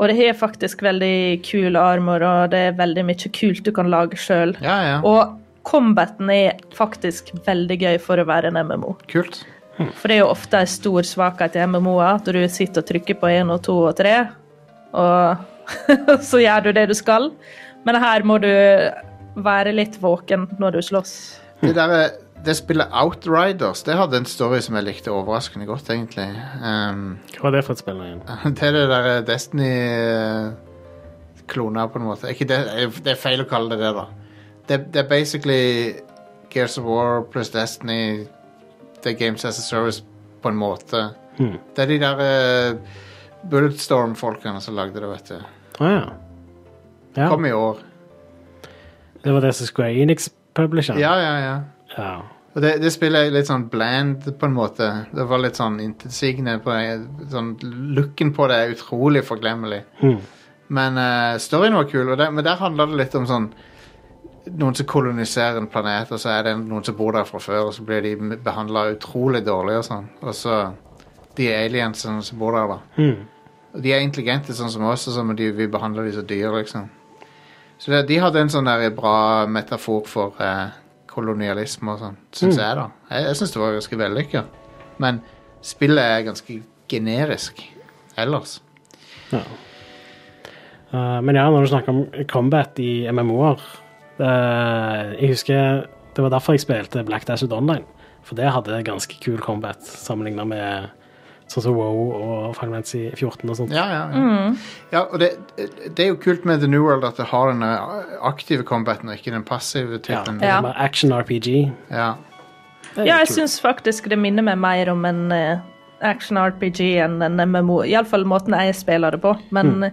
[SPEAKER 3] Og det har faktisk veldig kul armor, og det er veldig mye kult du kan lage sjøl.
[SPEAKER 1] Ja, ja.
[SPEAKER 3] Og combaten er faktisk veldig gøy for å være en MMO.
[SPEAKER 1] Kult.
[SPEAKER 3] For det er jo ofte en stor svakhet i MMO-er at du sitter og trykker på én og to og tre, og så gjør du det du skal. Men her må du være litt våken når du slåss.
[SPEAKER 1] Det, der, er- det spillet Outriders Det hadde en story som jeg likte overraskende godt, egentlig. Ehm,
[SPEAKER 2] Hva var det for et spill igjen?
[SPEAKER 1] det er det der eh, Destiny-kloner, på en måte. Ikke det, eh, det er feil å kalle det det, da. Det, det er basically Gears of War pluss Destiny. Det er Games as a Service på en måte.
[SPEAKER 2] Hmm.
[SPEAKER 1] Det er de der uh, Bulletstorm-folkene som lagde det, vet du.
[SPEAKER 2] Å ja. ja.
[SPEAKER 1] Kom i år.
[SPEAKER 2] Det var det som Square Enix publisher?
[SPEAKER 1] Ja, ja, ja.
[SPEAKER 2] ja.
[SPEAKER 1] Og det, det spillet er litt sånn bland, på en måte. Det var litt sånn intetsigende. på en- Sånn, looken på det er utrolig forglemmelig.
[SPEAKER 2] Hmm.
[SPEAKER 1] Men eh, storyen var kul, og der, men der handla det litt om sånn Noen som koloniserer en planet, og så er det noen som bor der fra før, og så blir de behandla utrolig dårlig og sånn. Og så de aliensene som bor der, da.
[SPEAKER 2] Hmm.
[SPEAKER 1] Og de er intelligente, sånn som oss, og så, men de, vi behandler de som dyr, liksom. Så det, de hadde en sånn der bra metafor for eh, kolonialisme og sånn, syns jeg, da. Jeg, jeg syns det var ganske vellykka. Men spillet er ganske generisk ellers.
[SPEAKER 2] Ja. Eh, men ja, når du snakker om combat i MMO-er eh, Jeg husker det var derfor jeg spilte Black Dashed Online. For det hadde ganske kul combat sammenligna med sånn som WoW og Fragmency 14 og sånt.
[SPEAKER 1] Ja, ja, ja.
[SPEAKER 3] Mm.
[SPEAKER 1] ja og det, det er jo kult med The New World at det har den eh, aktive combaten og ikke den passive
[SPEAKER 2] Ja,
[SPEAKER 1] typen.
[SPEAKER 3] Ja.
[SPEAKER 2] med Action RPG.
[SPEAKER 1] Ja.
[SPEAKER 2] Det er
[SPEAKER 3] Ja, jeg
[SPEAKER 2] kult.
[SPEAKER 3] syns faktisk det minner meg mer om en eh, action-RPG enn en MMO. Iallfall måten jeg spiller det på. Men eh,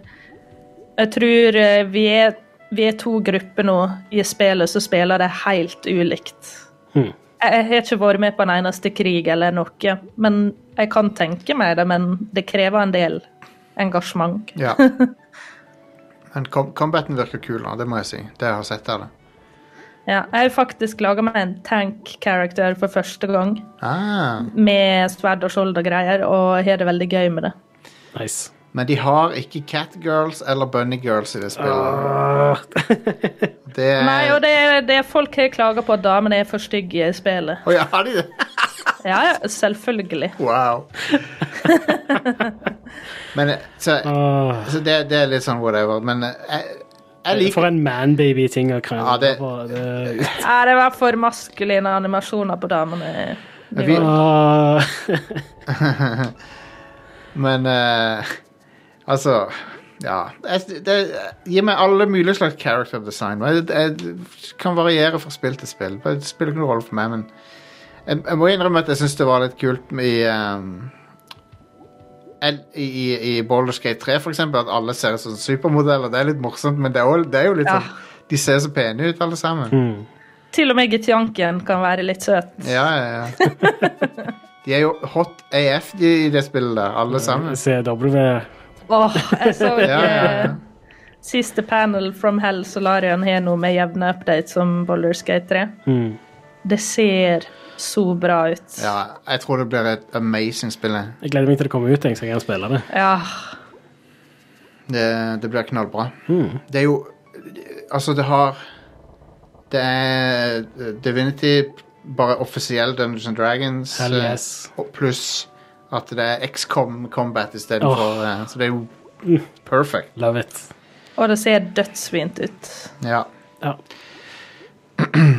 [SPEAKER 3] jeg tror eh, vi er, vi er to grupper nå i spillet som spiller det helt ulikt.
[SPEAKER 2] Hmm.
[SPEAKER 3] Jeg jeg har ikke vært med på en eneste krig eller noe, men jeg kan tenke meg det. Men det krever en del engasjement.
[SPEAKER 1] ja. Men com combaten virker kul, da, det må jeg si. Det jeg har sett av det.
[SPEAKER 3] Ja, jeg har faktisk laga meg en tank-character for første gang,
[SPEAKER 1] Ah.
[SPEAKER 3] med sverd og skjold og greier, og har det veldig gøy med det.
[SPEAKER 2] Nice.
[SPEAKER 1] Men de har ikke Catgirls eller Bunnygirls i det spillet. Det er...
[SPEAKER 3] Nei, og det, det folk har klaga på at damene er for stygge i spillet.
[SPEAKER 1] Å ja, har de det?
[SPEAKER 3] Ja, ja, selvfølgelig.
[SPEAKER 1] Wow. Men eh, så,
[SPEAKER 2] Åh.
[SPEAKER 1] så det, det er litt sånn whatever. Men eh, jeg, jeg
[SPEAKER 2] For
[SPEAKER 1] liker
[SPEAKER 2] en manbaby-ting å kreve
[SPEAKER 1] Ja, det-
[SPEAKER 2] på. Det...
[SPEAKER 3] Ja, det var for maskuline animasjoner på damene.
[SPEAKER 1] vi,
[SPEAKER 2] Åh.
[SPEAKER 1] Men eh, altså Ja. Jeg, det, gi meg alle mulige slags character design. Jeg, jeg, kan variere fra spill til spill. Det spiller ikke noen rolle for meg, men jeg, jeg må innrømme at jeg syns det var litt kult i ehm, el- i, i, i Baldur's Gate 3, for eksempel, at alle ser ut som supermodeller. Det er litt morsomt, men det er, også, det er jo litt
[SPEAKER 3] Ja.
[SPEAKER 1] sånn De ser så pene ut, alle sammen.
[SPEAKER 3] Til og med Gitianken kan være litt søt.
[SPEAKER 1] Ja, ja, ja. De er jo hot AF, de, i det spillet der. Alle sammen.
[SPEAKER 2] CW.
[SPEAKER 3] Åh, jeg så
[SPEAKER 1] Ja, ja, ja.
[SPEAKER 3] eh, siste panel from Hell Solarian har noe med jevne updates om Baldur's Gate 3.
[SPEAKER 2] Hmm.
[SPEAKER 3] Det ser så bra ut.
[SPEAKER 1] Ja, jeg tror det blir et amazing spill. jeg.
[SPEAKER 2] Jeg gleder meg til det kommer ut, jeg, så jeg kan spille det.
[SPEAKER 3] Ja.
[SPEAKER 1] Det, det blir knallbra.
[SPEAKER 2] Hmm.
[SPEAKER 1] Det er jo Altså, det har Det er Divinity, bare offisiell Dungeons and Dragons,
[SPEAKER 2] Hell
[SPEAKER 1] eh,
[SPEAKER 2] yes.
[SPEAKER 1] og pluss at det er XCOM Combat
[SPEAKER 2] Åh. Mm.
[SPEAKER 1] istedenfor. Oh. Så det er jo perfect.
[SPEAKER 2] Love it.
[SPEAKER 3] Og det ser dødsfint ut.
[SPEAKER 1] Ja.
[SPEAKER 2] Ja.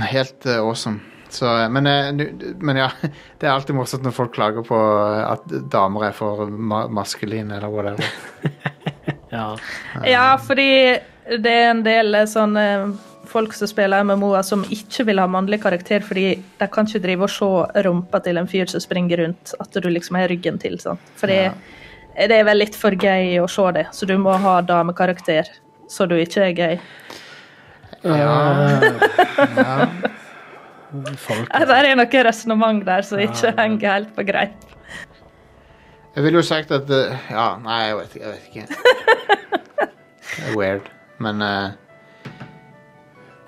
[SPEAKER 1] Helt eh, awesome. Så, eh, men, eh, nu- men ja, det er alltid morsomt når folk klager på eh, at damer er for ma maskuline eller whatever.
[SPEAKER 2] Ja.
[SPEAKER 3] Ja, fordi det er en del eh, sånne folk som spiller MMO-er som ikke vil ha mannlig karakter, fordi de kan ikke drive og se rumpa til en fyr som springer rundt, at du liksom har ryggen til. sant? Fordi det er vel litt for gøy å se det, så du må ha damekarakter. Så du ikke er gøy.
[SPEAKER 2] Folk.
[SPEAKER 3] Det er noe resonnement der som ikke henger helt på greip.
[SPEAKER 1] Jeg ville jo sagt at eh, Ja, nei, jeg vet, jeg vet ikke. Det er weird. Men eh,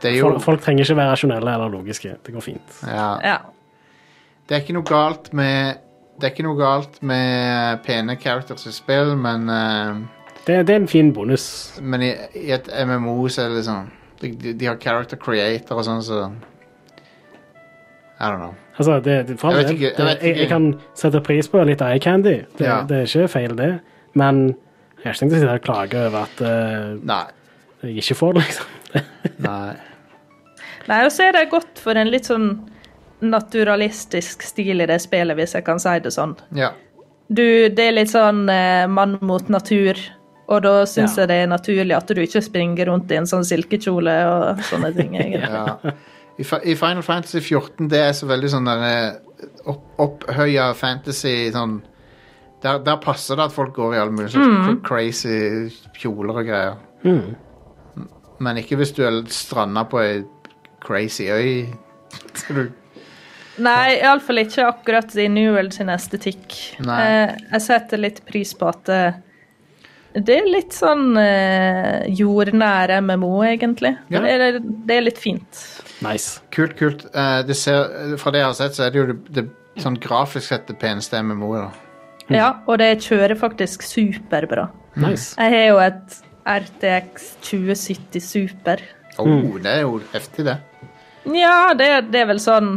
[SPEAKER 1] det er jo
[SPEAKER 2] Folk, folk trenger ikke være rasjonelle eller logiske. Det går fint.
[SPEAKER 1] ja,
[SPEAKER 3] Ja.
[SPEAKER 1] Det er ikke noe galt med Det er ikke noe galt med eh, pene characters i spill, men, eh,
[SPEAKER 2] Det, det er en fin bonus.
[SPEAKER 1] men i, i et MMO så er det liksom De, de, de har character creator og sånn, så I don't know.
[SPEAKER 2] Altså, det, det, for all
[SPEAKER 1] Jeg vet
[SPEAKER 2] del,
[SPEAKER 1] ikke- jeg
[SPEAKER 2] det-
[SPEAKER 1] vet
[SPEAKER 2] jeg,
[SPEAKER 1] ikke.
[SPEAKER 2] jeg kan sette pris på litt eye candy. Det,
[SPEAKER 1] Ja.
[SPEAKER 2] det er ikke feil, det. Men jeg har ikke tenkt å sitte her og klage over at eh,
[SPEAKER 1] Nei.
[SPEAKER 2] jeg ikke får det, liksom.
[SPEAKER 1] Nei.
[SPEAKER 3] Nei, og så er det godt for en litt sånn naturalistisk stil i det spillet, hvis jeg kan si det sånn.
[SPEAKER 1] Ja.
[SPEAKER 3] Du, det er litt sånn eh, mann mot natur, og da syns
[SPEAKER 2] Ja.
[SPEAKER 3] jeg det er naturlig at du ikke springer rundt i en sånn silkekjole og sånne ting. egentlig.
[SPEAKER 1] ja. I, Fi- I Final Fantasy 14 det er så veldig sånn der eh, opp, opphøya fantasy sånn der, der passer det at folk går i alle mulige slags cr- crazy kjoler og greier. Men ikke hvis du er stranda på ei crazy øy. Så du-
[SPEAKER 3] Nei, iallfall ikke akkurat i New World sin estetikk.
[SPEAKER 1] Nei.
[SPEAKER 3] Eh, jeg setter litt pris på at eh, det er litt sånn eh, jordnær MMO, egentlig.
[SPEAKER 1] Ja.
[SPEAKER 3] Det, er, det er litt fint.
[SPEAKER 2] Nice.
[SPEAKER 1] Kult, kult. Eh, det ser, fra det jeg har sett, så er det jo det, det sånn grafisk sett det peneste MMO-et. Mm.
[SPEAKER 3] Ja, og det kjører faktisk superbra.
[SPEAKER 2] nice.
[SPEAKER 3] Jeg har jo et RTX 2070 Super.
[SPEAKER 1] Oh, Det er jo heftig, det.
[SPEAKER 3] Nja, det, det er vel sånn.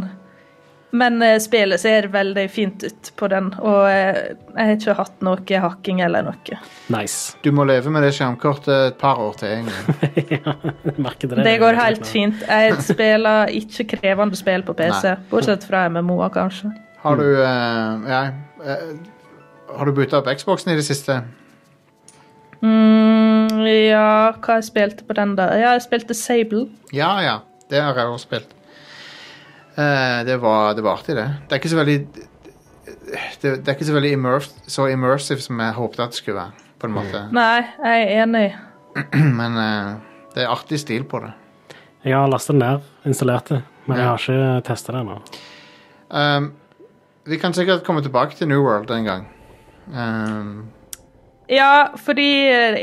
[SPEAKER 3] Men eh, spillet ser veldig fint ut på den, og eh, jeg har ikke hatt noe hakking eller noe.
[SPEAKER 2] Nice.
[SPEAKER 1] Du må leve med det skjermkortet et par år til, egentlig.
[SPEAKER 2] Merker dere
[SPEAKER 3] Det går helt fint. Jeg spiller ikke krevende spill på PC,
[SPEAKER 1] Nei.
[SPEAKER 3] bortsett fra MMO-er, kanskje.
[SPEAKER 1] Har du eh, Ja. eh, har du bytta opp Xboxen i det siste?
[SPEAKER 3] Mm, ja, hva jeg spilte på den, da? Ja, jeg spilte Sable.
[SPEAKER 1] Ja, ja. Det har jeg også spilt. Eh, det var, det var artig, det. Det er ikke så veldig det, det er ikke så veldig immersive, så immersive som jeg håpte at det skulle være. På en måte.
[SPEAKER 3] Nei, jeg er enig.
[SPEAKER 1] Men eh, det er artig stil på det.
[SPEAKER 2] Jeg har lastet den ned, installert det, men jeg
[SPEAKER 1] Ja.
[SPEAKER 2] har ikke testa det ennå.
[SPEAKER 1] Um, vi kan sikkert komme tilbake til New World en gang. Um,
[SPEAKER 3] Ja, fordi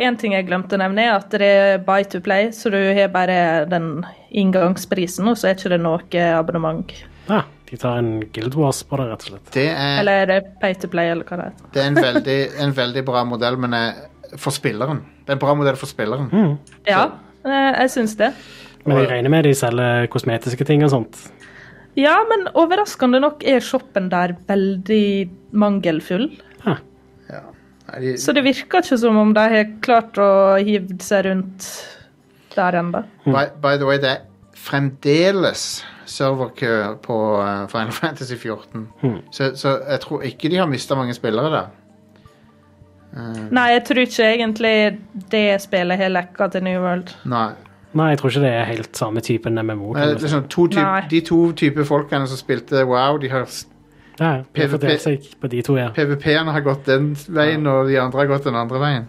[SPEAKER 3] én ting jeg glemte å nevne, er at det er buy to play, så du har bare den inngangsprisen, og så er ikke det noe abonnement.
[SPEAKER 2] Ja, Ah, de tar en Guild Wars på det, rett og slett.
[SPEAKER 1] det, er,
[SPEAKER 3] Eller er det pay to play, eller hva det heter.
[SPEAKER 1] det er en veldig, en veldig bra modell, men eh, for spilleren. Det er en bra modell for spilleren.
[SPEAKER 3] Ja, eh, jeg syns det.
[SPEAKER 2] Men jeg regner med de selger kosmetiske ting og sånt.
[SPEAKER 3] Ja, men overraskende nok er shoppen der veldig mangelfull.
[SPEAKER 2] Ja.
[SPEAKER 1] Ja. Nei, de,
[SPEAKER 3] Så det virker ikke som om de har klart å hive seg rundt der ennå.
[SPEAKER 1] by, by the way, det er fremdeles serverkø på eh, Final Fantasy 14. Så, så jeg tror ikke de har mista mange spillere der.
[SPEAKER 3] Nei, jeg tror ikke egentlig det spillet har lekka til New World.
[SPEAKER 1] Nei.
[SPEAKER 2] Nei, jeg tror ikke det er helt samme typen MMO.
[SPEAKER 1] Men det
[SPEAKER 2] Kan du
[SPEAKER 1] er
[SPEAKER 2] si.
[SPEAKER 1] liksom to typ,
[SPEAKER 3] Nei.
[SPEAKER 1] De to typer folkene som spilte Wow, de har
[SPEAKER 2] Ja, ja, det
[SPEAKER 1] PvP.
[SPEAKER 2] fordeler seg på de to, ja.
[SPEAKER 1] PVP-ene har gått den veien, og de andre har gått den andre veien.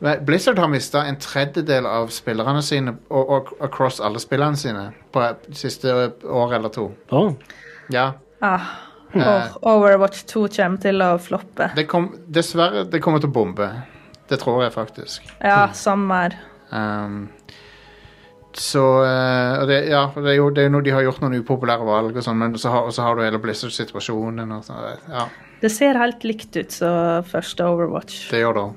[SPEAKER 1] Nei, Blizzard har mista en tredjedel av spillerne sine og, og across alle spillene sine på det siste år eller to.
[SPEAKER 2] Å,
[SPEAKER 1] Ja.
[SPEAKER 3] Ah, og Overwatch 2 kommer til å floppe.
[SPEAKER 1] Det kom, dessverre, det kommer til å bombe. Det tror jeg faktisk.
[SPEAKER 3] Ja, samme her.
[SPEAKER 1] Ehm, så eh, og det, ja, og det er jo det er jo noe de har gjort noen upopulære valg, og sånn, men så har, og så har du hele Blizzard-situasjonen. og sånn, Ja,
[SPEAKER 3] Det ser helt likt ut som første Overwatch.
[SPEAKER 1] det gjør det.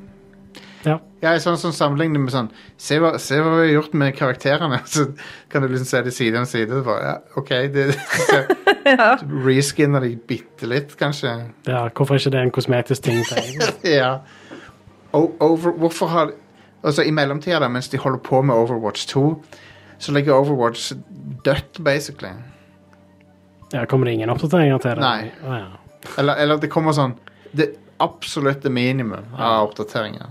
[SPEAKER 2] ja.
[SPEAKER 1] Ja, i sånn, sånn sammenligning med sånn se hva, se hva vi har gjort med karakterene. Så kan du liksom se det side om side. og Bare, ja, OK, det, så, Reskinner de bitte litt, kanskje.
[SPEAKER 2] ja. Hvorfor er ikke det en kosmetisk ting? til Able?
[SPEAKER 1] Ja. O over, hvorfor har Altså, i mellomtida, da, mens de holder på med Overwatch 2, så ligger Overwatch dødt, basically.
[SPEAKER 2] Ja, kommer det ingen oppdateringer til det?
[SPEAKER 1] Nei.
[SPEAKER 2] Å, ja.
[SPEAKER 1] Eller, eller det kommer sånn Det absolutte minimum av oppdateringer.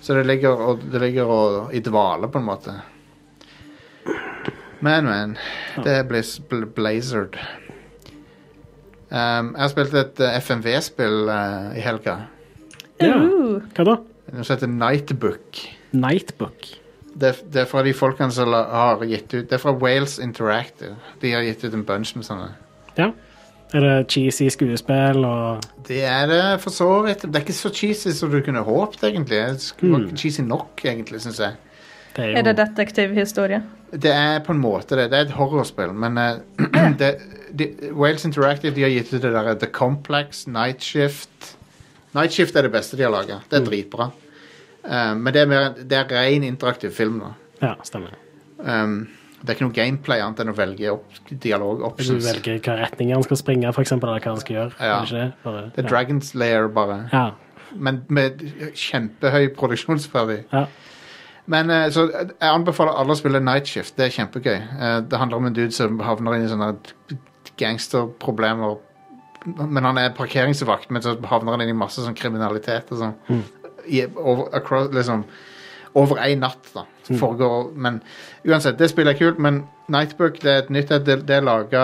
[SPEAKER 1] Så det ligger, og, det ligger og, i dvale, på en måte. Men, men. Det er Blizz, bl Blazard. Um, jeg har spilt et eh, FMV-spill eh, i helga.
[SPEAKER 2] Ja.
[SPEAKER 3] Uh,
[SPEAKER 2] Hva da?
[SPEAKER 1] Det heter Nightbook.
[SPEAKER 2] Nightbook.
[SPEAKER 1] Det, er- det er fra de folkene som la- har gitt ut Det er fra Wales Interactive. De har gitt ut en bunch med sånne.
[SPEAKER 2] Ja. Er det cheesy skuespill og
[SPEAKER 1] Det er det for så vidt. Det er ikke så cheesy som du kunne håpet, egentlig. Det sk- var ikke cheesy nok, egentlig, syns jeg.
[SPEAKER 2] det er jo...
[SPEAKER 3] er det detektivhistorie?
[SPEAKER 1] Det er på en måte det. Det er et horrorspill, men eh, det, de, Wales Interactive de har gitt ut det derre The Complex, Night Shift Night Shift er det beste de har laga. Det er dritbra. Eh, men det er, mer, det er ren interaktiv film nå.
[SPEAKER 2] Ja, stemmer.
[SPEAKER 1] Um, Det er ikke noe gameplay annet enn å velge opp dialog
[SPEAKER 2] Du
[SPEAKER 1] options.
[SPEAKER 2] velger hvilken retning han skal springe, for eksempel, eller hva han skal gjøre.
[SPEAKER 1] Ja.
[SPEAKER 2] er det ikke det? Bare,
[SPEAKER 1] Det er Dragons Lair, bare.
[SPEAKER 2] Ja.
[SPEAKER 1] Men med kjempehøy produksjonsverdi.
[SPEAKER 2] ja.
[SPEAKER 1] Men eh, så eh, jeg anbefaler alle å spille Night Shift. Det er kjempegøy. Eh, det handler om en dude som havner inn i sånne gangsterproblemer. Men han er parkeringsvakt, men så havner han inn i masse sånn kriminalitet og sånn. I, over, across, liksom, over ei natt, da. Som foregår Men uansett, det spillet er kult, men Nightbook det er et nytt et. Det, det er laga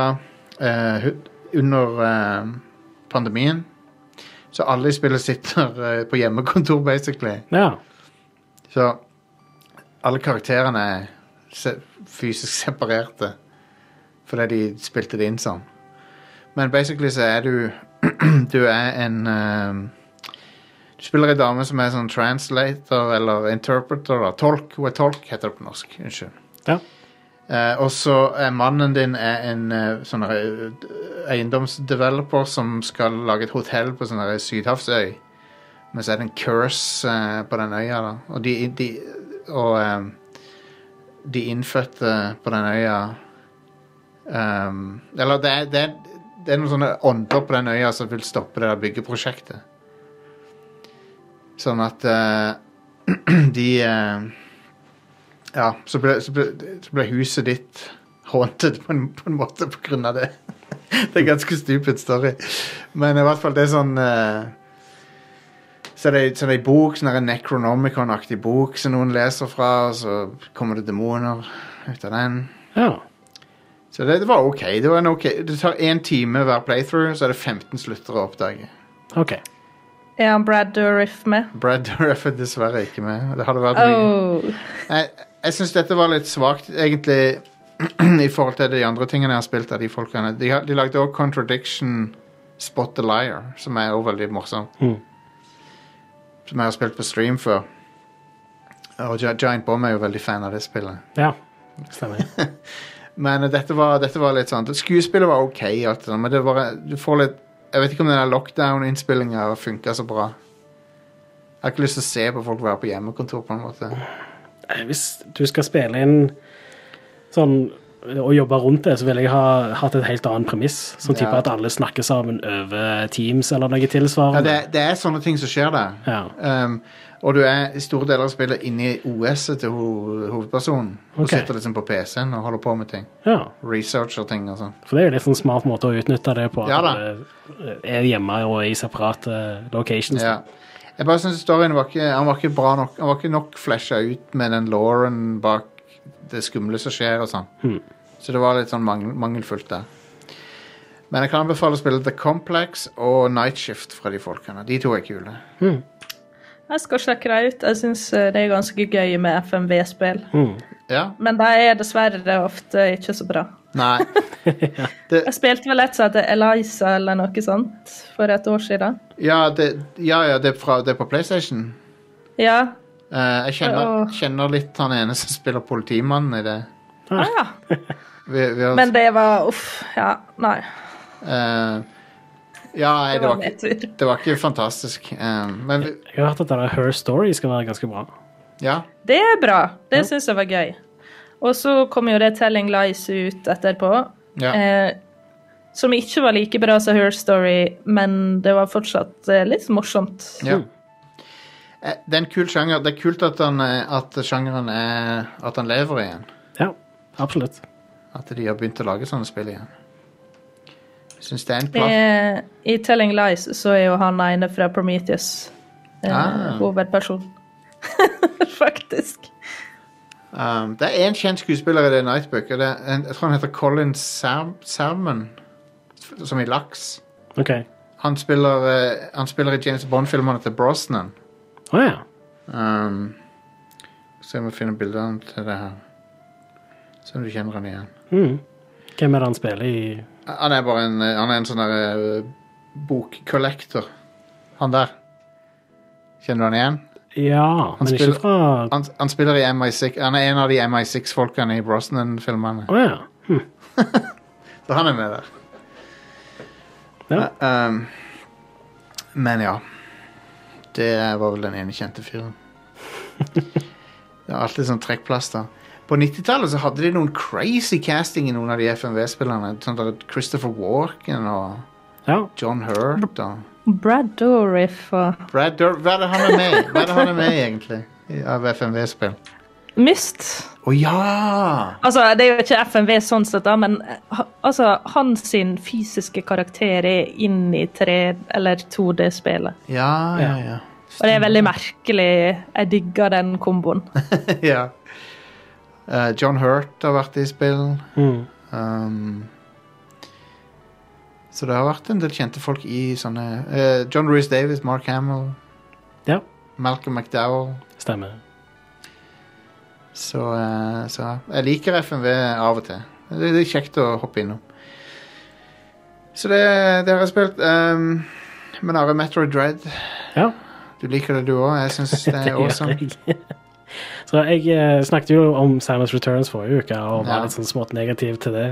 [SPEAKER 1] under eh, pandemien. Så alle i spillet sitter eh, på hjemmekontor, basically.
[SPEAKER 2] ja.
[SPEAKER 1] Så alle karakterene er se fysisk separerte fordi de spilte det inn sånn. Men basically så er du Du er en ehm, Du spiller ei dame som er sånn translator eller interpreter. Da. Tolk. Hun er tolk, heter det på norsk. Unnskyld.
[SPEAKER 2] Ja.
[SPEAKER 1] Eh, og så er mannen din er en eh, sånn her, eh, eiendomsdeveloper som skal lage et hotell på sånn her sydhavsøy. Men så er det en curse eh, på den øya, da. Og de, de, og, ehm, de innfødte på den øya ehm, Eller det er, det, er, det er noen sånne ånder på den øya som vil stoppe det der byggeprosjektet. Sånn at eh, de eh, ja, så ble, så, ble, så ble huset ditt haunted på en, på en måte på grunn av det. det er ganske stupid story. Men i hvert fall, det er sånn eh, Så det er så det er en bok, sånn der en Necronomicon-aktig bok som noen leser fra, og så kommer det demoner ut av den.
[SPEAKER 2] ja.
[SPEAKER 1] Så det, det var OK. Det, var en ok. det tar én time hver playthrough, så er det 15 slutter å oppdage.
[SPEAKER 2] OK.
[SPEAKER 3] Er han Brad Dourif med?
[SPEAKER 1] Brad Dourif er dessverre ikke med. Det hadde vært mye.
[SPEAKER 3] Oh.
[SPEAKER 1] Jeg, jeg syns dette var litt svakt, egentlig, i forhold til de andre tingene jeg har spilt av de folkene. De, har- de lagde også Contradiction Spot the Liar, som er også veldig morsom.
[SPEAKER 2] Mhm.
[SPEAKER 1] Som jeg har spilt på stream før. Og Gi- Giant Bomb er jo veldig fan av det spillet.
[SPEAKER 2] Ja. Stemmer.
[SPEAKER 1] Men eh, dette var, dette var litt sånn Skuespillet var OK, og alt det der, men det var, du får litt Jeg vet ikke om den der lockdown-innspillinga funka så bra. Jeg har ikke lyst til å se på folk være på hjemmekontor, på en måte.
[SPEAKER 2] Nei, Eh, Hvis du skal spille inn sånn og jobbe rundt det, så ville jeg ha hatt et helt annet premiss. Som type
[SPEAKER 1] Ja.
[SPEAKER 2] at alle snakker sammen over Teams eller noe
[SPEAKER 1] Ja,
[SPEAKER 2] tilsvarende.
[SPEAKER 1] det, det er sånne ting som skjer der.
[SPEAKER 2] Ja.
[SPEAKER 1] Um, og du er i store deler av spillet inni OS-et til ho hovedpersonen. Hun
[SPEAKER 2] Ok.
[SPEAKER 1] sitter liksom på PC-en og holder på med ting.
[SPEAKER 2] ja.
[SPEAKER 1] Researcher ting og sånn.
[SPEAKER 2] For det er jo litt sånn smart måte å utnytte det på.
[SPEAKER 1] Ja da.
[SPEAKER 2] at alle eh, er hjemme og er i separate eh, locations.
[SPEAKER 1] Ja. Jeg bare syns storyen var ikke, han var ikke bra nok. Han var ikke nok flasha ut med den Lauren bak det skumle som skjer og sånn. Så det var litt sånn mangel, mangelfullt der. Men jeg kan anbefale å spille The Complex og Night Shift fra de folkene. De to er kule.
[SPEAKER 3] Jeg skal sjekke det ut. Jeg syns det er ganske gøy med FMV-spill.
[SPEAKER 1] Ja.
[SPEAKER 3] Men de er dessverre ofte ikke så bra.
[SPEAKER 1] Nei.
[SPEAKER 3] Jeg spilte vel et som heter Eliza eller noe sånt for et år siden.
[SPEAKER 1] Ja, det, ja, ja, det, er fra, det er på PlayStation.
[SPEAKER 3] Ja.
[SPEAKER 1] Eh, jeg kjenner,
[SPEAKER 3] Åh.
[SPEAKER 1] kjenner litt han ene som spiller politimannen i det.
[SPEAKER 3] Ah, ja.
[SPEAKER 1] Vi, vi har,
[SPEAKER 3] Men det var Uff. Ja. Nei.
[SPEAKER 1] eh, ja, nei,
[SPEAKER 3] Det
[SPEAKER 1] det
[SPEAKER 3] var
[SPEAKER 1] var, ikke,
[SPEAKER 3] nedtur.
[SPEAKER 1] det var ikke fantastisk. eh, men vi,
[SPEAKER 2] Jeg har hørt at denne Her Story skal være ganske bra.
[SPEAKER 1] ja.
[SPEAKER 3] Det er bra. Det syns jeg var gøy. Og så kom jo det Telling Lies ut etterpå,
[SPEAKER 1] ja.
[SPEAKER 3] eh, som ikke var like bra som Her Story, men det var fortsatt eh, litt morsomt.
[SPEAKER 1] ja. Eh, Det er en kul sjanger. Det er kult at, han, eh, at sjangeren er At han lever igjen.
[SPEAKER 2] Ja, absolutt.
[SPEAKER 1] At de har begynt å lage sånne spill igjen. Jeg syns det er en plan.
[SPEAKER 3] Eh, I Telling Lies så er jo han ene fra Prometheus eh,
[SPEAKER 1] Ah.
[SPEAKER 3] hovedperson. Faktisk.
[SPEAKER 1] Um, det er én kjent skuespiller i det Nightbook. Og det er en, jeg tror han heter Colin Ser Sermon, som i laks.
[SPEAKER 2] OK.
[SPEAKER 1] Han spiller, eh, han spiller i James Bond-filmerne til Brosnan.
[SPEAKER 2] Å ja.
[SPEAKER 1] Um, se om jeg finner bildene til det her. Se om du kjenner han igjen.
[SPEAKER 2] Mm. Hvem er det han spiller i?
[SPEAKER 1] Han er bare en, eh, han er en sånn der eh, bokkollektor. Han der. Kjenner du han igjen?
[SPEAKER 2] Ja, men
[SPEAKER 1] spiller-
[SPEAKER 2] ikke fra Å
[SPEAKER 1] Han, han spiller i MI6. Han er en av de MI6-folkene i Brosnan-filmene.
[SPEAKER 2] ja. Hm.
[SPEAKER 1] Så han er med der.
[SPEAKER 2] Ja.
[SPEAKER 1] Eh, um, men ja. Det var vel den ene kjente fyren. Det er alltid sånn trekkplaster. På 90-tallet så hadde de noen crazy casting i noen av de FMV-spillerne. Sånn der Christopher Walken og
[SPEAKER 2] Ja.
[SPEAKER 1] John Hurt og
[SPEAKER 3] Brad Dourif og
[SPEAKER 1] Brad Dur... Hva er det han er med i? Hva er det han er med i, egentlig? i- Av FMV-spill.
[SPEAKER 3] Myst.
[SPEAKER 1] Å ja!
[SPEAKER 3] Altså, det er jo ikke FMV sånn sett, da, men eh, ha- altså, hans sin fysiske karakter er inn i 3- eller 2D-spillet.
[SPEAKER 1] Ja, ja, ja.
[SPEAKER 3] Og det er veldig merkelig. Jeg digger den komboen.
[SPEAKER 1] ja. Eh, John Hurt har vært i spill.
[SPEAKER 2] Mm.
[SPEAKER 1] Um, så det har vært en del kjente folk i sånne eh, John Rhys Davis, Mark Hamill,
[SPEAKER 2] ja.
[SPEAKER 1] Malcolm McDowell.
[SPEAKER 2] Stemmer.
[SPEAKER 1] Så, eh, så ja. jeg liker FMV av og til. Det, det er kjekt å hoppe innom. Så det, det har jeg spilt. Um, men Are Metroid Dread
[SPEAKER 2] Ja.
[SPEAKER 1] Du liker det, du òg? Jeg syns det
[SPEAKER 2] Det
[SPEAKER 1] er
[SPEAKER 2] gjør
[SPEAKER 1] awesome.
[SPEAKER 2] jeg. Så jeg eh, snakket jo om Samus Returns forrige uke og var
[SPEAKER 1] Ja.
[SPEAKER 2] litt sånn smått negativ til det.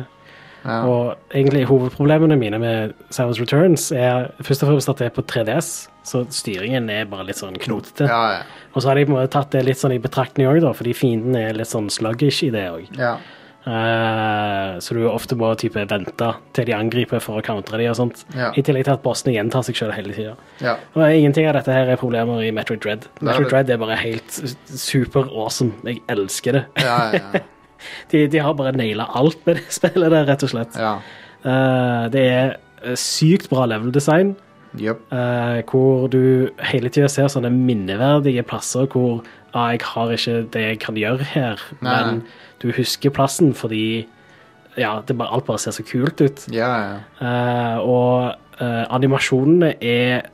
[SPEAKER 1] Ja.
[SPEAKER 2] Og egentlig hovedproblemene mine med Samus Returns er først og fremst at det er på 3DS, så styringen er bare litt sånn knotete.
[SPEAKER 1] Ja, ja.
[SPEAKER 2] Og så har de på en måte tatt det litt sånn i betraktning òg, fordi fienden er litt sånn sluggish i det òg.
[SPEAKER 1] ja.
[SPEAKER 2] så du ofte må type vente til de angriper for å countre de og sånt.
[SPEAKER 1] Ja.
[SPEAKER 2] I tillegg til at bossene gjentar seg sjøl hele tida.
[SPEAKER 1] ja.
[SPEAKER 2] Og Ingenting av dette her er problemer i Metroid Dread.
[SPEAKER 1] Nei,
[SPEAKER 2] Metroid
[SPEAKER 1] det-
[SPEAKER 2] Dread er bare helt super awesome. Jeg elsker det.
[SPEAKER 1] ja, ja,
[SPEAKER 2] De, de har bare naila alt med det spillet der, rett og slett.
[SPEAKER 1] ja.
[SPEAKER 2] Eh, det er sykt bra level design,
[SPEAKER 1] Jep.
[SPEAKER 2] eh, hvor du hele tida ser sånne minneverdige plasser hvor ah, 'Jeg har ikke det jeg kan gjøre her',
[SPEAKER 1] Nei,
[SPEAKER 2] men
[SPEAKER 1] nei.
[SPEAKER 2] du husker plassen fordi ja, det bare, alt bare ser så kult ut.
[SPEAKER 1] Ja, ja.
[SPEAKER 2] Eh, og eh, animasjonene er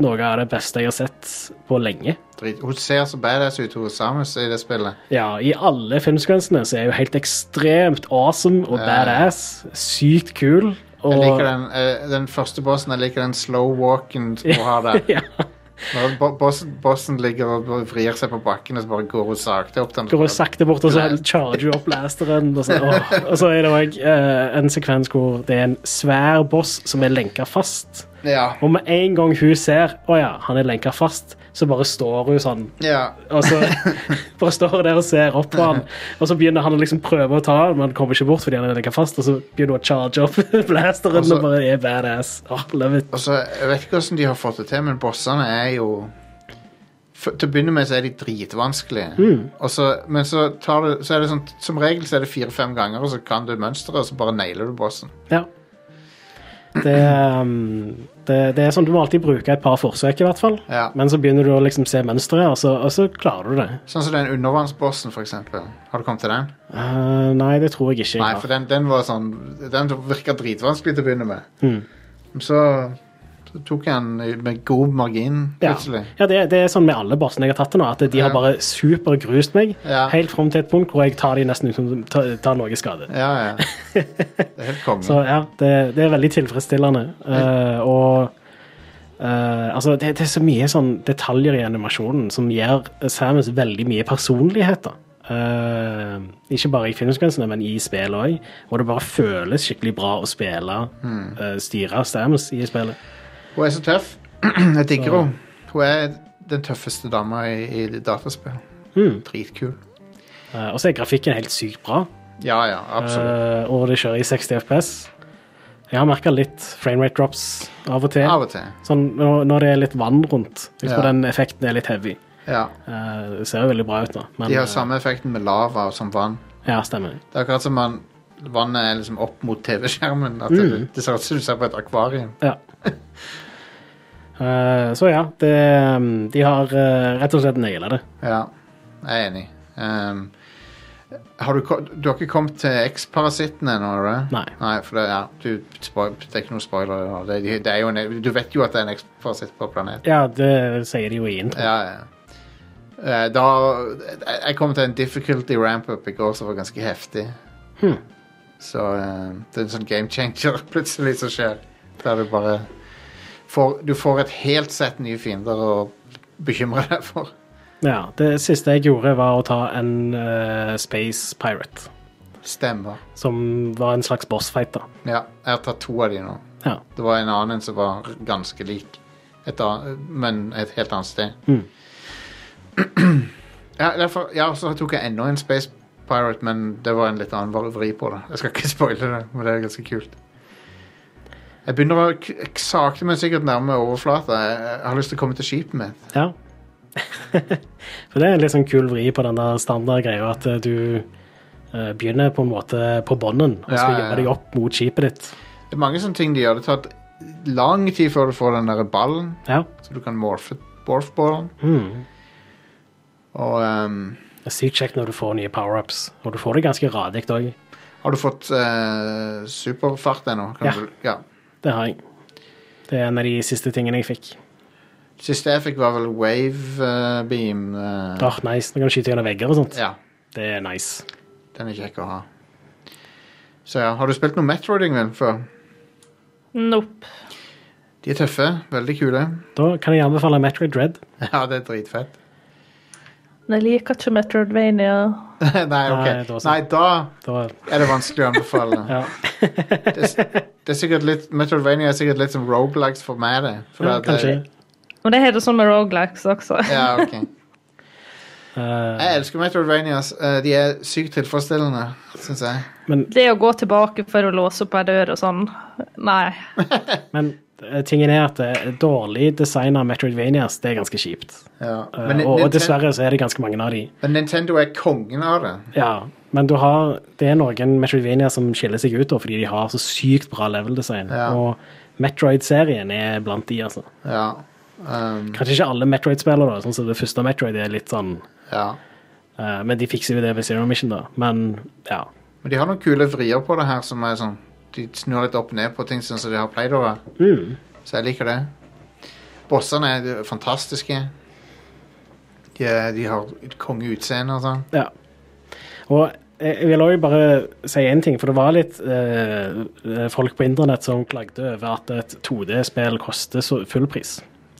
[SPEAKER 2] noe av det beste jeg har sett på lenge.
[SPEAKER 1] Drit. Hun ser så badass ut, hun Samus, i det spillet.
[SPEAKER 2] Ja, i alle filmsekvensene så er hun helt ekstremt awesome og
[SPEAKER 1] Ja.
[SPEAKER 2] badass. Sykt kul. Og,
[SPEAKER 1] Jeg liker den, eh, den første bossen. Jeg liker den slow walken som hun har der.
[SPEAKER 2] Ja,
[SPEAKER 1] Når bo bossen, bossen ligger og bare vrir seg på bakken, og så bare går hun sakte opp den.
[SPEAKER 2] går hun sakte bort, og så
[SPEAKER 1] Nei.
[SPEAKER 2] charger hun opp blasteren. Og så, åh. og så er det òg en sekvens hvor det er en svær boss som er lenka fast.
[SPEAKER 1] Ja.
[SPEAKER 2] Og med en gang hun ser å ja, han er lenka fast, så bare står hun sånn.
[SPEAKER 1] ja.
[SPEAKER 2] Og så bare står hun der og ser opp på han, og så begynner han å liksom prøve å ta han, men han kommer ikke bort fordi han er lenka fast, og så begynner hun å charge opp blasteren
[SPEAKER 1] Og så-
[SPEAKER 2] og bare er badass. Åh, love it.
[SPEAKER 1] Og så, Jeg vet ikke hvordan de har fått det til, men bossene er jo F- Til å begynne med så er de dritvanskelige.
[SPEAKER 2] Mm.
[SPEAKER 1] Og så, men så, tar du, så er det sånn Som regel så er det fire-fem ganger, og så kan du mønsteret, og så bare nailer du bossen.
[SPEAKER 2] Ja. Det, um, det, det er sånn du må alltid bruke et par forsøk, i hvert fall.
[SPEAKER 1] Ja.
[SPEAKER 2] Men så begynner du å liksom se mønsteret, og, så- og så klarer du det.
[SPEAKER 1] Sånn som den undervannsbossen, for eksempel. Har du kommet til den?
[SPEAKER 2] Eh, nei, det tror jeg ikke. jeg
[SPEAKER 1] Nei,
[SPEAKER 2] har.
[SPEAKER 1] for den, den var sånn Den virka dritvanskelig til å begynne med.
[SPEAKER 2] Mm.
[SPEAKER 1] Men Så, så tok jeg den med god margin,
[SPEAKER 2] ja.
[SPEAKER 1] plutselig.
[SPEAKER 2] ja, det, det er sånn med alle bossene jeg har tatt det nå, at de har
[SPEAKER 1] Ja.
[SPEAKER 2] bare supergrust meg
[SPEAKER 1] Ja.
[SPEAKER 2] helt fram til et punkt hvor jeg tar de nesten uten ta, ta noe skade.
[SPEAKER 1] Ja, ja. Det er helt konge.
[SPEAKER 2] Så ja, det, det er veldig tilfredsstillende. Eh, og eh, altså, det, det er så mye sånn detaljer i animasjonen som gir Samus veldig mye personlighet. da. Eh, ikke bare i filmsekvensene, men i spillet òg. Og det bare føles skikkelig bra å spille,
[SPEAKER 1] Mm.
[SPEAKER 2] eh, styre Samus i spillet.
[SPEAKER 1] Hun er så tøff. Jeg digger henne. Hun er den tøffeste dama i, i dataspill.
[SPEAKER 2] Mm.
[SPEAKER 1] Dritkul.
[SPEAKER 2] Eh, og så er grafikken helt sykt bra,
[SPEAKER 1] Ja, ja, absolutt.
[SPEAKER 2] eh, og det kjører i 60 FPS. Jeg har merka litt framerate drops av og til.
[SPEAKER 1] Av og til.
[SPEAKER 2] Sånn når, når det er litt vann rundt. Jeg tror
[SPEAKER 1] Ja.
[SPEAKER 2] den effekten er litt heavy.
[SPEAKER 1] Ja.
[SPEAKER 2] Eh, Det ser jo veldig bra ut nå. Men,
[SPEAKER 1] De har
[SPEAKER 2] eh,
[SPEAKER 1] samme effekten med lava og som vann.
[SPEAKER 2] Ja, stemmer.
[SPEAKER 1] Det er akkurat som man, vannet er liksom opp mot TV-skjermen.
[SPEAKER 2] Mm.
[SPEAKER 1] At det, det ser ut som du ser på et akvarium.
[SPEAKER 2] Ja. Eh, så ja, det, mm, de har eh, rett og slett naila det.
[SPEAKER 1] Ja, jeg er enig. Ehm, har du, ko- du har ikke kommet til X-parasitten ennå? har du det?
[SPEAKER 2] Nei.
[SPEAKER 1] Nei, for det, ja, du, spoil, det er ikke noen spoiler. og Det, det er jo en, du vet jo at det er en X-parasitt på planeten.
[SPEAKER 2] Ja, det sier de jo i intro.
[SPEAKER 1] Ja, ja. Eh, Da, jeg- jeg kom til en difficulty ramp-up i går som var ganske heftig. Så eh, det er en sånn game changer plutselig som skjer. Der du bare får, Du får et helt sett nye fiender å bekymre deg for.
[SPEAKER 2] Ja, det siste jeg gjorde, var å ta en eh, Space Pirate.
[SPEAKER 1] Stemmer.
[SPEAKER 2] Som var en slags bossfight, da.
[SPEAKER 1] Ja, jeg har tatt to av de nå.
[SPEAKER 2] Ja.
[SPEAKER 1] Det var en annen som var ganske lik, et annet, men et helt annet sted. ja, derfor, ja, så tok jeg enda en Space Pirate, men det var en litt annen vri- vri på det. Jeg skal ikke spoile det, men det er ganske kult. Jeg begynner å k sakte, men sikkert nærme overflata. Jeg jeg har lyst til å komme til skipet mitt.
[SPEAKER 2] Ja. For det er en litt sånn kul vri på den der standardgreia at eh, du eh, begynner på en måte på bånden og skal
[SPEAKER 1] Ja, ja, ja.
[SPEAKER 2] jobbe deg opp mot skipet ditt.
[SPEAKER 1] Det er mange sånne ting de gjør. Det tar lang tid før du får den der ballen,
[SPEAKER 2] Ja.
[SPEAKER 1] så du kan morfe morfballen.
[SPEAKER 2] Mm.
[SPEAKER 1] Og ehm,
[SPEAKER 2] Det er sykt kjekt når du får nye power-ups, og du får det ganske radig òg.
[SPEAKER 1] har du fått eh, superfart ennå? Kan
[SPEAKER 2] Ja.
[SPEAKER 1] Du, ja.
[SPEAKER 2] Det har jeg. Det er en av de siste tingene jeg fikk.
[SPEAKER 1] Siste jeg fikk, var vel wave eh, beam. eh,
[SPEAKER 2] Åh, nice. Nå kan du skyte gjennom vegger og sånt.
[SPEAKER 1] ja.
[SPEAKER 2] Det er nice.
[SPEAKER 1] Den er kjekk å ha. Så ja, Har du spilt noe Metroiding vel før?
[SPEAKER 3] Nope.
[SPEAKER 1] De er tøffe. Veldig kule.
[SPEAKER 2] Da kan jeg anbefale Metroid Dread.
[SPEAKER 1] Ja, det er dritfett.
[SPEAKER 3] Men Jeg liker ikke Metroidvania.
[SPEAKER 1] Nei,
[SPEAKER 2] Nei,
[SPEAKER 1] OK.
[SPEAKER 2] det var sånn.
[SPEAKER 1] Nei, da
[SPEAKER 2] Da,
[SPEAKER 1] er det vanskelig å anbefale.
[SPEAKER 2] ja.
[SPEAKER 1] Det, er- det er sikkert litt Metroidvania er sikkert litt som Robelags for meg, det. For
[SPEAKER 2] ja,
[SPEAKER 1] at
[SPEAKER 2] kanskje.
[SPEAKER 1] det-
[SPEAKER 3] Og det har det sånn med Rogalikes også.
[SPEAKER 1] Ja, ok.
[SPEAKER 2] Eh,
[SPEAKER 1] Jeg elsker Metroidvanias. Eh, De er sykt tilfredsstillende, syns jeg.
[SPEAKER 3] Det å gå tilbake for å låse opp ei dør og sånn, nei.
[SPEAKER 2] men eh, tingen er at eh, dårlig design av Metroidvanias, det er ganske kjipt.
[SPEAKER 1] Ja.
[SPEAKER 2] Eh,
[SPEAKER 1] Men,
[SPEAKER 2] og, og
[SPEAKER 1] Ninten-
[SPEAKER 2] dessverre så er det ganske mange av de.
[SPEAKER 1] men Nintendo er kongen av det.
[SPEAKER 2] Ja, men du har, det er noen Metroidvania som skiller seg ut da, fordi de har så sykt bra level-design.
[SPEAKER 1] Ja.
[SPEAKER 2] Og Metroid-serien er blant de, altså.
[SPEAKER 1] Ja. Um,
[SPEAKER 2] Kanskje ikke alle Metroid-spillere, da, sånn som det første Metroid er litt sånn
[SPEAKER 1] ja.
[SPEAKER 2] eh, Men de fikser jo det ved Zero Mission, da. Men ja.
[SPEAKER 1] Men de har noen kule vrier på det her som er sånn De snur litt opp ned på ting sånn som de har pleid å være.
[SPEAKER 2] Mm.
[SPEAKER 1] Så jeg liker det. Bossene er fantastiske. De, er, de har et kongeutseende og sånn.
[SPEAKER 2] ja. Og jeg jeg vil òg bare si én ting, for det var litt eh, folk på internett som klagde over at et 2D-spill koster så full pris.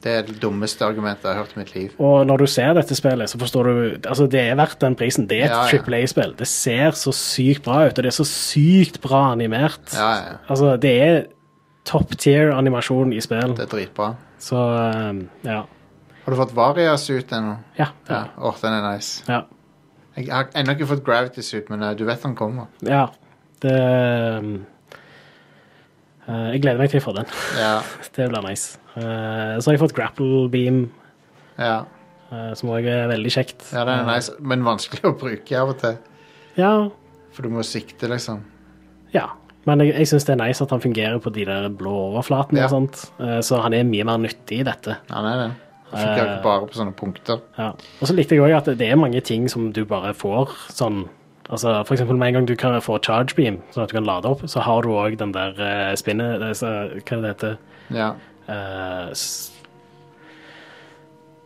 [SPEAKER 1] Det er det dummeste argumentet jeg har hørt i mitt liv.
[SPEAKER 2] Og når du ser dette spillet, så forstår du Altså, det er verdt den prisen. Det er et
[SPEAKER 1] Ja, ja.
[SPEAKER 2] Triple A-spill. Det ser så sykt bra ut, og det er så sykt bra animert.
[SPEAKER 1] Ja, ja.
[SPEAKER 2] Altså, det er top tier animasjon i spill.
[SPEAKER 1] Det er dritbra.
[SPEAKER 2] Så um, ja.
[SPEAKER 1] Har du fått Varias ut ennå?
[SPEAKER 2] Ja.
[SPEAKER 1] Ja. Åh, den er nice.
[SPEAKER 2] ja.
[SPEAKER 1] Jeg har ennå ikke fått Gravity Suit, men eh, du vet han kommer.
[SPEAKER 2] ja. Det um, eh, Jeg gleder meg til jeg får den.
[SPEAKER 1] Ja.
[SPEAKER 2] det blir nice. Eh, så har jeg fått grapple beam,
[SPEAKER 1] Ja,
[SPEAKER 2] eh, som òg er veldig kjekt.
[SPEAKER 1] ja den er nice, men vanskelig å bruke av og til.
[SPEAKER 2] Ja.
[SPEAKER 1] For du må sikte, liksom.
[SPEAKER 2] Ja, men jeg, jeg syns det er nice at han fungerer på de der blå overflatene,
[SPEAKER 1] Ja.
[SPEAKER 2] og sånt. Eh, så han er mye mer nyttig i dette.
[SPEAKER 1] Ja, nei, den funker ikke
[SPEAKER 2] Eh.
[SPEAKER 1] bare på sånne punkter.
[SPEAKER 2] Ja. Og så likte jeg òg at det er mange ting som du bare får sånn Altså, for eksempel med en gang du kan få charge beam, sånn at du kan lade opp, så har du òg den der eh, spinnet det er så- Hva er det det heter
[SPEAKER 1] Ja.
[SPEAKER 2] Eh, s-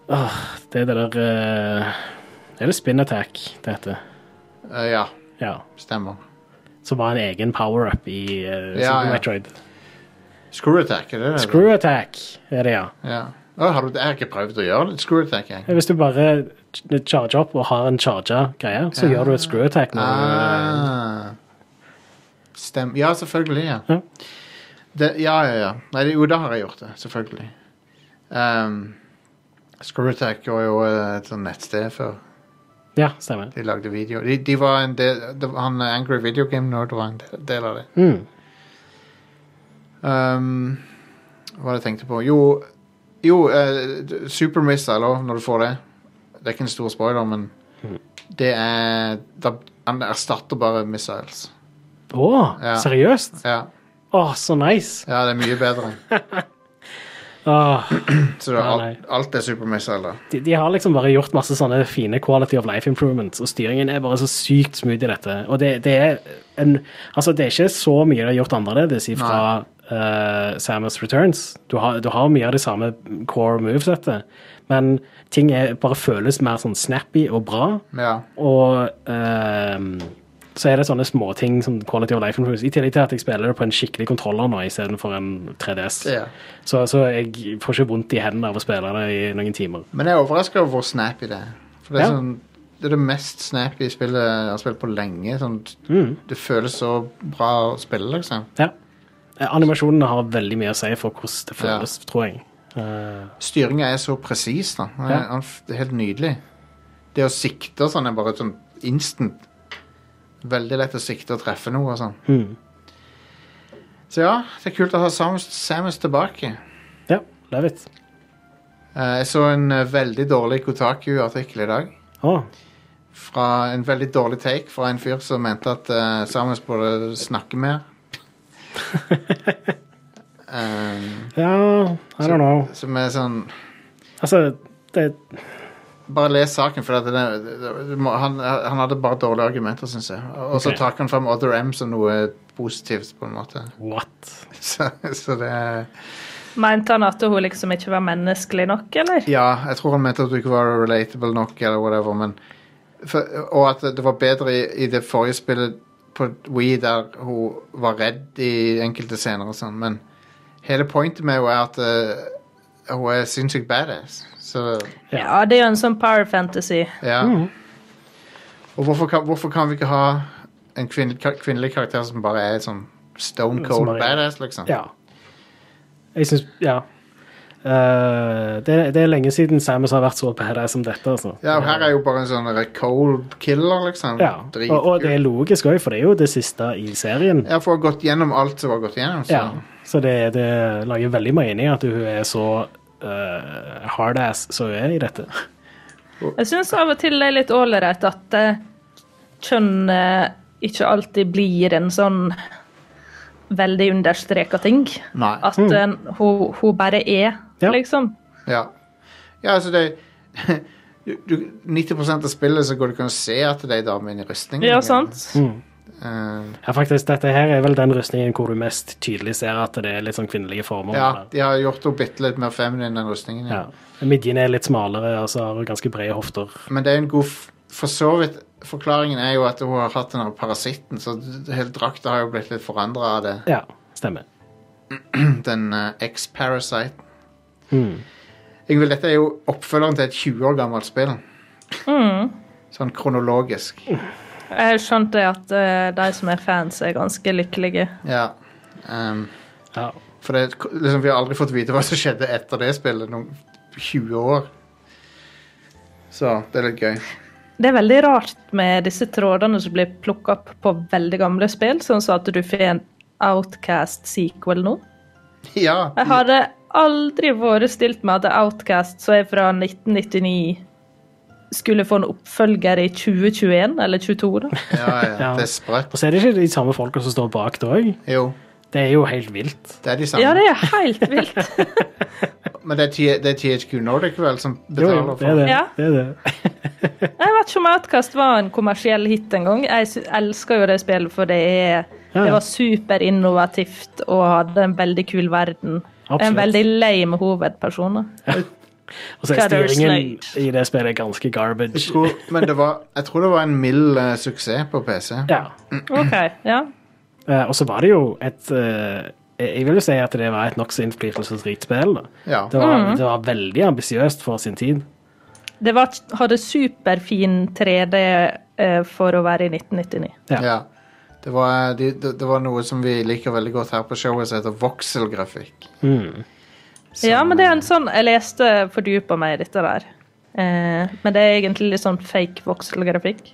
[SPEAKER 2] Åh, Det er det der eh, Det er det spin attack det heter.
[SPEAKER 1] Eh, ja,
[SPEAKER 2] Ja.
[SPEAKER 1] stemmer.
[SPEAKER 2] Som var en egen power-up i eh,
[SPEAKER 1] Ja,
[SPEAKER 2] Super
[SPEAKER 1] ja.
[SPEAKER 2] Metroid.
[SPEAKER 1] Screw attack, er det det?
[SPEAKER 2] Screw attack er det, ja. Eh,
[SPEAKER 1] Ja. Å, har du, jeg har ikke prøvd å gjøre det. Screw attack, jeg.
[SPEAKER 2] Hvis du bare ch- eh, charger opp og har en charger greie, så gjør du et screw attack. Når eh, du,
[SPEAKER 1] Ah. Stem. Ja, selvfølgelig. Ja,
[SPEAKER 2] Ja.
[SPEAKER 1] Det, ja, ja. ja. Nei, det, jo, da har jeg gjort det. Selvfølgelig. Um, Screwtack var jo eh, et sånt nettsted før.
[SPEAKER 2] ja, stemmer.
[SPEAKER 1] De lagde video. De, de var en del, det var- han eh, Angry Video Game Nerd var en del, del av det.
[SPEAKER 2] Mm.
[SPEAKER 1] Um, hva var det jeg tenkte på? Jo, jo uh, Super Missile også, når du får det. Det er ikke en stor spoiler, men
[SPEAKER 2] Mm.
[SPEAKER 1] det er da, Han erstatter bare missiles.
[SPEAKER 2] Å,
[SPEAKER 1] Ja.
[SPEAKER 2] seriøst?
[SPEAKER 1] Ja,
[SPEAKER 2] Å, så nice!
[SPEAKER 1] ja det er mye bedre.
[SPEAKER 2] Åh,
[SPEAKER 1] Så det er
[SPEAKER 2] Ja,
[SPEAKER 1] alt, alt er Super Missile, da.
[SPEAKER 2] de, de har liksom bare gjort masse sånne fine quality of life improvements, og styringen er bare så sykt smooth i dette. Og det, det er en Altså, det er ikke så mye de har gjort annerledes fra eh, Samus Returns. Du har, du har mye av det samme core movesettet, men ting er, bare føles mer sånn snappy og bra.
[SPEAKER 1] Ja.
[SPEAKER 2] Og ehm, så er det sånne småting som quality of life improves. I tillegg til at jeg spiller det på en skikkelig kontroller nå istedenfor en 3DS.
[SPEAKER 1] Ja.
[SPEAKER 2] Så, så jeg får ikke vondt i hendene av å spille det i noen timer.
[SPEAKER 1] Men jeg er overraska over hvor snappy det er. For det er,
[SPEAKER 2] Ja.
[SPEAKER 1] sånn, det er det mest snappy spillet jeg har spilt på lenge. Sånn,
[SPEAKER 2] Mm.
[SPEAKER 1] Det føles så bra å spille, liksom.
[SPEAKER 2] Ja. Eh, Animasjonene har veldig mye å si for hvordan det føles, tror jeg. Eh,
[SPEAKER 1] Styringa er så presis, da. Den er-
[SPEAKER 2] Ja.
[SPEAKER 1] den f- Det er helt nydelig. Det å sikte og sånn er bare sånn instant. Veldig lett å sikte og treffe noe og sånn.
[SPEAKER 2] hmm.
[SPEAKER 1] Så ja, det er kult å ha Samus, Samus tilbake.
[SPEAKER 2] Ja, love it.
[SPEAKER 1] Eh, jeg så en eh, veldig dårlig Kotaku-artikkel i dag.
[SPEAKER 2] Å,
[SPEAKER 1] Fra en veldig dårlig take fra en fyr som mente at eh, Samus burde snakke mer. Eh,
[SPEAKER 2] ja, I don't know.
[SPEAKER 1] som er sånn
[SPEAKER 2] Altså, det
[SPEAKER 1] Bare les saken, for at det, det, det, må- han, han hadde bare dårlige argumenter, syns jeg. Og så
[SPEAKER 2] Ok.
[SPEAKER 1] trakk han fram Other M som noe positivt, på en måte.
[SPEAKER 2] What?
[SPEAKER 1] Så, så det er
[SPEAKER 3] Mente han at hun liksom ikke var menneskelig nok, eller?
[SPEAKER 1] Ja, jeg tror han mente at du ikke var relatable nok, eller whatever, men for, Og at det var bedre i, i det forrige spillet på Wii, der hun var redd i enkelte scener og sånn, men hele pointet med henne er at eh, hun er sinnssykt badass, så
[SPEAKER 2] Ja.
[SPEAKER 3] Ja, det er jo en sånn power fantasy.
[SPEAKER 1] ja.
[SPEAKER 2] Mm.
[SPEAKER 1] Og hvorfor kan, hvorfor kan vi ikke ha en kvinn, ka- kvinnelig karakter som bare er sånn stone cold
[SPEAKER 2] bare-
[SPEAKER 1] badass, liksom?
[SPEAKER 2] Ja. Jeg syns Ja. Eh, det, det er lenge siden Samus har vært så badass som dette. Altså.
[SPEAKER 1] Ja, og her er jo bare en sånn eh, cold killer, liksom.
[SPEAKER 2] Ja,
[SPEAKER 1] Dritkult.
[SPEAKER 2] og, og det er logisk òg, for det er jo det siste i serien.
[SPEAKER 1] Ja, for å ha gått gjennom alt som har gått gjennom. Så.
[SPEAKER 2] Ja, så det, det lager veldig mening at hun er så eh, hardass som hun er i dette.
[SPEAKER 3] Jeg syns av og til det er litt ålreit at eh, kjønn eh, ikke alltid blir en sånn veldig understreka ting.
[SPEAKER 1] Nei.
[SPEAKER 3] At eh, hun, hun bare er,
[SPEAKER 2] Ja.
[SPEAKER 3] liksom.
[SPEAKER 1] Ja. ja, altså det du, du, 90 av spillet så går det ikke an å se at det er dame inni rustningen.
[SPEAKER 3] Ja, sant?
[SPEAKER 1] Eh,
[SPEAKER 2] Ja, faktisk, dette her er vel den rustningen hvor du mest tydelig ser at det er litt sånn kvinnelige former.
[SPEAKER 1] ja, de har gjort henne bitte litt mer feminin, den rustningen. Ja.
[SPEAKER 2] Ja. Midjene er litt smalere, og så har hun ganske brede hofter.
[SPEAKER 1] Men det er en god f- For så vidt Forklaringen er jo at hun har hatt den her parasitten, så d- hele drakta har jo blitt litt forandra av det.
[SPEAKER 2] Ja, stemmer.
[SPEAKER 1] Den eh, X-parasiten.
[SPEAKER 2] Mm.
[SPEAKER 1] Ingvild, dette er jo oppfølgeren til et 20 år gammelt spill.
[SPEAKER 3] Hmm.
[SPEAKER 1] Sånn kronologisk.
[SPEAKER 3] Jeg skjønte at eh, de som er fans, er ganske lykkelige.
[SPEAKER 1] Ja. Um,
[SPEAKER 2] Ja.
[SPEAKER 1] For det, liksom, vi har aldri fått vite hva som skjedde etter det spillet. Noen 20 år. Så det er litt gøy.
[SPEAKER 3] Det er veldig rart med disse trådene som blir plukka opp på veldig gamle spill, sånn som at du får en Outcast-sequel nå.
[SPEAKER 1] Ja,
[SPEAKER 3] Jeg hadde aldri forestilt meg at The Outcast, som er fra 1999, skulle få en oppfølger i 2021 eller 2022. da.
[SPEAKER 1] ja, ja.
[SPEAKER 2] Ja.
[SPEAKER 1] Det er sprøtt.
[SPEAKER 2] Og så er det ikke de samme folka som står bak det òg.
[SPEAKER 1] Jo,
[SPEAKER 2] Det er jo helt vilt.
[SPEAKER 1] det er de
[SPEAKER 3] Ja,
[SPEAKER 1] samme.
[SPEAKER 3] det er helt vilt.
[SPEAKER 1] Men det er, T- det er THQ Nordic vel som
[SPEAKER 2] Jo,
[SPEAKER 1] betaler
[SPEAKER 2] jo, det er
[SPEAKER 1] for
[SPEAKER 2] det.
[SPEAKER 3] Ja.
[SPEAKER 2] det, er det.
[SPEAKER 3] Jeg vet ikke om Outcast var en kommersiell hit en gang. Jeg sy- elsker jo det spillet, for det, er,
[SPEAKER 2] Ja.
[SPEAKER 3] det var superinnovativt og hadde en veldig kul verden. En
[SPEAKER 2] Absolutt.
[SPEAKER 3] veldig lame hovedperson. da.
[SPEAKER 2] Og så er
[SPEAKER 3] Shadow
[SPEAKER 2] styringen i det spillet ganske
[SPEAKER 1] Jeg
[SPEAKER 2] garbage.
[SPEAKER 1] tror, men det var, jeg tror det var en mild eh, suksess på PC.
[SPEAKER 2] Ja.
[SPEAKER 3] OK, ja.
[SPEAKER 2] Eh, Og så var det jo et eh, Jeg vil jo si at det var et nokså innflytelsesrikt spill. Da.
[SPEAKER 1] Ja.
[SPEAKER 2] Det, var,
[SPEAKER 3] Mm.
[SPEAKER 2] det var veldig ambisiøst for sin tid.
[SPEAKER 3] Det var, hadde superfin 3D eh, for å være i 1999.
[SPEAKER 2] Ja.
[SPEAKER 1] ja. Det, var, eh, de, det, det var noe som vi liker veldig godt her på showet, som heter voxelgrafikk.
[SPEAKER 3] Ja, men det er en sånn Jeg leste fordypa meg i dette der. Eh, men det er egentlig litt sånn fake vokselgrafikk.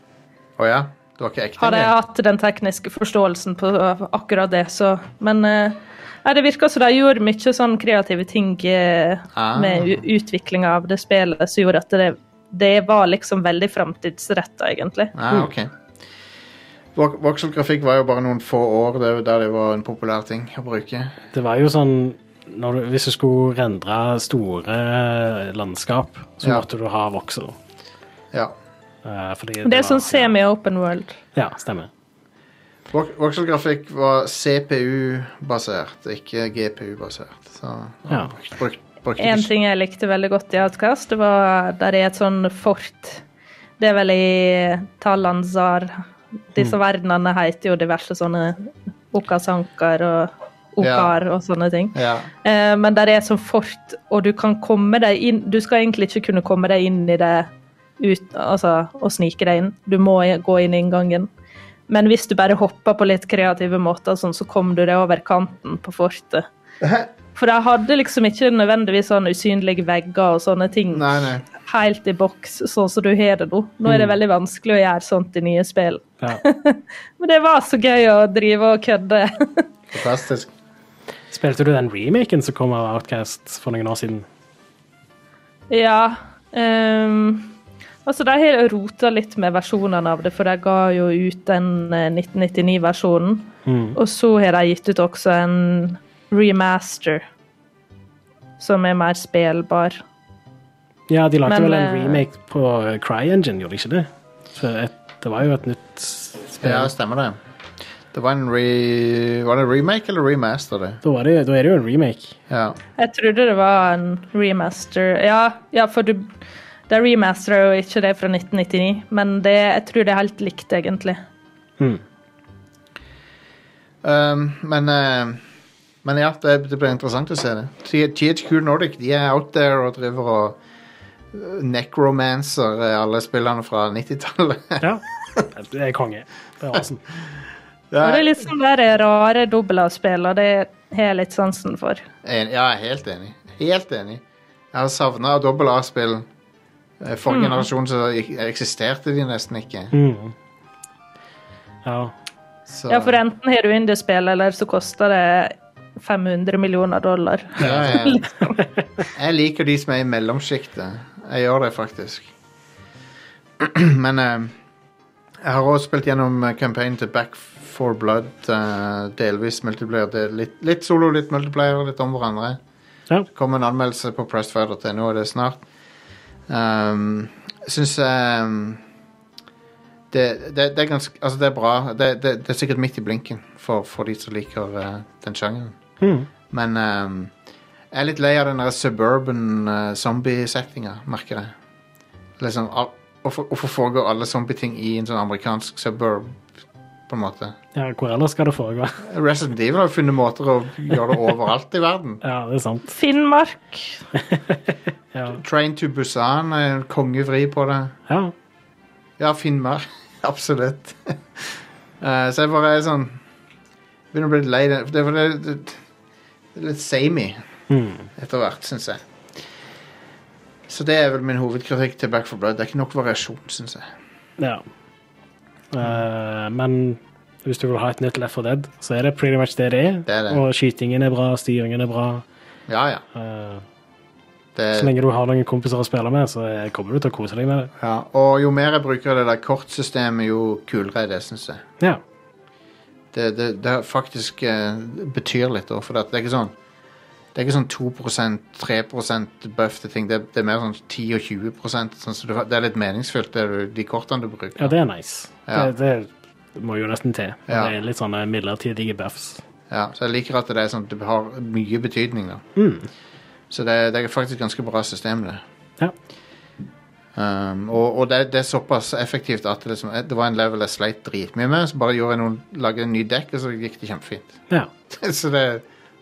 [SPEAKER 1] Å ja? Det var ikke ekte?
[SPEAKER 3] Hadde jeg
[SPEAKER 1] engang?
[SPEAKER 3] hatt den tekniske forståelsen på akkurat det, så Men eh, nei, det virka som de gjorde mye sånn kreative ting eh,
[SPEAKER 1] Ah.
[SPEAKER 3] med utviklinga av det spillet som gjorde at det, det var liksom veldig framtidsretta, egentlig.
[SPEAKER 1] Ah, ok. Vo- Voxelgrafikk var jo bare noen få år det, der det var en populær ting å bruke.
[SPEAKER 2] Det var jo sånn når du, Hvis du skulle rendre store landskap, så
[SPEAKER 1] Ja.
[SPEAKER 2] måtte du ha voksel.
[SPEAKER 1] Ja.
[SPEAKER 2] Eh, fordi
[SPEAKER 3] Det er
[SPEAKER 2] var-
[SPEAKER 3] sånn semi-open world.
[SPEAKER 2] Ja, stemmer.
[SPEAKER 1] Vok- Voxelgrafikk var CPU-basert, ikke GPU-basert. Så
[SPEAKER 2] Ja.
[SPEAKER 1] brukt, brukt, brukte
[SPEAKER 3] En
[SPEAKER 1] ikke-
[SPEAKER 3] ting jeg likte veldig godt i Outcast, det var der er et sånn fort Det er vel i Talanzar Disse verdenene heter jo diverse sånne Okasankar og Okar og sånne ting.
[SPEAKER 1] Ja.
[SPEAKER 3] Eh, men der er et sånt fort, og du kan komme deg inn Du skal egentlig ikke kunne komme deg inn i det ut, altså, og snike deg inn. Du må i- gå inn i inngangen. Men hvis du bare hopper på litt kreative måter, sånn, så kom du deg over kanten på fortet. For de hadde liksom ikke nødvendigvis sånn usynlige vegger og sånne ting
[SPEAKER 1] Nei, nei.
[SPEAKER 3] helt i boks, sånn som du har det nå. Nå er det veldig vanskelig å gjøre sånt i nye spill.
[SPEAKER 2] Ja.
[SPEAKER 3] Men det var så gøy å drive og kødde.
[SPEAKER 1] Fantastisk.
[SPEAKER 2] Spilte du den remaken som kom av Outcast for noen år siden?
[SPEAKER 3] ja. ehm, altså, de har rota litt med versjonene av det, for de ga jo ut den eh, 1999-versjonen. Og så har de gitt ut også en remaster, som er mer spillbar.
[SPEAKER 2] Ja, de lagde
[SPEAKER 3] Men,
[SPEAKER 2] vel en
[SPEAKER 3] eh,
[SPEAKER 2] remake på CryEngine, gjorde de ikke det? Så et, det var jo et nytt spill.
[SPEAKER 1] Ja, stemmer det. Det var en re... Var det remake eller remaster, det?
[SPEAKER 2] Da, var det, da er det jo en remake.
[SPEAKER 1] Ja.
[SPEAKER 3] Jeg trodde det var en remaster. Ja, ja for du, det er remaster og ikke det fra 1999, men det, jeg tror det er helt likt, egentlig.
[SPEAKER 1] Um, men, eh, men ja, det, det blir interessant å se det. T- THQ Nordic de er out there og driver og eh, necromancer eh, alle spillerne fra 90-tallet.
[SPEAKER 2] Ja. Det er konge. Det er awesome.
[SPEAKER 1] Det
[SPEAKER 3] Og det
[SPEAKER 1] er-
[SPEAKER 3] er litt sånn der rare dobbeltavspill, og det har jeg litt sansen for.
[SPEAKER 1] en- Ja, jeg er helt enig. Helt enig. Jeg har savna dobbel A-spill. Eh, Forrige
[SPEAKER 3] Mm.
[SPEAKER 1] generasjon så ik- eksisterte de nesten ikke.
[SPEAKER 2] Mm. Ja.
[SPEAKER 1] Så,
[SPEAKER 3] Ja, for enten har du indiespill, eller så koster det 500 millioner dollar.
[SPEAKER 1] ja, ja. Jeg liker de som er i mellomsjiktet. Jeg gjør det faktisk. Men eh, jeg har også spilt gjennom eh, campaignen til Back 4 Blood. eh, delvis multiplayer. Det er litt, litt solo, litt multiplayer, litt om hverandre.
[SPEAKER 2] Ja.
[SPEAKER 1] Det kom en anmeldelse på pressfire.no, og det er snart. Um, jeg syns um, det, det, det er ganske Altså, det er bra. Det, det, det er sikkert midt i blinken for, for de som liker eh, den sjangeren.
[SPEAKER 2] Mhm.
[SPEAKER 1] Men um, jeg er litt lei av den der suburban eh, zombie-settinga, merker jeg. Liksom, al- Hvorfor hvorfor foregår alle zombie-ting i en sånn amerikansk suburb, på en måte?
[SPEAKER 2] ja, hvor ellers skal det foregå?
[SPEAKER 1] Resident Evil har jo funnet måter å gjøre det overalt i verden.
[SPEAKER 2] Ja, det er sant.
[SPEAKER 3] Finnmark.
[SPEAKER 2] Ja.
[SPEAKER 1] Train to Busan er en kongevri på det.
[SPEAKER 2] ja.
[SPEAKER 1] Ja, Finnmark. Absolutt. Eh, så jeg bare er sånn Begynner å bli litt lei det. Det er det, det, det er litt samey etter hvert, syns jeg. Så det er vel min hovedkritikk til Back for Blood. Det er ikke nok variasjon, syns jeg.
[SPEAKER 2] ja. Eh, men hvis du vil ha et nytt Left 4 Dead, så er det pretty much det det er.
[SPEAKER 1] Det er det.
[SPEAKER 2] Og skytingen er bra, styringen er bra.
[SPEAKER 1] Ja, ja.
[SPEAKER 2] Eh,
[SPEAKER 1] Det,
[SPEAKER 2] så lenge du har noen kompiser å spille med, så eh, kommer du til å kose deg med det.
[SPEAKER 1] ja. Og jo mer jeg bruker det der kortsystemet, jo kulere er det, syns jeg.
[SPEAKER 2] Ja.
[SPEAKER 1] det, det, det er faktisk eh, betyr litt, da, for det at det er ikke sånn det er ikke sånn 2 3 buff til ting. Det, er- det er mer sånn 10 og 20 sånn, så det, det er litt meningsfylt, det du, de kortene du bruker.
[SPEAKER 2] Ja, det er nice.
[SPEAKER 1] Ja.
[SPEAKER 2] Det, det må jo nesten til.
[SPEAKER 1] Ja.
[SPEAKER 2] Det er litt sånne midlertidige buffs.
[SPEAKER 1] Ja, så jeg liker at det er sånn at det har mye betydning, da.
[SPEAKER 2] Mm.
[SPEAKER 1] Så det, det er faktisk ganske bra system, det.
[SPEAKER 2] Ja.
[SPEAKER 1] Um, og og det, det er såpass effektivt at det, liksom, det var en level jeg sleit dritmye med, så bare gjorde jeg noen, lagde en ny dekk, og så gikk det kjempefint.
[SPEAKER 2] ja.
[SPEAKER 1] Så det,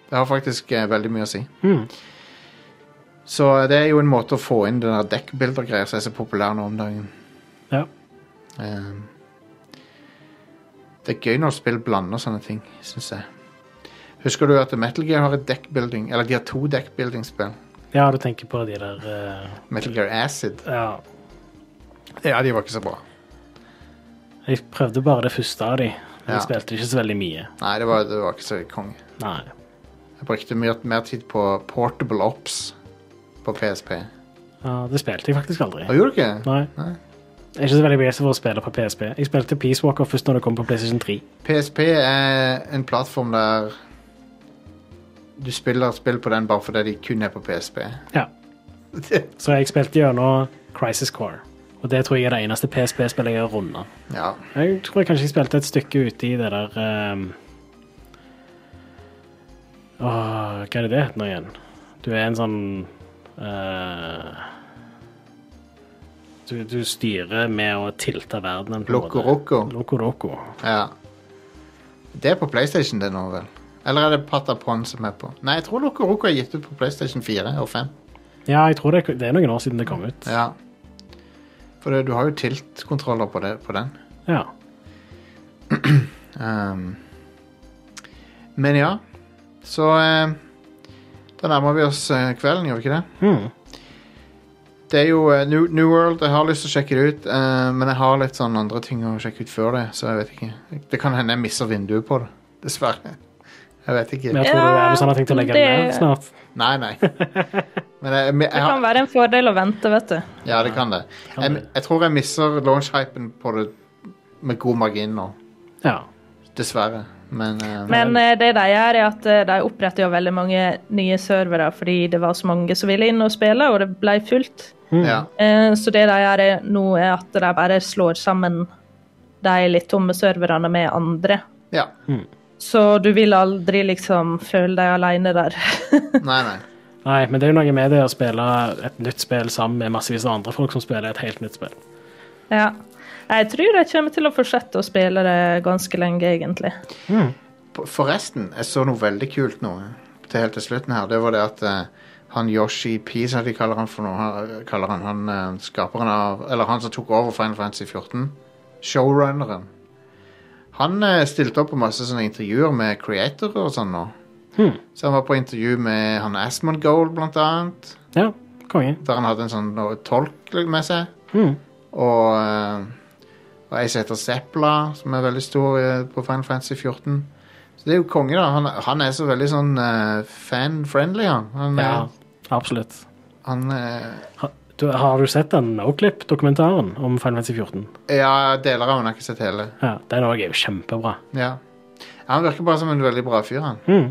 [SPEAKER 1] det har faktisk eh, veldig mye å si.
[SPEAKER 2] Mhm.
[SPEAKER 1] Så det er jo en måte å få inn den der dekkbildergreia som er så populær nå om dagen.
[SPEAKER 2] ja.
[SPEAKER 1] Ehm, det er gøy når spill blander sånne ting, syns jeg. Husker du at Metal Gear har et deckbuilding, eller de har to deckbuilding-spill?
[SPEAKER 2] Ja, du tenker på de der eh,
[SPEAKER 1] Metal Gear Acid.
[SPEAKER 2] Ja.
[SPEAKER 1] Ja, de var ikke så bra.
[SPEAKER 2] Jeg prøvde bare det første av de. Men
[SPEAKER 1] Ja.
[SPEAKER 2] jeg spilte ikke så veldig mye.
[SPEAKER 1] Nei, det var, det var ikke så konge.
[SPEAKER 2] Nei.
[SPEAKER 1] Jeg brukte mye mer tid på Portable Ops på PSP.
[SPEAKER 2] Ja, det spilte jeg faktisk aldri.
[SPEAKER 1] Og gjorde du ikke?
[SPEAKER 2] Nei.
[SPEAKER 1] Nei.
[SPEAKER 2] Jeg er ikke så veldig begeistret for å spille på PSP. Jeg spilte Peace Walker først når det kom på PlayStation 3.
[SPEAKER 1] PSP er en plattform der du spiller spill på den bare fordi de kun er på PSP.
[SPEAKER 2] Ja. Så jeg spilte gjennom Crisis Core. Og det tror jeg er det eneste PSP-spillet jeg har runda.
[SPEAKER 1] Ja.
[SPEAKER 2] Jeg tror jeg kanskje jeg spilte et stykke ute i det der ehm, Åh, hva er det det heter nå igjen? Du er en sånn eh, du, du styrer med å tilte verdenen. på en måte.
[SPEAKER 1] Loco Roco.
[SPEAKER 2] Loco Roco.
[SPEAKER 1] Ja. Det er på PlayStation, det nå, vel? Eller er det Patapon som er på? Nei, jeg tror Loco Roco er gitt ut på PlayStation 4 og 5.
[SPEAKER 2] Ja, jeg tror det, det er noen år siden det kom ut.
[SPEAKER 1] Ja. For det, du har jo tilt-kontroller på, det- på den.
[SPEAKER 2] Ja.
[SPEAKER 1] Ehm, men ja. Så eh, da nærmer vi oss eh, kvelden, gjør vi ikke det?
[SPEAKER 2] Hmm.
[SPEAKER 1] Det er jo eh, New, New World. Jeg har lyst til å sjekke det ut, eh, men jeg har litt sånn andre ting å sjekke ut før det, så jeg vet ikke. Det kan hende jeg misser vinduet på det. Dessverre. Jeg vet ikke.
[SPEAKER 2] Men jeg tror det er sånn at jeg tenkte å legge den ned
[SPEAKER 3] det-
[SPEAKER 2] snart.
[SPEAKER 1] Nei, nei. Men jeg, jeg,
[SPEAKER 3] Det kan
[SPEAKER 1] har-
[SPEAKER 3] være en fordel å vente, vet du.
[SPEAKER 1] Ja, det kan det.
[SPEAKER 2] Kan
[SPEAKER 1] Jeg,
[SPEAKER 2] det.
[SPEAKER 1] jeg tror jeg misser launch-hypen på det med god margin nå.
[SPEAKER 2] Ja.
[SPEAKER 1] Dessverre. Men, eh,
[SPEAKER 3] Men eh, det de gjør, er at eh, de oppretter jo veldig mange nye servere fordi det var så mange som ville inn og spille, og det ble fullt.
[SPEAKER 1] ja.
[SPEAKER 3] Eh, Så det de gjør er- nå, er at de bare slår sammen de litt tomme serverne med andre.
[SPEAKER 1] ja.
[SPEAKER 2] Mm.
[SPEAKER 3] Så du vil aldri liksom føle deg alene der.
[SPEAKER 1] Nei, nei.
[SPEAKER 2] Nei, men det er jo noe med det å spille et nytt spill sammen med massevis av andre folk som spiller et helt nytt spill.
[SPEAKER 3] ja. Jeg tror jeg kommer til å fortsette å spille det ganske lenge, egentlig.
[SPEAKER 1] På- Forresten, jeg så noe veldig kult nå til helt til slutten her. Det var det at eh, han Yoshi P, som de kaller han for noe, han, kaller han, han eh, skaperen av Eller han som tok over Final Fantasy 14. Showrunneren. Han eh, stilte opp på masse sånne intervjuer med creatorer og sånn nå. Så han var på intervju med han Asmund Gold, blant annet.
[SPEAKER 2] Ja, konge.
[SPEAKER 1] Der han hadde en sånn noe tolk med seg.
[SPEAKER 2] Mhm.
[SPEAKER 1] Og, eh, og ei som heter Zepla, som er veldig stor eh, på Final Fantasy 14. Så det er jo konge, da. Han, han er så veldig sånn eh, fan-friendly, han. Han,
[SPEAKER 2] Ja,
[SPEAKER 1] er-
[SPEAKER 2] absolutt.
[SPEAKER 1] han eh,
[SPEAKER 2] Ha, du, har du sett den Noclip-dokumentaren om Final Fantasy 14?
[SPEAKER 1] Ja, deler av den har jeg ikke sett hele.
[SPEAKER 2] Ja, den òg er jo kjempebra.
[SPEAKER 1] Ja. Han virker bare som en veldig bra fyr, han.
[SPEAKER 2] Mhm.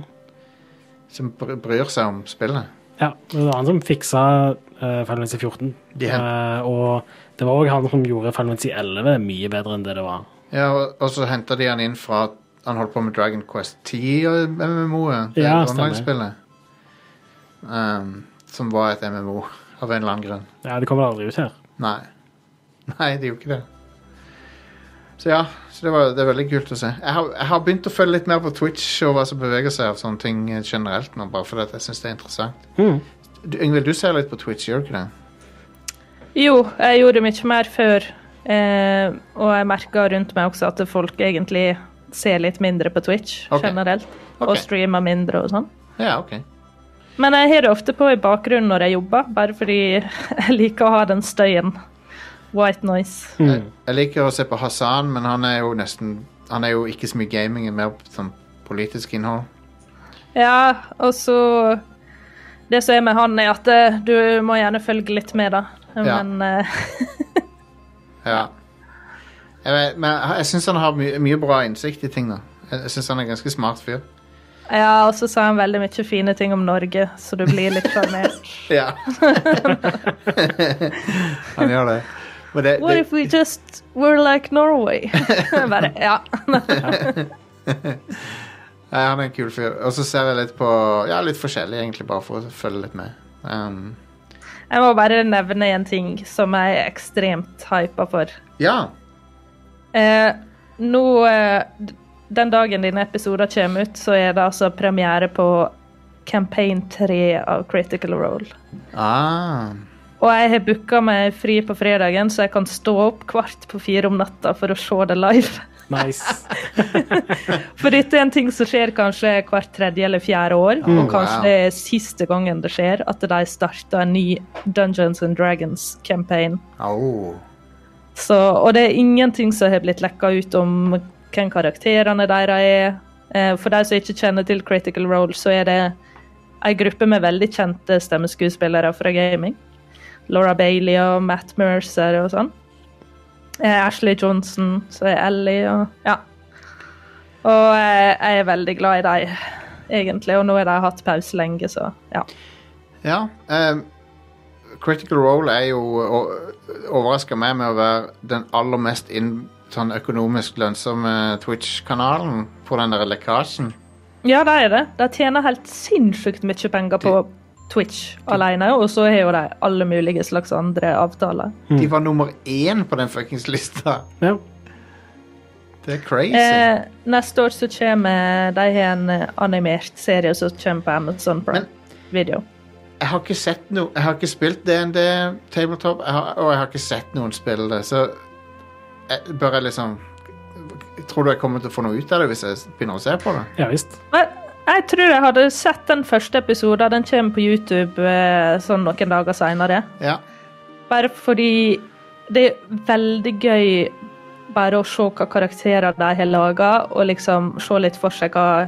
[SPEAKER 1] Som br- bryr seg om spillet.
[SPEAKER 2] Ja, det var han som fiksa eh, Final Fantasy 14.
[SPEAKER 1] De hen-
[SPEAKER 2] Eh, og det var òg han som gjorde Final Fantasy 11 mye bedre enn det det var.
[SPEAKER 1] Ja, og, og så henta de han inn fra at Han holdt på med Dragon Quest 10 og MMO-et. eh, Det
[SPEAKER 2] Ja, stemmer.
[SPEAKER 1] online-spillet. Um, som var et MMO, av en eller annen grunn.
[SPEAKER 2] Ja, Det kommer aldri ut her.
[SPEAKER 1] Nei. Nei, det gjorde ikke det. Så ja, så det, var, det er veldig kult å se. Jeg har, jeg har begynt å følge litt mer på Twitch og hva som beveger seg av sånne ting eh, generelt nå, bare fordi at jeg syns det er interessant.
[SPEAKER 2] Mhm.
[SPEAKER 1] Du, Yngvild, du ser litt på Twitch, gjør du ikke det?
[SPEAKER 3] Jo, jeg gjorde mye mer før, eh, og jeg merker rundt meg også at folk egentlig ser litt mindre på Twitch
[SPEAKER 1] Ok.
[SPEAKER 3] generelt,
[SPEAKER 1] Ok.
[SPEAKER 3] og streamer mindre og sånn.
[SPEAKER 1] Ja, ok.
[SPEAKER 3] Men jeg har det ofte på i bakgrunnen når jeg jobber, bare fordi jeg liker å ha den støyen. White noise.
[SPEAKER 1] Jeg, jeg liker å se på Hassan, men han er jo nesten Han er jo ikke så mye gaming, men mer sånn politisk innhold.
[SPEAKER 3] Ja, og så Det som er med han, er at eh, du må gjerne følge litt med, da.
[SPEAKER 1] Ja.
[SPEAKER 3] Men eh,
[SPEAKER 1] Ja. Jeg vet, men jeg syns han har my mye bra innsikt i ting, da. Jeg, jeg syns han er en ganske smart fyr.
[SPEAKER 3] ja, og så sa han veldig mye fine ting om Norge, så du blir litt sjarmert.
[SPEAKER 1] Ja. han gjør det. Men det,
[SPEAKER 3] What if
[SPEAKER 1] det
[SPEAKER 3] we just were like Norway? bare, ja.
[SPEAKER 1] nei, han er en kul fyr. Og så ser jeg litt på Ja, litt forskjellig, egentlig, bare for å følge litt med. Um,
[SPEAKER 3] Jeg må bare nevne en ting som jeg er ekstremt hypa for.
[SPEAKER 1] ja.
[SPEAKER 3] Eh, nå eh, d- Den dagen dine episoder kommer ut, så er det altså premiere på Campaign 3 av Critical Role.
[SPEAKER 1] Ah.
[SPEAKER 3] Og jeg har booka meg fri på fredagen, så jeg kan stå opp kvart på fire om natta for å se det live.
[SPEAKER 2] Nice.
[SPEAKER 3] For dette er en ting som skjer kanskje hvert tredje eller fjerde år.
[SPEAKER 1] Oh,
[SPEAKER 3] og kanskje
[SPEAKER 1] wow.
[SPEAKER 3] det er siste gangen det skjer at de starter en ny Dungeons and Dragons-campaign.
[SPEAKER 1] Au.
[SPEAKER 3] Så, og det er ingenting som har blitt lekka ut om hvem karakterene deres er. Eh, For de som ikke kjenner til Critical Role, så er det ei gruppe med veldig kjente stemmeskuespillere fra gaming. Laura Bailey og Matt Mercer og sånn. Eh, Ashley Johnson, så er Ellie og Ja. Og eh, jeg er veldig glad i dem, egentlig. Og nå har de hatt pause lenge, så ja.
[SPEAKER 1] Ja. ehm, Critical Role er jo overraska meg med å være den aller mest inn, sånn økonomisk lønnsomme Twitch-kanalen på den der lekkasjen.
[SPEAKER 3] Ja, de er det. De tjener helt sinnssykt mye penger på Twitch alene, og så har jo de alle mulige slags andre avtaler.
[SPEAKER 1] De var nummer én på den fuckings lista.
[SPEAKER 2] ja.
[SPEAKER 1] Det er crazy.
[SPEAKER 3] Eh, neste år så kommer de har en eh, animert serie som kommer på Amazon Prime Video.
[SPEAKER 1] jeg har ikke sett noe Jeg har ikke spilt DND Tabletop, jeg har, og jeg har ikke sett noen spille det, så jeg, bør jeg liksom Tror du jeg kommer til å få noe ut av det hvis jeg begynner å se på det?
[SPEAKER 2] ja visst.
[SPEAKER 3] Men jeg tror jeg hadde sett den første episoden. Den kommer på YouTube eh, sånn noen dager seinere.
[SPEAKER 1] Ja.
[SPEAKER 3] Bare fordi det er veldig gøy bare å se hva karakterer de har laga, og liksom se litt for seg hva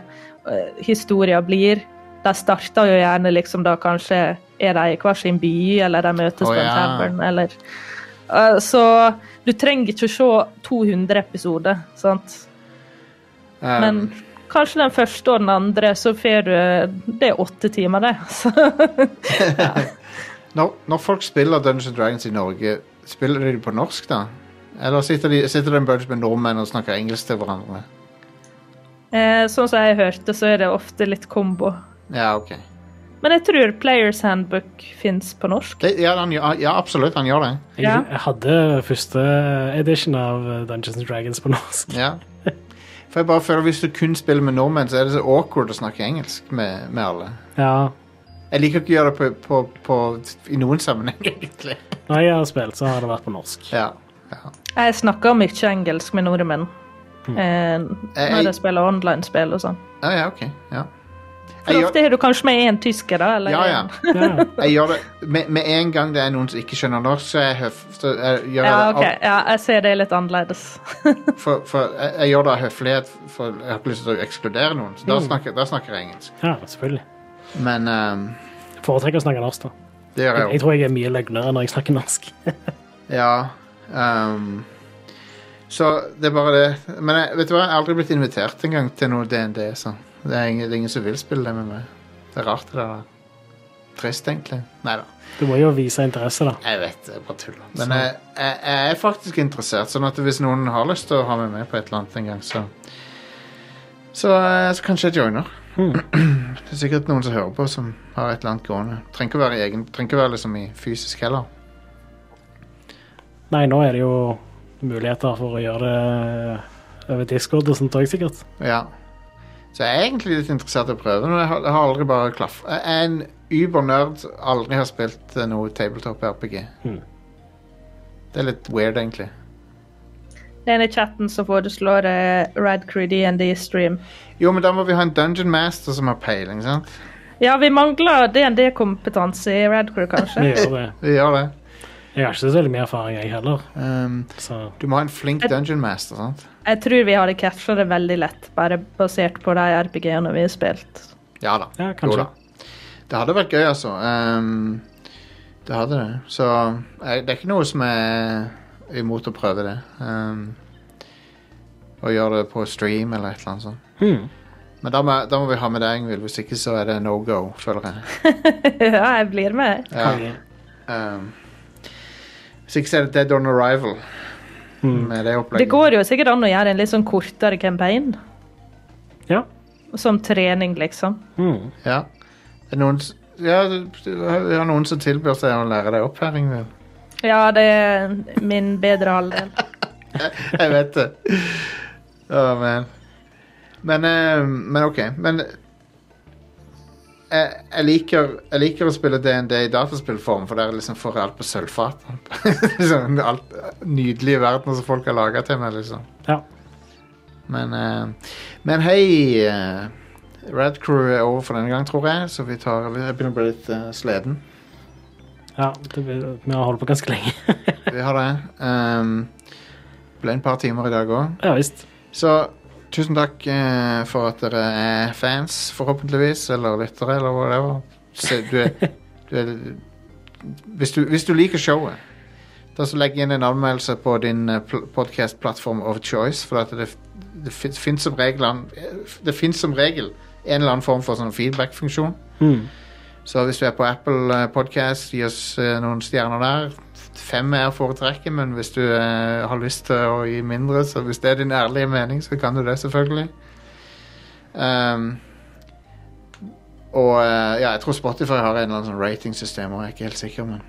[SPEAKER 3] eh, historien blir. De starter jo gjerne liksom da kanskje er de i hver sin by, eller de møtes
[SPEAKER 1] Å,
[SPEAKER 3] på en
[SPEAKER 1] ja.
[SPEAKER 3] tavern, eller Eh, Så du trenger ikke se 200 episoder, sant?
[SPEAKER 1] Eh,
[SPEAKER 3] Men kanskje den første og den andre, så får du eh, Det er åtte timer, det. Så,
[SPEAKER 1] når, når folk spiller Dungeons and Dragons i Norge, spiller de det på norsk, da? Eller sitter, de, sitter det en bunch med nordmenn og snakker engelsk til hverandre?
[SPEAKER 3] eh, sånn som jeg hørte, så er det ofte litt kombo.
[SPEAKER 1] Ja, ok.
[SPEAKER 3] Men jeg tror Players Handbook fins på norsk.
[SPEAKER 1] Det, ja, han, gjør- ja, absolutt, han gjør det.
[SPEAKER 2] Jeg,
[SPEAKER 3] Ja.
[SPEAKER 2] jeg hadde første edition av Dungeons and Dragons på norsk.
[SPEAKER 1] Ja. For jeg bare føler Hvis du kun spiller med nordmenn, så er det så awkward å snakke engelsk med, med alle.
[SPEAKER 2] Ja.
[SPEAKER 1] Jeg liker ikke å gjøre det på, på, på, i noen sammenheng, egentlig.
[SPEAKER 2] Når jeg har spilt, så har det vært på norsk.
[SPEAKER 1] Ja. ja.
[SPEAKER 3] Jeg snakker mye engelsk med nordmenn eh,
[SPEAKER 1] Mm. Jeg-
[SPEAKER 3] når jeg spiller online-spill og sånn.
[SPEAKER 1] Ja, ja, ok. Ja. Jeg
[SPEAKER 3] For
[SPEAKER 1] gjør,
[SPEAKER 3] ofte har du kanskje med én tysker, da. Eller
[SPEAKER 1] ja, ja.
[SPEAKER 3] en-
[SPEAKER 2] Ja.
[SPEAKER 1] Jeg gjør det med, med en gang det er noen som ikke skjønner norsk, så jeg, høf, så jeg gjør det
[SPEAKER 3] Ja,
[SPEAKER 1] av-
[SPEAKER 3] ok. ja, jeg ser det er litt annerledes.
[SPEAKER 1] for, for, jeg, jeg gjør det av høflighet, for jeg har ikke lyst til å ekskludere noen. Så da snakker, da snakker jeg engelsk.
[SPEAKER 2] ja, selvfølgelig.
[SPEAKER 1] Mm. Men ehm,
[SPEAKER 2] Foretrekker å snakke norsk, da.
[SPEAKER 1] det gjør jeg
[SPEAKER 2] Jeg
[SPEAKER 1] jo.
[SPEAKER 2] tror jeg er mye løgnere når jeg snakker norsk.
[SPEAKER 1] Ja. ehm, så det er bare det. Men jeg, vet du hva, jeg har aldri blitt invitert engang til noe DND, så det er, ingen, det er ingen som vil spille det med meg. Det er rart det der. Trist, egentlig. Nei da.
[SPEAKER 2] Du må jo vise interesse, da.
[SPEAKER 1] Jeg vet, jeg bare tuller. Men jeg, jeg, jeg er faktisk interessert, sånn at hvis noen har lyst til å ha meg med på et eller annet en gang, så Så, eh, så kanskje jeg joiner. Det er sikkert noen som hører på, som har et eller annet gående. Trenger ikke være, i egen, trenger ikke være liksom i fysisk heller.
[SPEAKER 2] Nei, nå er det jo muligheter for å gjøre det over Discord og sånt òg, sikkert.
[SPEAKER 1] Ja. Så jeg er egentlig litt interessert i å prøve, men jeg har, jeg har aldri bare klaff. Jeg er en übernerd som aldri har spilt eh, noe tabletop-RPG.
[SPEAKER 2] Mhm.
[SPEAKER 1] Det er litt weird, egentlig.
[SPEAKER 3] Det er en i chatten som foreslår eh, Rad Crew D&D-stream.
[SPEAKER 1] Jo, men da må vi ha en Dungeon Master som har peiling, sant?
[SPEAKER 3] Ja, vi mangler D&D-kompetanse i Rad Crew,
[SPEAKER 2] Vi
[SPEAKER 3] kanskje.
[SPEAKER 2] gjør det.
[SPEAKER 1] Vi gjør det.
[SPEAKER 2] Jeg har ikke så veldig mye erfaring, jeg heller.
[SPEAKER 1] Um,
[SPEAKER 2] Så
[SPEAKER 1] Du må ha en flink
[SPEAKER 3] Et-
[SPEAKER 1] dungeon master, sant?
[SPEAKER 3] Jeg tror vi hadde catcha det veldig lett, bare basert på de RPG-ene vi har spilt.
[SPEAKER 1] Ja da.
[SPEAKER 2] Ja, kanskje.
[SPEAKER 1] Jo da. Det hadde vært gøy, altså. Um, det hadde det. Så jeg, det er ikke noe som er imot å prøve det. Um, å gjøre det på stream eller et eller annet sånt.
[SPEAKER 2] hmm.
[SPEAKER 1] Men da må, da må vi ha med deg, Ingvild. Hvis ikke så er det no go, føler jeg.
[SPEAKER 3] ja, jeg blir med.
[SPEAKER 1] Ja,
[SPEAKER 2] konge.
[SPEAKER 1] um, hvis ikke så er det dead on arrival.
[SPEAKER 2] Hmm.
[SPEAKER 1] Med det
[SPEAKER 3] Det
[SPEAKER 1] opplegget.
[SPEAKER 3] går jo sikkert an å gjøre en litt sånn kortere campaign.
[SPEAKER 2] Ja.
[SPEAKER 3] Som trening, liksom.
[SPEAKER 2] Hmm.
[SPEAKER 1] Ja. Det er noen, s- ja, det- vi har noen som tilbyr seg å lære deg opp her, Ingvild.
[SPEAKER 3] Ja, det er min bedre halvdel.
[SPEAKER 1] Jeg vet det. Å, men men, eh, men OK. Men jeg, jeg, liker, jeg liker å spille DND i dataspillform, for der liksom får jeg alt på sølvfat. liksom, alt nydelige verdener som folk har laga til meg, liksom.
[SPEAKER 2] Ja.
[SPEAKER 1] Men, eh, men hei eh, Red Crew er over for denne gang, tror jeg, så vi tar Jeg begynner å bli litt eh, sleden.
[SPEAKER 2] ja det, vi har holdt på ganske lenge.
[SPEAKER 1] Vi har det. Um, ble en par timer i dag òg.
[SPEAKER 2] ja visst.
[SPEAKER 1] Så tusen takk eh, for at dere er fans, forhåpentligvis, eller lyttere, eller whatever. Se, du er, du er, hvis, du, hvis du liker showet, da så legg inn en anmeldelse på din podkast-plattform of choice, for at det, det fin- finnes som regel an- Det finnes som regel en eller annen form for sånn feedback-funksjon.
[SPEAKER 2] Hmm.
[SPEAKER 1] Så hvis du er på Apple eh, Podcast, gi oss eh, noen stjerner der. Fem er å foretrekke, men hvis du eh, har lyst til å gi mindre, så hvis det er din ærlige mening, så kan du det, selvfølgelig. Ehm, og eh, ja, jeg tror Spotify har en eller annen sånn ratingsystem, og jeg er ikke helt sikker, men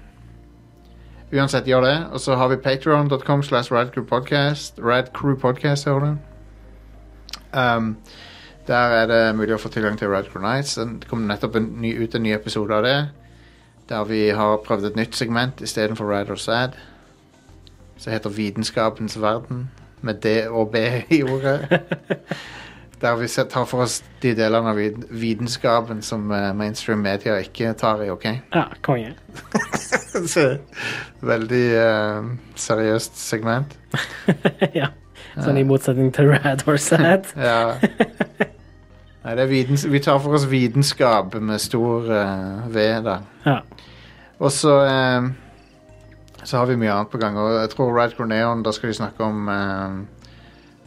[SPEAKER 1] Uansett, gjør det. Og så har vi patreon.com slash radcrewpodcast. Radcrewpodcast, hører du. Ehm, der er det mulig å få tilgang til Radcrew Nights. Det kom nettopp en ny, ut en ny episode av det. Der vi har prøvd et nytt segment istedenfor Rad or Sad. Som heter Vitenskapens verden, med D og B i ordet. Der vi set- tar for oss de delene av vit- vitenskapen som eh, mainstream media ikke tar i, OK?
[SPEAKER 2] Ja, konge.
[SPEAKER 1] Så, Veldig eh, seriøst segment.
[SPEAKER 2] ja. Sånn i motsetning til Rad or Sad.
[SPEAKER 1] Ja. Nei, det er vitens vi tar for oss vitenskap med stor eh, V, da.
[SPEAKER 2] Ja.
[SPEAKER 1] Og så eh, så har vi mye annet på gang. Og jeg tror Rad Corneon, da skal de snakke om eh,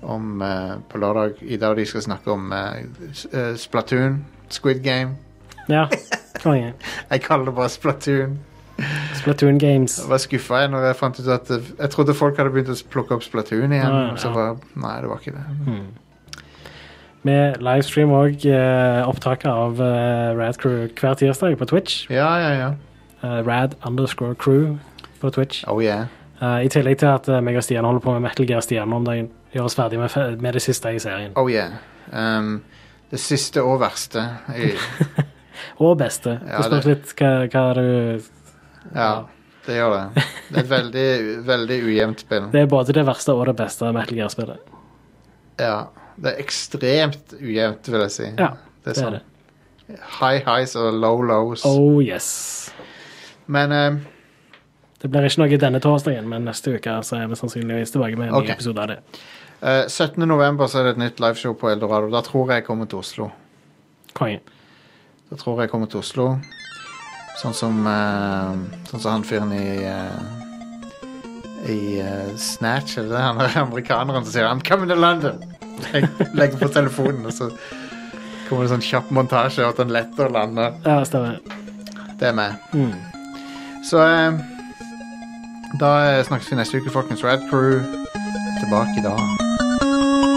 [SPEAKER 1] om eh, på lørdag i dag de skal snakke om eh, s- eh, Splatoon, Squid Game.
[SPEAKER 2] ja. Konge.
[SPEAKER 1] Jeg kaller det bare Splatoon.
[SPEAKER 2] Splatoon Games.
[SPEAKER 1] Jeg var skuffa jeg når jeg fant ut at eh, Jeg trodde folk hadde begynt å plukke opp Splatoon igjen.
[SPEAKER 2] Ja, ja,
[SPEAKER 1] og så
[SPEAKER 2] ja.
[SPEAKER 1] var, nei, det var ikke det.
[SPEAKER 2] Vi livestreamer òg eh, opptaket av eh, Rad Crew hver tirsdag på Twitch.
[SPEAKER 1] Ja, ja, ja.
[SPEAKER 2] Eh, Rad underscore crew på Twitch.
[SPEAKER 1] Oh yeah.
[SPEAKER 2] Eh, I tillegg til at eh, meg og Stian holder på med Metal Gear Stian om dagen. Gjør oss ferdig med, fe- med det siste i serien.
[SPEAKER 1] Oh yeah. Um, det siste og verste. I,
[SPEAKER 2] Og beste.
[SPEAKER 1] Ja,
[SPEAKER 2] det spørs
[SPEAKER 1] det-
[SPEAKER 2] litt hva, hva du
[SPEAKER 1] ja, det gjør det. Det er et veldig, veldig ujevnt spill.
[SPEAKER 2] Det er både det verste og det beste Metal Gear-spillet.
[SPEAKER 1] Ja, det er ekstremt ujevnt, vil jeg si.
[SPEAKER 2] Ja,
[SPEAKER 1] det er
[SPEAKER 2] det er
[SPEAKER 1] sånn
[SPEAKER 2] det.
[SPEAKER 1] high highs og low lows.
[SPEAKER 2] Oh yes.
[SPEAKER 1] Men um,
[SPEAKER 2] Det blir ikke noe denne torsdagen, men neste uke så er vi sannsynligvis tilbake med en
[SPEAKER 1] Ok.
[SPEAKER 2] ny episode av det.
[SPEAKER 1] eh, 17. november så er det et nytt liveshow på Eldorado. Da tror jeg jeg kommer til Oslo.
[SPEAKER 2] Konge.
[SPEAKER 1] Da tror jeg jeg kommer til Oslo. Sånn som, eh, sånn som han fyren i eh, I eh, Snatch, eller det han er amerikaneren som sier 'I'm coming to London'. Jeg legger på telefonen, og så kommer det sånn kjapp montasje av at han letter og lander.
[SPEAKER 2] Ja, stemmer.
[SPEAKER 1] Det er meg.
[SPEAKER 2] Mm.
[SPEAKER 1] Så eh, da eh, snakkes vi neste uke, folkens. Rad Crew er tilbake da.